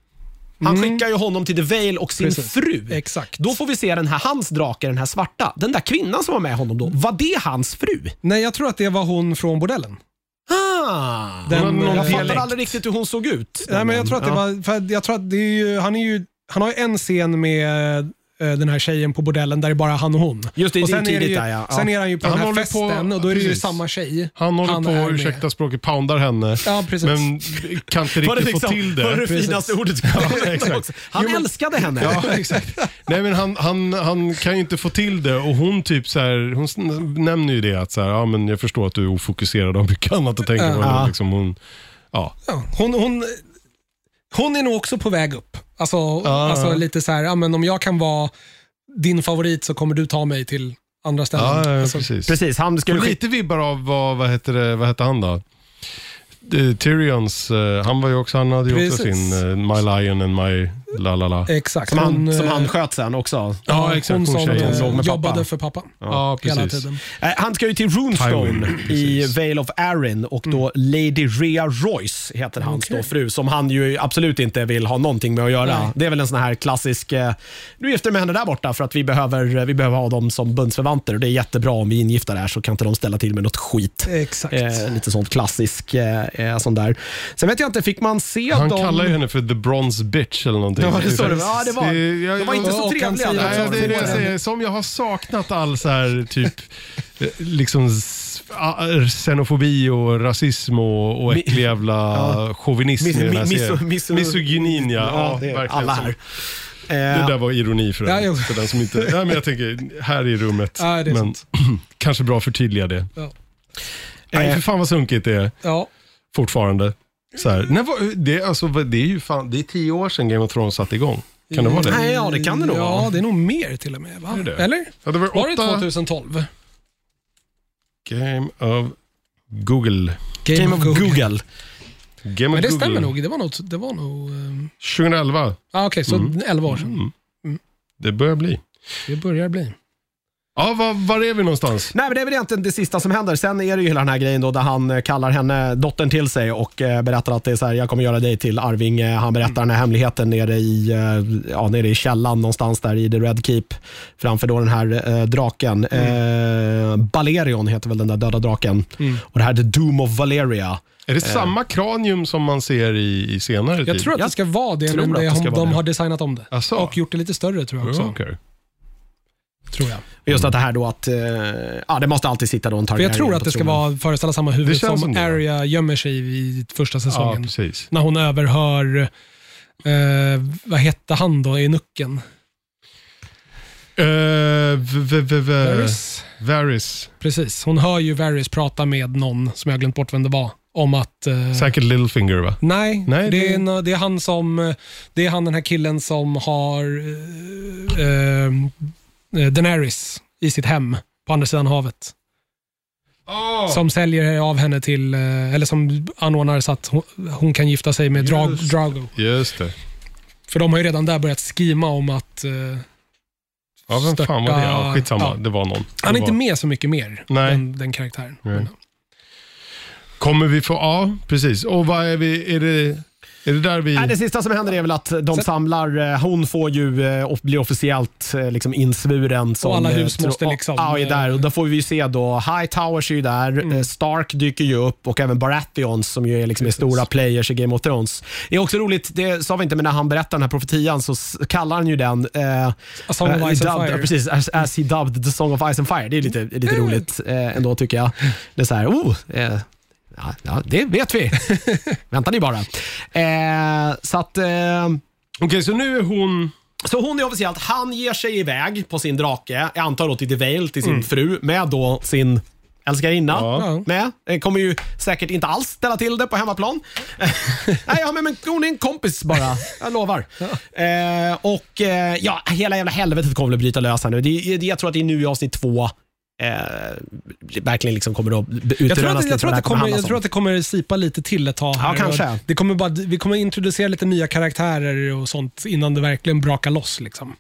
[SPEAKER 1] Han skickar ju honom till The Vale och sin
[SPEAKER 2] Mm. Precis.
[SPEAKER 1] fru.
[SPEAKER 2] Exakt.
[SPEAKER 1] Då får vi se den här, hans drake, den här svarta. Den där kvinnan som var med honom då, var det hans fru?
[SPEAKER 2] Nej, jag tror att det var hon från bordellen.
[SPEAKER 1] Ah,
[SPEAKER 2] Den-
[SPEAKER 3] Hon har någon
[SPEAKER 1] jag
[SPEAKER 3] dialekt.
[SPEAKER 1] fattade aldrig riktigt hur hon såg ut.
[SPEAKER 2] Nej, men jag tror att det
[SPEAKER 1] Ja.
[SPEAKER 2] var... För att jag tror att det är ju, han, är ju, han har ju en scen med eh, den här tjejen på bordellen där det är bara han och hon.
[SPEAKER 1] Just det,
[SPEAKER 2] och
[SPEAKER 1] det är
[SPEAKER 2] ju
[SPEAKER 1] tidigt
[SPEAKER 2] ju,
[SPEAKER 1] där, ja. Ja.
[SPEAKER 2] Sen är han ju på
[SPEAKER 3] Han
[SPEAKER 2] den här
[SPEAKER 3] håller på-
[SPEAKER 2] festen och då är det ju
[SPEAKER 3] precis.
[SPEAKER 2] samma tjej.
[SPEAKER 3] Han håller på
[SPEAKER 2] är
[SPEAKER 3] och,
[SPEAKER 2] med.
[SPEAKER 3] ursäkta språket, poundar henne.
[SPEAKER 2] Ja, precis.
[SPEAKER 3] Men kan inte
[SPEAKER 1] Var det,
[SPEAKER 3] riktigt
[SPEAKER 1] liksom,
[SPEAKER 3] få till det.
[SPEAKER 1] var det
[SPEAKER 2] Precis.
[SPEAKER 1] finaste ordet jag
[SPEAKER 3] Ja, exakt.
[SPEAKER 1] också. Han
[SPEAKER 3] Jo, men-
[SPEAKER 1] älskade henne.
[SPEAKER 3] Ja, exakt. Nej, men han, han, han kan ju inte få till det och hon typ så här, hon sn- nämner ju det att så här, ja, men jag förstår att du är ofokuserad och har mycket annat att tänka på.
[SPEAKER 1] Ja.
[SPEAKER 3] Ja. Liksom, hon, ja.
[SPEAKER 2] Ja, hon, hon, hon är nog också på väg upp. Alltså, alltså lite så här, ja, men om jag kan vara din favorit så kommer du ta mig till andra ställen.
[SPEAKER 3] Ja, ja,
[SPEAKER 2] alltså,
[SPEAKER 3] precis.
[SPEAKER 1] Precis, han skulle
[SPEAKER 3] Och
[SPEAKER 1] skicka
[SPEAKER 3] lite vibbar av vad, vad, heter det, vad heter han då? Eh, Tyrions, eh, han var ju också, han hade ju också
[SPEAKER 2] Precis.
[SPEAKER 3] sin eh, My Lion and My La La La.
[SPEAKER 2] Exakt.
[SPEAKER 1] Som han,
[SPEAKER 2] Hon,
[SPEAKER 1] som
[SPEAKER 2] eh,
[SPEAKER 1] han sköt sen också.
[SPEAKER 2] ja,
[SPEAKER 3] Ja, exakt,
[SPEAKER 2] Hon
[SPEAKER 3] hon
[SPEAKER 2] som
[SPEAKER 3] tjejen
[SPEAKER 2] eh,
[SPEAKER 3] som
[SPEAKER 1] låg med
[SPEAKER 2] jobbade
[SPEAKER 1] pappa.
[SPEAKER 2] för pappa.
[SPEAKER 3] Ja,
[SPEAKER 2] Hela
[SPEAKER 3] precis.
[SPEAKER 2] tiden.
[SPEAKER 1] Eh, Han ska ju till Runestone
[SPEAKER 3] Tywin,
[SPEAKER 1] i
[SPEAKER 3] precis. Mm.
[SPEAKER 1] Vale of Arryn och då Lady Rhea Royce heter hans då fru som han ju absolut inte vill ha någonting med att göra.
[SPEAKER 2] Nej.
[SPEAKER 1] Det är väl en sån här klassisk, eh, du gifter med henne där borta för att vi behöver, eh, vi behöver ha dem som bundsförvanter och det är jättebra om vi är ingifta där så kan inte de ställa till med något skit.
[SPEAKER 2] Exakt.
[SPEAKER 1] Eh, lite sånt klassisk eh, eh, sån där. Sen vet jag inte, fick man se
[SPEAKER 3] Han
[SPEAKER 1] dem?
[SPEAKER 3] kallar ju henne för the bronze bitch eller någonting.
[SPEAKER 1] Ja, det står det. Ja, det var.
[SPEAKER 3] jag-
[SPEAKER 1] De var inte
[SPEAKER 2] och
[SPEAKER 1] så
[SPEAKER 2] han
[SPEAKER 1] trevliga.
[SPEAKER 2] säger
[SPEAKER 1] där.
[SPEAKER 3] Nej, alltså,
[SPEAKER 2] också.
[SPEAKER 3] det är det jag säger. Som jag har saknat all så här, typ, eh, liksom s- a- xenofobi och rasism och, och äcklig jävla chauvinism
[SPEAKER 1] Mis-
[SPEAKER 3] i den här
[SPEAKER 1] mis-
[SPEAKER 3] serien.
[SPEAKER 1] miso-
[SPEAKER 3] Misogynin, ja. ja,
[SPEAKER 1] det är
[SPEAKER 3] verkligen.
[SPEAKER 1] alla här.
[SPEAKER 3] Det
[SPEAKER 1] Eh,
[SPEAKER 3] där var ironi för,
[SPEAKER 2] Ja,
[SPEAKER 3] den,
[SPEAKER 2] jo.
[SPEAKER 3] för den som inte... Nej, men jag tänker, här i rummet.
[SPEAKER 2] Ja, det är
[SPEAKER 3] men
[SPEAKER 2] sant.
[SPEAKER 3] kanske bra att förtydliga det.
[SPEAKER 2] Ja.
[SPEAKER 3] Nej,
[SPEAKER 1] Eh.
[SPEAKER 3] för fan vad sunkigt det är
[SPEAKER 2] Ja.
[SPEAKER 3] fortfarande. Så här. När var, det, alltså, det är ju fan, det är tio år sedan Game of Thrones satte igång. Kan det vara det?
[SPEAKER 1] Nej, ja, det kan det nog
[SPEAKER 2] Ja,
[SPEAKER 1] vara.
[SPEAKER 2] det är nog mer till och med. Va?
[SPEAKER 3] Är det?
[SPEAKER 2] Eller?
[SPEAKER 3] Ja, det var,
[SPEAKER 2] Var det
[SPEAKER 3] åtta
[SPEAKER 2] 2012?
[SPEAKER 3] Game of Google.
[SPEAKER 2] Game,
[SPEAKER 1] Game of Google.
[SPEAKER 3] Game of
[SPEAKER 2] Men det
[SPEAKER 3] Google.
[SPEAKER 2] stämmer nog. Det var nog... Det var nog ehm,
[SPEAKER 3] 2011.
[SPEAKER 2] ah, Okej, så
[SPEAKER 3] Mm.
[SPEAKER 2] 11 år sedan.
[SPEAKER 3] Det börjar bli.
[SPEAKER 2] Det börjar bli.
[SPEAKER 3] Ja, var, var är vi någonstans?
[SPEAKER 1] Nej, men det är väl egentligen det sista som händer. Sen är det ju hela den här grejen då där han eh, kallar henne, dottern till sig och eh, berättar att det är så här, jag kommer göra dig till arvinge. Han berättar den här
[SPEAKER 2] Mm.
[SPEAKER 1] hemligheten nere i, eh, ja, nere i källan någonstans där i The Red Keep framför då den här eh, draken.
[SPEAKER 2] Mm.
[SPEAKER 1] Eh, Balerion heter väl den där döda draken.
[SPEAKER 3] Mm.
[SPEAKER 1] Och det här är The Doom of Valeria.
[SPEAKER 3] Är det samma kranium som man ser i, i senare
[SPEAKER 2] Jag
[SPEAKER 3] tid?
[SPEAKER 2] tror att det ska vara det,
[SPEAKER 1] tror
[SPEAKER 2] men
[SPEAKER 1] att
[SPEAKER 2] det,
[SPEAKER 1] det ska
[SPEAKER 2] de
[SPEAKER 1] vara det.
[SPEAKER 2] har designat om det.
[SPEAKER 3] Asså?
[SPEAKER 2] Och gjort det lite större tror jag också.
[SPEAKER 3] Ja, okej.
[SPEAKER 2] tror jag.
[SPEAKER 1] Just att det här då att, eh, ja det måste alltid sitta då en
[SPEAKER 2] Mm. För
[SPEAKER 1] Targaryen
[SPEAKER 2] jag tror
[SPEAKER 1] på
[SPEAKER 2] att det ska
[SPEAKER 1] tronen.
[SPEAKER 2] vara föreställa samma
[SPEAKER 3] Det
[SPEAKER 2] huvud
[SPEAKER 3] känns som
[SPEAKER 2] som
[SPEAKER 3] det.
[SPEAKER 2] Arya gömmer sig i i första
[SPEAKER 3] Ja,
[SPEAKER 2] säsongen.
[SPEAKER 3] precis.
[SPEAKER 2] när hon överhör, eh, vad hette han då, enucken?
[SPEAKER 3] Uh, v- v- v-
[SPEAKER 2] Varys.
[SPEAKER 3] Varys.
[SPEAKER 2] Precis, hon hör ju Varys prata med någon, som jag har glömt bort vem det var, om att... Eh,
[SPEAKER 3] Säkert Littlefinger va?
[SPEAKER 2] Nej,
[SPEAKER 3] Nej,
[SPEAKER 2] det, är,
[SPEAKER 3] det-
[SPEAKER 2] nå- det är han som, eh, det är han den här killen som har eh, eh, Daenerys i sitt hem på andra sidan havet. Som säljer av henne till, eh, eller som anordnar så att hon, hon kan gifta sig med Dra-
[SPEAKER 3] Just.
[SPEAKER 2] Drago.
[SPEAKER 3] Just det.
[SPEAKER 2] För de har ju redan där börjat skima om att eh,
[SPEAKER 3] Ja, vem
[SPEAKER 2] Störta-
[SPEAKER 3] fan var det? Ja, skitsamma,
[SPEAKER 2] Ja.
[SPEAKER 3] det var någon.
[SPEAKER 2] Han
[SPEAKER 3] Det
[SPEAKER 2] är inte
[SPEAKER 3] var...
[SPEAKER 2] med så mycket mer,
[SPEAKER 3] Nej.
[SPEAKER 2] Den, den karaktären.
[SPEAKER 3] Nej. Kommer vi få, ja precis. Och vad är vi, är det, är det där vi...
[SPEAKER 1] Nej, det sista som händer är väl att de
[SPEAKER 2] Sen-
[SPEAKER 1] samlar, eh, hon får ju eh, och blir officiellt eh, liksom insvuren. Som,
[SPEAKER 2] alla
[SPEAKER 1] eh,
[SPEAKER 2] hus
[SPEAKER 1] tro-
[SPEAKER 2] måste
[SPEAKER 1] och-
[SPEAKER 2] liksom- Mm.
[SPEAKER 1] Ja, är där. Och där får vi ju se då, High Towers är ju där, eh, Stark dyker ju upp och även Baratheons som ju är liksom är stora players i Game of Thrones. Det är också roligt, det sa vi inte, men när han berättar den här profetian så s- kallar han ju den eh,
[SPEAKER 2] A Song of
[SPEAKER 1] eh,
[SPEAKER 2] Ice
[SPEAKER 1] dubbed,
[SPEAKER 2] and Fire. Mm.
[SPEAKER 1] ja, Precis, as, as he dubbed the Song of Ice and Fire. Det är lite, lite roligt eh, ändå tycker jag. Det är så här, oh, eh, ja, ja, det vet vi. Vänta ni bara. Eh, så att... Eh,
[SPEAKER 3] Okej, så nu är hon...
[SPEAKER 1] så hon är officiellt, han ger sig iväg på sin drake, jag antar då till Devale, till
[SPEAKER 2] Mm.
[SPEAKER 1] sin fru, med då sin älskarinna.
[SPEAKER 3] Ja.
[SPEAKER 1] Med. Eh, Kommer ju säkert inte alls ställa till det på hemmaplan. Nej, ja, men, men hon är en kompis bara. Jag lovar. Eh, och eh, ja, hela jävla helvetet kommer väl bryta lös här nu. Det, det, jag tror att det är nu i avsnitt två eh, verkligen liksom kommer att utrönas
[SPEAKER 2] Jag tror, att,
[SPEAKER 1] lite
[SPEAKER 2] jag, tror
[SPEAKER 1] vad
[SPEAKER 2] att det kommer,
[SPEAKER 1] handlas
[SPEAKER 2] jag
[SPEAKER 1] om.
[SPEAKER 2] tror att det kommer sipa lite till ett tag. Här.
[SPEAKER 1] Ja, kanske.
[SPEAKER 2] Det kommer bara, vi kommer introducera lite nya karaktärer och sånt innan det verkligen brakar loss. Liksom.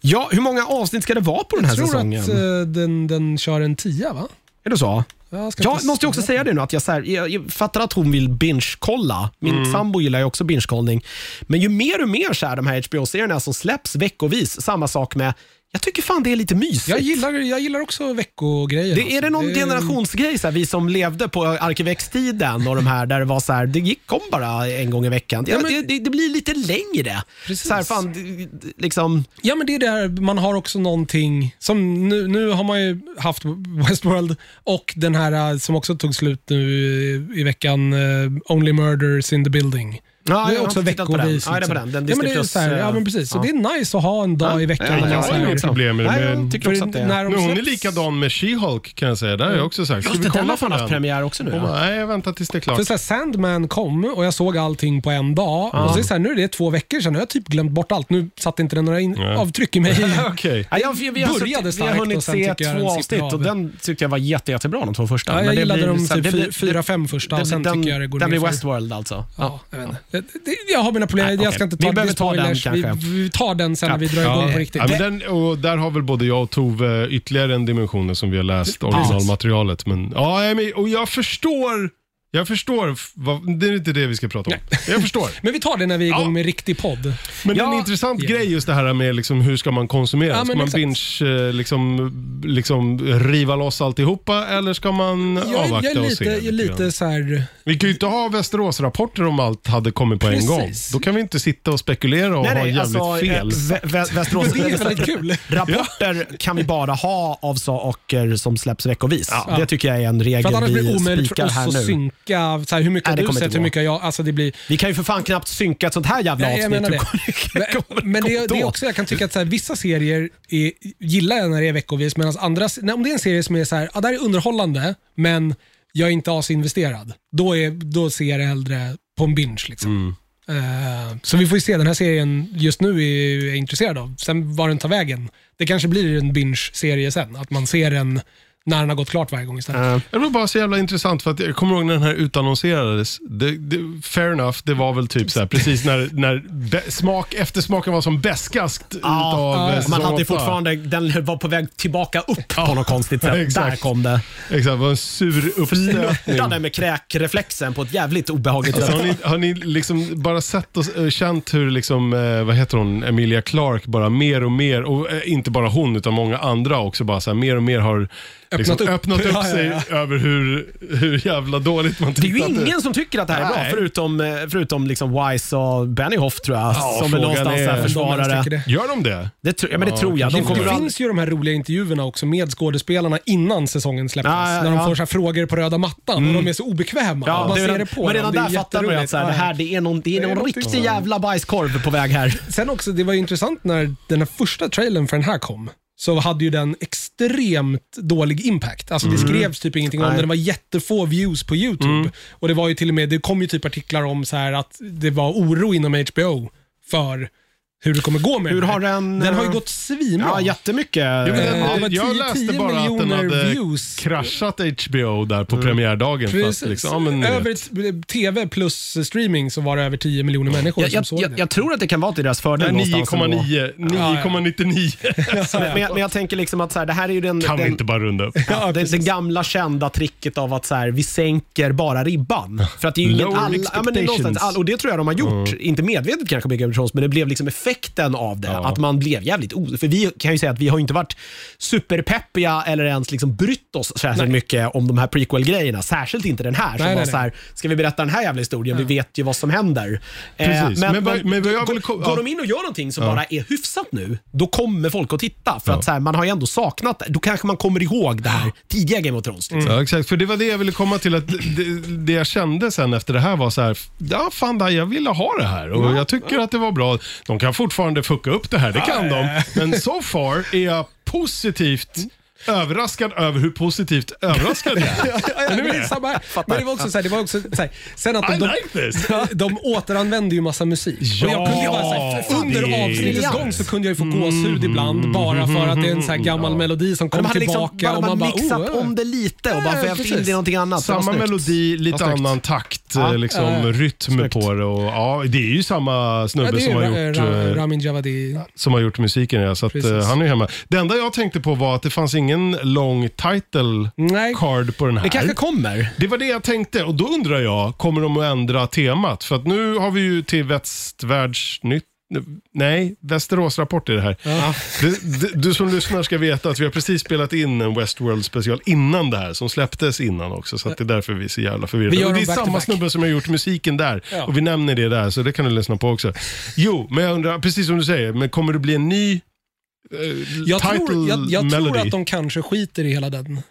[SPEAKER 1] Ja, hur många avsnitt ska det vara på den här
[SPEAKER 2] Jag tror
[SPEAKER 1] säsongen?
[SPEAKER 2] att eh, den, den kör en tia, va?
[SPEAKER 1] Är det så?
[SPEAKER 2] Jag, ska
[SPEAKER 1] Jag
[SPEAKER 2] inte-
[SPEAKER 1] måste ju också säga det nu, att jag, så här, jag, jag fattar att hon vill binge-kolla. Min
[SPEAKER 2] Mm.
[SPEAKER 1] sambo gillar ju också binge-kollning. Men ju mer och mer så här, de här HBO-serierna som släpps veckovis, samma sak med, jag tycker fan det är lite mysigt.
[SPEAKER 2] jag, gillar, jag gillar också veckogrejer.
[SPEAKER 1] det, är det någon
[SPEAKER 2] alltså.
[SPEAKER 1] generationsgrej, så här, vi som levde på Arkivex-tiden och de här där det var så här, det gick, kom bara en gång i veckan. Ja,
[SPEAKER 2] Ja, men-
[SPEAKER 1] det, det, det blir lite längre.
[SPEAKER 2] Precis.
[SPEAKER 1] Så här, fan, det- liksom,
[SPEAKER 2] Ja, men det är där man har också någonting som nu, nu har man ju haft Westworld och den här eh, som också tog slut nu i- i veckan, eh, Only Murders in the Building.
[SPEAKER 1] Ja,
[SPEAKER 2] det är
[SPEAKER 1] jag har
[SPEAKER 2] också
[SPEAKER 1] inte tittat på den.
[SPEAKER 2] veckovis.
[SPEAKER 1] Ja, det är på
[SPEAKER 2] liksom.
[SPEAKER 1] den. Den
[SPEAKER 2] ja, men det
[SPEAKER 1] Disney
[SPEAKER 2] är så här,
[SPEAKER 1] Plus,
[SPEAKER 2] ja, men
[SPEAKER 1] eh,
[SPEAKER 2] precis. Så
[SPEAKER 1] ja.
[SPEAKER 2] det är nice att ha en dag i veckan. när man
[SPEAKER 3] jag
[SPEAKER 2] så
[SPEAKER 3] har
[SPEAKER 2] här-
[SPEAKER 3] inget problem med det,
[SPEAKER 1] Nej,
[SPEAKER 3] men-
[SPEAKER 1] jag tycker också
[SPEAKER 2] För
[SPEAKER 1] att det
[SPEAKER 2] när
[SPEAKER 1] är...
[SPEAKER 2] de
[SPEAKER 3] Nu, hon är
[SPEAKER 2] släpps-
[SPEAKER 3] likadan med She-Hulk kan jag säga. Där har jag också sagt. Ska vi
[SPEAKER 1] Just det, den
[SPEAKER 3] kolla
[SPEAKER 1] har
[SPEAKER 3] på
[SPEAKER 1] fan haft
[SPEAKER 3] den?
[SPEAKER 1] premiär också nu.
[SPEAKER 3] Hon
[SPEAKER 1] ja.
[SPEAKER 3] bara, nej, jag väntar tills det är klart.
[SPEAKER 2] För så här, Sandman kom och jag såg allting på en dag. Och så är det så här, nu är det två veckor sedan och jag har typ glömt bort allt. Nu satte inte den några in-
[SPEAKER 3] Nej.
[SPEAKER 2] avtryck i mig.
[SPEAKER 3] Okej.
[SPEAKER 1] Ja, jag, vi, vi, har
[SPEAKER 2] Började
[SPEAKER 1] suttit- vi har
[SPEAKER 2] starkt
[SPEAKER 1] hunnit
[SPEAKER 2] och sen
[SPEAKER 1] se
[SPEAKER 2] tycker jag den
[SPEAKER 1] två
[SPEAKER 2] sitter
[SPEAKER 1] avsnitt
[SPEAKER 2] av.
[SPEAKER 1] och den tyckte jag var jätte, jättebra de två första.
[SPEAKER 2] Ja, jag
[SPEAKER 1] Men det
[SPEAKER 2] gillade
[SPEAKER 1] blir
[SPEAKER 2] de
[SPEAKER 1] så- det blir-
[SPEAKER 2] typ fyra, fem första och sen
[SPEAKER 1] den,
[SPEAKER 2] tycker jag det går
[SPEAKER 1] Den
[SPEAKER 2] ner
[SPEAKER 1] blir
[SPEAKER 2] för-
[SPEAKER 1] Westworld alltså.
[SPEAKER 2] Ja, jag, vet inte. Jag- det- jag har mina problem.
[SPEAKER 1] Nej,
[SPEAKER 2] jag
[SPEAKER 1] okej.
[SPEAKER 2] ska inte
[SPEAKER 1] Vi
[SPEAKER 2] ta
[SPEAKER 1] behöver
[SPEAKER 2] det
[SPEAKER 1] ta den
[SPEAKER 2] spoilers. vi,
[SPEAKER 1] kanske.
[SPEAKER 2] vi tar den sen
[SPEAKER 1] Ja.
[SPEAKER 2] när vi drar igång
[SPEAKER 3] Ja.
[SPEAKER 2] på riktigt.
[SPEAKER 3] Ja, men den, och där har väl både jag och Tove ytterligare en dimension som vi har läst originalmaterialet. Men, ja, nej, men, och jag förstår, jag förstår, f- vad, det är inte det vi ska prata om. Jag förstår.
[SPEAKER 2] Men vi tar det när vi är igång
[SPEAKER 3] Ja.
[SPEAKER 2] med riktig podd.
[SPEAKER 3] Men det är en
[SPEAKER 1] Ja.
[SPEAKER 3] intressant
[SPEAKER 2] Ja.
[SPEAKER 3] grej just det här med liksom, hur ska man konsumera?
[SPEAKER 2] Ja,
[SPEAKER 3] ska
[SPEAKER 2] men
[SPEAKER 3] man
[SPEAKER 2] exakt.
[SPEAKER 3] binge, eh, liksom, liksom riva loss alltihopa eller ska man
[SPEAKER 2] Jag, är- jag
[SPEAKER 3] avvakta
[SPEAKER 2] är
[SPEAKER 3] och
[SPEAKER 2] lite,
[SPEAKER 3] se?
[SPEAKER 2] jag är
[SPEAKER 3] lite grann?
[SPEAKER 2] lite så här...
[SPEAKER 3] Vi kan ju inte ha Västeråsrapporter om allt hade kommit på
[SPEAKER 2] Precis.
[SPEAKER 3] en gång. Då kan vi inte sitta och spekulera och
[SPEAKER 1] Nej,
[SPEAKER 3] ha
[SPEAKER 1] nej,
[SPEAKER 3] jävligt
[SPEAKER 1] alltså,
[SPEAKER 3] fel.
[SPEAKER 1] eh, Vä- Vä- Västerås
[SPEAKER 2] Det är väldigt kul.
[SPEAKER 1] Rapporter kan vi bara ha av saker som släpps veckovis. Det tycker jag är en
[SPEAKER 2] För att
[SPEAKER 1] regel
[SPEAKER 2] annars blir det
[SPEAKER 1] vi
[SPEAKER 2] omöjligt för
[SPEAKER 1] spikar
[SPEAKER 2] oss
[SPEAKER 1] här
[SPEAKER 2] att
[SPEAKER 1] nu.
[SPEAKER 2] synka. Så här, hur mycket
[SPEAKER 1] Nej, det
[SPEAKER 2] har du
[SPEAKER 1] kommer
[SPEAKER 2] sett,
[SPEAKER 1] inte
[SPEAKER 2] hur
[SPEAKER 1] gå.
[SPEAKER 2] mycket har jag... Alltså det blir...
[SPEAKER 1] Vi kan ju för fan knappt synka ett sånt här jävla
[SPEAKER 2] Nej, jag
[SPEAKER 1] avsnitt.
[SPEAKER 2] menar
[SPEAKER 1] Hur
[SPEAKER 2] det.
[SPEAKER 1] kommer-
[SPEAKER 2] Men
[SPEAKER 1] kommer
[SPEAKER 2] det, det är
[SPEAKER 1] då?
[SPEAKER 2] också, jag kan tycka att så här, vissa serier är, gillar jag när det är veckovis, medan andra, nej, om det är en serie som är så här, ah, det här är underhållande, men jag är inte asinvesterad, då, är, då ser jag det hellre på en binge. Liksom.
[SPEAKER 1] Mm.
[SPEAKER 2] Eh, så vi får ju se, den här serien just nu är jag intresserad av. Sen var den tar vägen. Det kanske blir en binge-serie sen, att man ser den när den har gått klart varje gång istället.
[SPEAKER 1] Eh,
[SPEAKER 3] Det var bara så jävla intressant för att jag kommer ihåg när den här utannonserades. Det, det, fair enough, det var väl typ så här, precis när, när be, smak, eftersmaken var som bäskast
[SPEAKER 1] Ja,
[SPEAKER 3] utav
[SPEAKER 1] ja, ja.
[SPEAKER 3] eh,
[SPEAKER 1] man
[SPEAKER 3] säsong
[SPEAKER 1] hade ju
[SPEAKER 3] åtta.
[SPEAKER 1] fortfarande, den var på väg tillbaka upp på något konstigt sätt. Där
[SPEAKER 3] exakt.
[SPEAKER 1] kom det.
[SPEAKER 3] Exakt, det var en sur uppstötning.
[SPEAKER 1] Flörtade med kräkreflexen på ett jävligt obehagligt
[SPEAKER 3] Alltså,
[SPEAKER 1] sätt.
[SPEAKER 3] har ni, har ni liksom bara sett och eh, känt hur, liksom, eh, vad heter hon, Emilia Clark bara mer och mer, och eh, inte bara hon utan många andra också, bara så här, mer och mer har liksom,
[SPEAKER 2] Öppnat upp.
[SPEAKER 3] öppnat upp
[SPEAKER 2] Ja, ja,
[SPEAKER 3] sig
[SPEAKER 2] ja.
[SPEAKER 3] över hur, hur jävla dåligt man
[SPEAKER 1] Det är ju
[SPEAKER 3] tyckte att
[SPEAKER 1] ingen som tycker att det här är bra,
[SPEAKER 3] Nej.
[SPEAKER 1] förutom, eh, förutom liksom Wise och Bennyhoff tror jag, som väl
[SPEAKER 3] frågan
[SPEAKER 1] någonstans
[SPEAKER 3] är-
[SPEAKER 1] är
[SPEAKER 2] De ens
[SPEAKER 1] försvarare.
[SPEAKER 2] tycker det.
[SPEAKER 3] Gör de det?
[SPEAKER 1] Det, tr- ja, men det tror jag. De
[SPEAKER 3] kanske
[SPEAKER 1] kommer
[SPEAKER 3] inte.
[SPEAKER 2] Det
[SPEAKER 1] väl-
[SPEAKER 2] finns ju de här roliga intervjuerna också med skådespelarna innan säsongen släpptes.
[SPEAKER 1] Ja, ja,
[SPEAKER 2] när
[SPEAKER 1] ja.
[SPEAKER 2] de får så här frågor på röda mattan och de är så obekväma.
[SPEAKER 1] Ja,
[SPEAKER 2] Man
[SPEAKER 1] det är
[SPEAKER 2] ser
[SPEAKER 1] redan,
[SPEAKER 2] det på
[SPEAKER 1] men
[SPEAKER 2] dem.
[SPEAKER 1] redan
[SPEAKER 2] det är
[SPEAKER 1] där fattar man ju att
[SPEAKER 2] jätteroligt.
[SPEAKER 1] så här, det
[SPEAKER 2] Ja.
[SPEAKER 1] här det är någon, det är
[SPEAKER 2] Det är
[SPEAKER 1] någon
[SPEAKER 2] någonting
[SPEAKER 1] riktig
[SPEAKER 2] som-
[SPEAKER 1] jävla bajskorv på väg här.
[SPEAKER 2] Sen också, det var ju intressant när den här första trailern för den här kom så hade ju den extremt dålig impact. Alltså Det skrevs typ ingenting om
[SPEAKER 1] Mm. Nej. Mm.
[SPEAKER 2] den. Det var jättefå views på YouTube. Och Det var ju till och med, det kom ju typ artiklar om så här att det var oro inom HBO för hur det kommer gå med
[SPEAKER 1] Hur
[SPEAKER 2] den. här.
[SPEAKER 1] har den,
[SPEAKER 2] den har ju
[SPEAKER 1] eh,
[SPEAKER 2] gått svinbra.
[SPEAKER 1] Ja, jättemycket.
[SPEAKER 3] Jo, men
[SPEAKER 2] Eh, det
[SPEAKER 3] den,
[SPEAKER 2] var
[SPEAKER 3] jag
[SPEAKER 2] 10
[SPEAKER 3] läste bara att den
[SPEAKER 2] miljoner
[SPEAKER 3] hade
[SPEAKER 2] views.
[SPEAKER 3] kraschat HBO där på premiärdagen. För att,
[SPEAKER 2] Precis.
[SPEAKER 3] liksom, ja, men, ni vet.
[SPEAKER 2] över t- tv plus streaming så var det över 10 miljoner människor
[SPEAKER 1] jag,
[SPEAKER 2] som
[SPEAKER 1] jag,
[SPEAKER 2] såg
[SPEAKER 1] jag,
[SPEAKER 2] det.
[SPEAKER 1] jag tror att det kan vara till deras fördel
[SPEAKER 3] Nej,
[SPEAKER 1] någonstans ändå.
[SPEAKER 3] 9,9. 9,99.
[SPEAKER 1] Men, men, jag, men jag tänker liksom att så här, det här är ju den,
[SPEAKER 3] Kan vi
[SPEAKER 1] den,
[SPEAKER 3] inte bara runda upp?
[SPEAKER 1] Ja, det, det gamla kända tricket av att så här, vi sänker bara ribban. För att det är ju inget
[SPEAKER 3] Lower
[SPEAKER 1] all, ja, men det är någonstans,
[SPEAKER 3] expectations.
[SPEAKER 1] all, Och det tror jag de har gjort. Inte medvetet kanske med Game of Thrones, men det blev liksom effekten av det. Att man blev jävligt o- För vi kan ju säga att vi har ju inte varit superpeppiga eller ens liksom brytt oss särskilt mycket om de här prequel-grejerna. Särskilt inte den här. som
[SPEAKER 2] Nej,
[SPEAKER 1] var
[SPEAKER 2] nej,
[SPEAKER 1] så här, ska vi berätta den här jävla historien? Vi vet ju vad som händer. Eh,
[SPEAKER 3] Precis. Men vad- men vad jag
[SPEAKER 1] går,
[SPEAKER 3] vill ko-
[SPEAKER 1] går
[SPEAKER 3] ja.
[SPEAKER 1] de in och gör någonting som bara är hyfsat nu, då kommer folk att titta. För att så här, man har ju ändå saknat det. Då kanske man kommer ihåg det här tidiga Game of Thrones.
[SPEAKER 2] Mm.
[SPEAKER 1] Liksom.
[SPEAKER 3] Ja, exakt. För det var det jag ville komma till. Att det, det jag kände sen efter det här var så här, ja fan där, jag ville ha det här och jag tycker att det var bra. De kan fortfarande fucka upp det här, det kan de. Men so far är jag positivt överraskad över hur positivt överraskad jag är.
[SPEAKER 2] Ja, ja, det är samma här. Men det var också så här, det var också så här, sen att
[SPEAKER 3] I
[SPEAKER 2] de, de,
[SPEAKER 3] like this.
[SPEAKER 2] de återanvände ju massa musik. och jag kunde ju bara, så här, för fan,
[SPEAKER 3] det är
[SPEAKER 2] under avsnittets
[SPEAKER 1] briljant.
[SPEAKER 2] gång så kunde jag ju få
[SPEAKER 3] Mm.
[SPEAKER 2] gåshud ibland bara för att det är en så här gammal melodi som
[SPEAKER 1] De
[SPEAKER 2] kom
[SPEAKER 1] hade liksom
[SPEAKER 2] tillbaka.
[SPEAKER 1] bara,
[SPEAKER 2] och man
[SPEAKER 1] man
[SPEAKER 2] bara,
[SPEAKER 1] mixat
[SPEAKER 2] oh,
[SPEAKER 1] om det lite och
[SPEAKER 2] Ja,
[SPEAKER 1] bara
[SPEAKER 2] ja,
[SPEAKER 1] vävt in det
[SPEAKER 2] precis.
[SPEAKER 1] i någonting annat. Det var
[SPEAKER 3] Samma
[SPEAKER 1] snyggt.
[SPEAKER 3] melodi, lite
[SPEAKER 1] snyggt.
[SPEAKER 3] annan takt,
[SPEAKER 1] Ja.
[SPEAKER 3] eh, liksom,
[SPEAKER 2] Ja.
[SPEAKER 3] rytm
[SPEAKER 1] Snyggt.
[SPEAKER 3] på det. Och, ja, det är ju samma
[SPEAKER 2] Ja,
[SPEAKER 3] snubbe
[SPEAKER 2] det är
[SPEAKER 3] som,
[SPEAKER 2] ju
[SPEAKER 3] har
[SPEAKER 2] Ra-
[SPEAKER 3] gjort,
[SPEAKER 2] Ra-
[SPEAKER 3] eh,
[SPEAKER 2] Ramin Javadi.
[SPEAKER 3] som har gjort musiken. Ja, så att,
[SPEAKER 2] Precis.
[SPEAKER 3] eh, han är ju hemma. Det enda jag tänkte på var att det fanns ingen lång title
[SPEAKER 2] Nej.
[SPEAKER 3] card på den här.
[SPEAKER 1] Det kanske kommer.
[SPEAKER 3] Det var det jag tänkte och då undrar jag, kommer de att ändra temat? För att nu har vi ju till Västvärldsnytt Nej, Västeråsrapport är det här. Du, du, du som lyssnar ska veta att vi har precis spelat in en Westworld special innan det här, som släpptes innan också. Så att det är därför vi är så jävla förvirrade.
[SPEAKER 2] Vi gör
[SPEAKER 3] Och det
[SPEAKER 2] dem
[SPEAKER 3] är
[SPEAKER 2] back to
[SPEAKER 3] samma
[SPEAKER 2] back.
[SPEAKER 3] snubbe som har gjort musiken där
[SPEAKER 2] Ja.
[SPEAKER 3] och vi nämner det där, så det kan du lyssna på också. Jo, men jag undrar, precis som du säger, men kommer det bli en ny eh,
[SPEAKER 2] Jag,
[SPEAKER 3] title
[SPEAKER 2] tror, jag, jag
[SPEAKER 3] melody?
[SPEAKER 2] tror att de kanske skiter i hela den.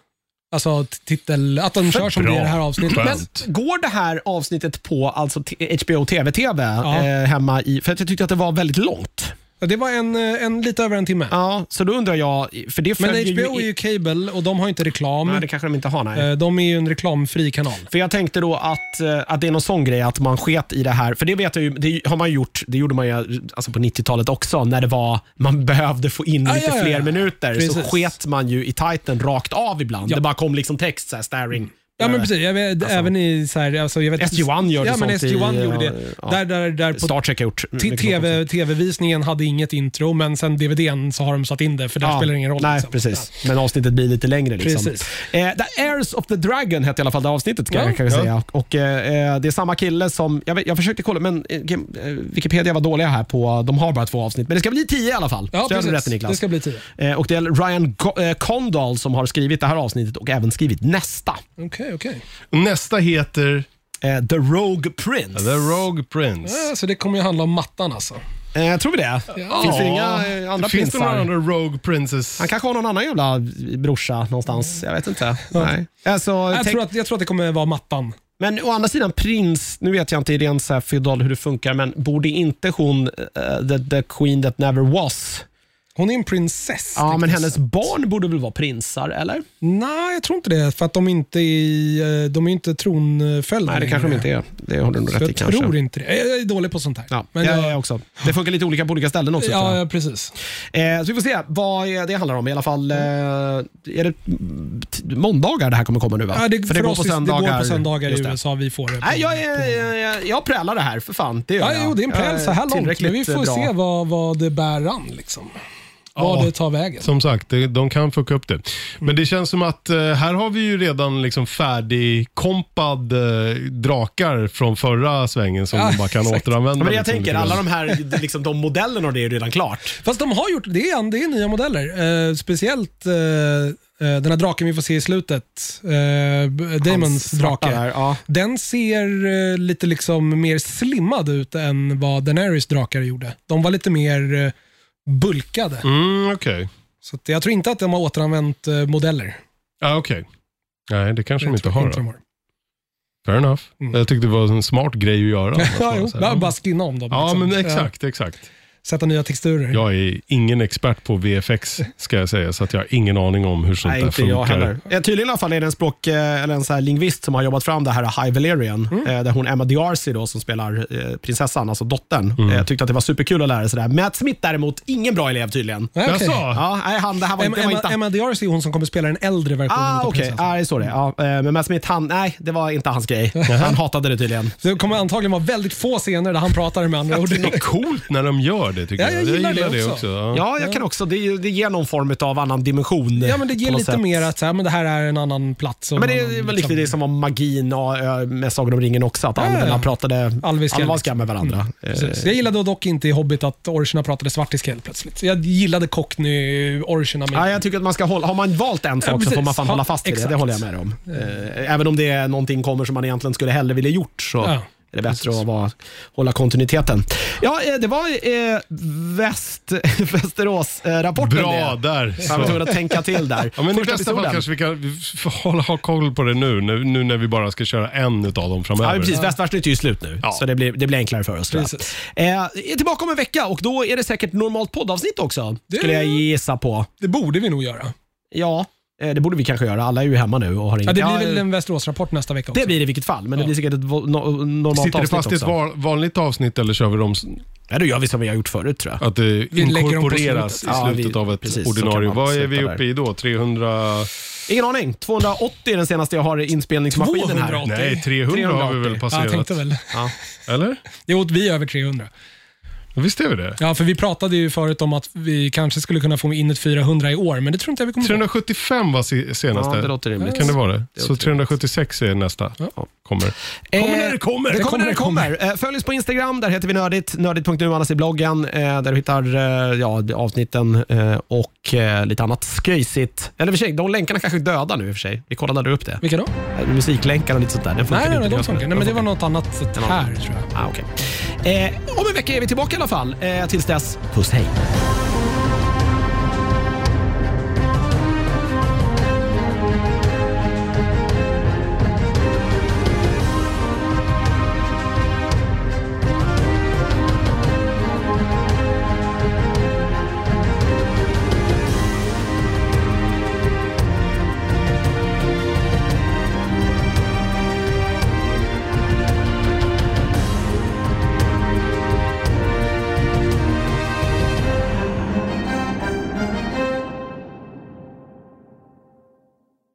[SPEAKER 2] Alltså t- titel, att de kör som
[SPEAKER 3] bra.
[SPEAKER 2] det är i det här avsnittet.
[SPEAKER 3] Skönt.
[SPEAKER 2] Men,
[SPEAKER 3] Skönt.
[SPEAKER 1] Går det här avsnittet på alltså, t- HBO TV-TV
[SPEAKER 2] Ja.
[SPEAKER 1] eh, hemma i... För att jag tyckte att det var väldigt långt.
[SPEAKER 2] ja, det var en, eh, en, lite över en timme.
[SPEAKER 1] Ja, så då undrar jag... För det
[SPEAKER 2] Men
[SPEAKER 1] följer
[SPEAKER 2] HBO är ju cable och de har inte reklam.
[SPEAKER 1] Nej, det kanske de inte har. Nej.
[SPEAKER 2] Eh, De är ju en reklamfri kanal.
[SPEAKER 1] För jag tänkte då att, eh, att det är någon sån grej att man sket i det här. För det vet jag ju, det har man gjort, det gjorde man ju alltså på 90-talet också, när det var, man behövde få in
[SPEAKER 2] Ah,
[SPEAKER 1] lite
[SPEAKER 2] ja, ja,
[SPEAKER 1] fler
[SPEAKER 2] ja.
[SPEAKER 1] minuter. Så
[SPEAKER 2] Precis.
[SPEAKER 1] sket man ju i titeln rakt av ibland.
[SPEAKER 2] Ja.
[SPEAKER 1] Det bara kom liksom text så här, staring.
[SPEAKER 2] Ja men
[SPEAKER 1] Eh,
[SPEAKER 2] precis, jag vet, även i så här, alltså, jag vet,
[SPEAKER 1] SG1 gör det
[SPEAKER 2] ja, men
[SPEAKER 1] sånt i-
[SPEAKER 2] SG1 gjorde
[SPEAKER 1] ja,
[SPEAKER 2] det.
[SPEAKER 1] ja.
[SPEAKER 2] Där, där, där på
[SPEAKER 1] Star Trek har gjort.
[SPEAKER 2] till
[SPEAKER 1] mycket sånt
[SPEAKER 2] TV, TV-visningen hade inget intro, men sen DVDn så har de satt in det, för där
[SPEAKER 1] också.
[SPEAKER 2] spelar det ingen roll.
[SPEAKER 1] Nej,
[SPEAKER 2] liksom.
[SPEAKER 1] precis. Men avsnittet blir lite längre. Liksom.
[SPEAKER 2] Precis.
[SPEAKER 1] Eh, the Heirs of the Dragon hette i alla fall det avsnittet. Ska
[SPEAKER 2] Ja,
[SPEAKER 1] jag, kan jag
[SPEAKER 3] ja.
[SPEAKER 1] säga. Och, eh, eh, det är samma kille som... Jag, vet, jag försökte kolla, men eh, Game- eh, Wikipedia var dåliga här. på De har bara två avsnitt, men det ska bli tio i alla fall.
[SPEAKER 2] Ja,
[SPEAKER 1] Så jag hade
[SPEAKER 2] precis.
[SPEAKER 1] rätt, Niklas.
[SPEAKER 2] Det ska bli tio.
[SPEAKER 1] Eh, och det är Ryan Go- eh, Condal som har skrivit det här avsnittet och även skrivit nästa.
[SPEAKER 2] Okej, okej.
[SPEAKER 3] Nästa heter
[SPEAKER 1] Eh, The Rogue Prince.
[SPEAKER 3] The Rogue Prince.
[SPEAKER 2] Ja, så det kommer ju handla om mattan alltså.
[SPEAKER 1] Eh, tror vi det? Finns det inga eh, andra
[SPEAKER 3] Finns det
[SPEAKER 1] prinsar?
[SPEAKER 3] några andra Rogue Princess?
[SPEAKER 1] Han kanske har någon annan jävla brorsa någonstans. Jag vet inte. Nej. Alltså,
[SPEAKER 2] Jag,
[SPEAKER 1] tänk-
[SPEAKER 2] tror att, jag tror att det kommer vara mattan.
[SPEAKER 1] Men å andra sidan, prins, nu vet jag inte i ren så här feodal hur det funkar, men borde inte hon, eh, the, the queen that never was,
[SPEAKER 2] Hon är en prinsess.
[SPEAKER 1] ja, men
[SPEAKER 2] tekniskt
[SPEAKER 1] hennes
[SPEAKER 2] sett.
[SPEAKER 1] barn borde väl vara prinsar, eller?
[SPEAKER 2] Nej, jag tror inte det. För att de inte är, i, eh, de är inte tronföljda.
[SPEAKER 1] Nej, det kanske de inte är. Det har du nog
[SPEAKER 2] Så
[SPEAKER 1] rätt i
[SPEAKER 2] jag
[SPEAKER 1] kanske.
[SPEAKER 2] tror inte det. Jag jag är dålig på sånt här.
[SPEAKER 1] Ja,
[SPEAKER 2] Men
[SPEAKER 1] jag,
[SPEAKER 2] jag-
[SPEAKER 1] är också. Det funkar lite olika på olika ställen också. tror
[SPEAKER 2] Ja,
[SPEAKER 1] jag.
[SPEAKER 2] ja, precis.
[SPEAKER 1] Eh, så vi får se vad eh, det handlar om. I alla fall, eh, är det t- måndagar det här kommer komma nu va?
[SPEAKER 2] Ja, det, för
[SPEAKER 1] går
[SPEAKER 2] oss, det går på söndagar i
[SPEAKER 1] Just det.
[SPEAKER 2] USA. Vi får det. på-
[SPEAKER 1] Nej, jag, är, jag, jag, jag prälar det här för fan. Det gör
[SPEAKER 2] Ja,
[SPEAKER 1] jag.
[SPEAKER 2] jo, det är en
[SPEAKER 1] Jag
[SPEAKER 2] präl så här långt,
[SPEAKER 1] tillräckligt
[SPEAKER 2] men vi får
[SPEAKER 1] bra.
[SPEAKER 2] se vad, vad det bär an. Liksom. Vad
[SPEAKER 3] Ja.
[SPEAKER 2] det tar vägen.
[SPEAKER 3] Som sagt, det- de kan fucka upp det. Men det känns som att eh, här har vi ju redan liksom färdigkompad eh, drakar från förra svängen som
[SPEAKER 2] Ja,
[SPEAKER 3] man bara kan
[SPEAKER 2] exakt.
[SPEAKER 3] återanvända.
[SPEAKER 1] Ja, men jag
[SPEAKER 3] liksom
[SPEAKER 1] tänker,
[SPEAKER 3] lite
[SPEAKER 1] alla
[SPEAKER 3] grann.
[SPEAKER 1] de här liksom, de modellerna och det är ju redan klart.
[SPEAKER 2] Fast de har gjort, det är, det är nya modeller. Eh, speciellt eh, eh, den här draken vi får se i slutet, eh, B- Damons
[SPEAKER 1] Hans svarta
[SPEAKER 2] drake,
[SPEAKER 1] Där, ja.
[SPEAKER 2] den ser eh, lite liksom mer slimmad ut än vad Daenerys drakar gjorde. De var lite mer eh, bulkade.
[SPEAKER 3] Mm, okej.
[SPEAKER 2] Så att jag tror inte att de har återanvänt eh, modeller.
[SPEAKER 3] Ja, okej. Nej, det kanske de
[SPEAKER 2] Jag
[SPEAKER 3] inte
[SPEAKER 2] tror
[SPEAKER 3] har.
[SPEAKER 2] de
[SPEAKER 3] Då. Fair enough.
[SPEAKER 2] Mm.
[SPEAKER 3] Jag tyckte det var en smart grej att göra. Att
[SPEAKER 2] Ja,
[SPEAKER 3] bara
[SPEAKER 2] jo,
[SPEAKER 3] så här,
[SPEAKER 2] bara, bara skinna om dem.
[SPEAKER 3] Ja,
[SPEAKER 2] liksom.
[SPEAKER 3] men exakt, exakt.
[SPEAKER 2] Ja, Sätta nya texturer.
[SPEAKER 3] Jag är ingen expert på VFX, ska jag säga, så att jag har ingen aning om hur sånt
[SPEAKER 1] Nej,
[SPEAKER 3] där
[SPEAKER 1] inte
[SPEAKER 3] funkar.
[SPEAKER 1] jag heller. Eh, Tydligen i alla fall är det en språk, eh, eller en så här lingvist som har jobbat fram det här High Valerian,
[SPEAKER 2] Mm.
[SPEAKER 1] eh, där hon Emma D'Arcy då, som spelar eh, prinsessan, alltså dottern, eh, tyckte att det var superkul att lära sig det här. Matt Smith däremot, ingen bra elev tydligen.
[SPEAKER 2] Nej, okej.
[SPEAKER 3] Jaså?
[SPEAKER 1] Ja, nej, han, det här var,
[SPEAKER 2] Emma,
[SPEAKER 1] det var inte...
[SPEAKER 2] Emma, Emma Diaris är hon som kommer spela den äldre versionen
[SPEAKER 1] ah,
[SPEAKER 2] utav
[SPEAKER 1] okej.
[SPEAKER 2] prinsessan.
[SPEAKER 1] Ah, det är så det är. ja, eh, Men Matt Smith, han, nej, det var inte hans grej. Han hatade det tydligen.
[SPEAKER 2] Så Det kommer antagligen vara väldigt få scener där han pratar med andra ord.
[SPEAKER 3] Det är coolt när de gör det, tycker
[SPEAKER 2] Ja,
[SPEAKER 3] jag.
[SPEAKER 2] jag gillar det
[SPEAKER 3] det
[SPEAKER 2] också.
[SPEAKER 3] också. Ja.
[SPEAKER 1] Ja, jag kan också. Det, det ger någon form av annan dimension.
[SPEAKER 2] Ja, men det ger
[SPEAKER 1] på något
[SPEAKER 2] lite
[SPEAKER 1] sätt.
[SPEAKER 2] mer att så här, men det här är en annan plats. och
[SPEAKER 1] Men det
[SPEAKER 2] en
[SPEAKER 1] är
[SPEAKER 2] annan, liksom
[SPEAKER 1] väl lite det som var magin och, eh, med Sagan om ringen också, att
[SPEAKER 2] Ja, ja, ja.
[SPEAKER 1] alverna pratade
[SPEAKER 2] Alviska,
[SPEAKER 1] alvanska
[SPEAKER 2] liksom.
[SPEAKER 1] med varandra. Eh,
[SPEAKER 2] Precis. Jag gillade dock inte i Hobbit att orcherna pratade svartiska helt plötsligt. Jag gillade Cockney-orcherna. men-
[SPEAKER 1] Ja, jag tycker att man ska hålla, har man valt en sak så
[SPEAKER 2] precis.
[SPEAKER 1] får man fan
[SPEAKER 2] Ja,
[SPEAKER 1] hålla fast vid det. Det
[SPEAKER 2] exakt. Mm.
[SPEAKER 1] håller jag med om. Eh, Även om det är någonting kommer som man egentligen skulle hellre vilja gjort så
[SPEAKER 2] Ja,
[SPEAKER 1] är det bättre att vara, hålla kontinuiteten. Ja, eh, det var eh, väst, Västerås-rapporten
[SPEAKER 3] Bra
[SPEAKER 1] det.
[SPEAKER 3] där.
[SPEAKER 1] Jag var
[SPEAKER 3] Så.
[SPEAKER 1] tvungen att tänka till där.
[SPEAKER 3] Ja, men I
[SPEAKER 1] Första
[SPEAKER 3] bästa fall
[SPEAKER 1] episoden.
[SPEAKER 3] kanske vi kan vi får hålla, ha koll på det nu, nu, nu när vi bara ska köra en av dem
[SPEAKER 1] Ja,
[SPEAKER 3] framöver.
[SPEAKER 1] men precis. Västvärlden är ju slut nu,
[SPEAKER 3] Ja.
[SPEAKER 1] så det blir, det blir enklare för oss. tror jag.
[SPEAKER 2] Precis.
[SPEAKER 1] Eh, är tillbaka om en vecka och då är det säkert normalt poddavsnitt också,
[SPEAKER 2] Det-
[SPEAKER 1] skulle jag gissa på.
[SPEAKER 2] Det borde vi nog göra.
[SPEAKER 1] Ja, eh, det borde vi kanske göra. Alla är ju hemma nu och har
[SPEAKER 2] Ja,
[SPEAKER 1] inget...
[SPEAKER 2] det blir
[SPEAKER 1] Ja, eh.
[SPEAKER 2] väl en Västerås-rapport nästa vecka också.
[SPEAKER 1] Det blir det i vilket fall, men det
[SPEAKER 2] Ja.
[SPEAKER 1] blir säkert ett vo- no- normalt
[SPEAKER 3] Sitter det
[SPEAKER 1] avsnitt
[SPEAKER 3] fast i ett
[SPEAKER 1] också.
[SPEAKER 3] va- vanligt avsnitt eller kör vi dem s-
[SPEAKER 1] Ja, då gör vi som vi har gjort förut tror jag.
[SPEAKER 3] att det
[SPEAKER 2] lägger dem på
[SPEAKER 3] inkorporeras i
[SPEAKER 1] slutet. Ja, vi-
[SPEAKER 3] slutet av ett
[SPEAKER 1] precis, så kan
[SPEAKER 3] ordinarie?
[SPEAKER 1] man
[SPEAKER 3] Vad är
[SPEAKER 1] sluta
[SPEAKER 3] vi
[SPEAKER 1] där.
[SPEAKER 3] uppe i då? 300?
[SPEAKER 1] Ingen aning. 280 är den senaste jag har i inspelningsmaskinen här.
[SPEAKER 2] 280.
[SPEAKER 3] Nej, 300 har vi
[SPEAKER 1] 380.
[SPEAKER 3] väl
[SPEAKER 2] ja, jag
[SPEAKER 3] passerat?
[SPEAKER 2] tänkte väl.
[SPEAKER 1] Ja.
[SPEAKER 3] Eller?
[SPEAKER 2] Jo, vi är över 300.
[SPEAKER 3] Visst är vi det?
[SPEAKER 2] Ja, för vi pratade ju förut om att vi kanske skulle kunna få in ett 400 i år, men det tror inte jag vi kommer få.
[SPEAKER 3] 375 var se- senaste.
[SPEAKER 1] Ja, det låter rimligt.
[SPEAKER 3] Kan det vara det?
[SPEAKER 1] Det
[SPEAKER 3] Så
[SPEAKER 1] låter
[SPEAKER 3] 376 är nästa. Kommer.
[SPEAKER 1] Kommer när det
[SPEAKER 2] kommer.
[SPEAKER 1] Det kommer när det kommer. Eh, Följ oss på Instagram, där heter vi Nördigt. Nördigt.nu annars i bloggen, eh, där du hittar eh, ja, avsnitten eh, och eh, lite annat sköjsigt. Eller i och för sig, de länkarna kanske är döda nu i och för sig. Vi kollade upp det.
[SPEAKER 2] Vilka då?
[SPEAKER 1] Eh, Musiklänkar och lite sånt där. Den
[SPEAKER 2] Nej, nej, nej,
[SPEAKER 1] inte.
[SPEAKER 2] de funkar. Nej, men det var något annat sätt
[SPEAKER 1] var-
[SPEAKER 2] här, tror jag.
[SPEAKER 1] Ah, okay. eh, om en vecka är vi tillbaka i alla fall. Eh, tills dess, puss hej.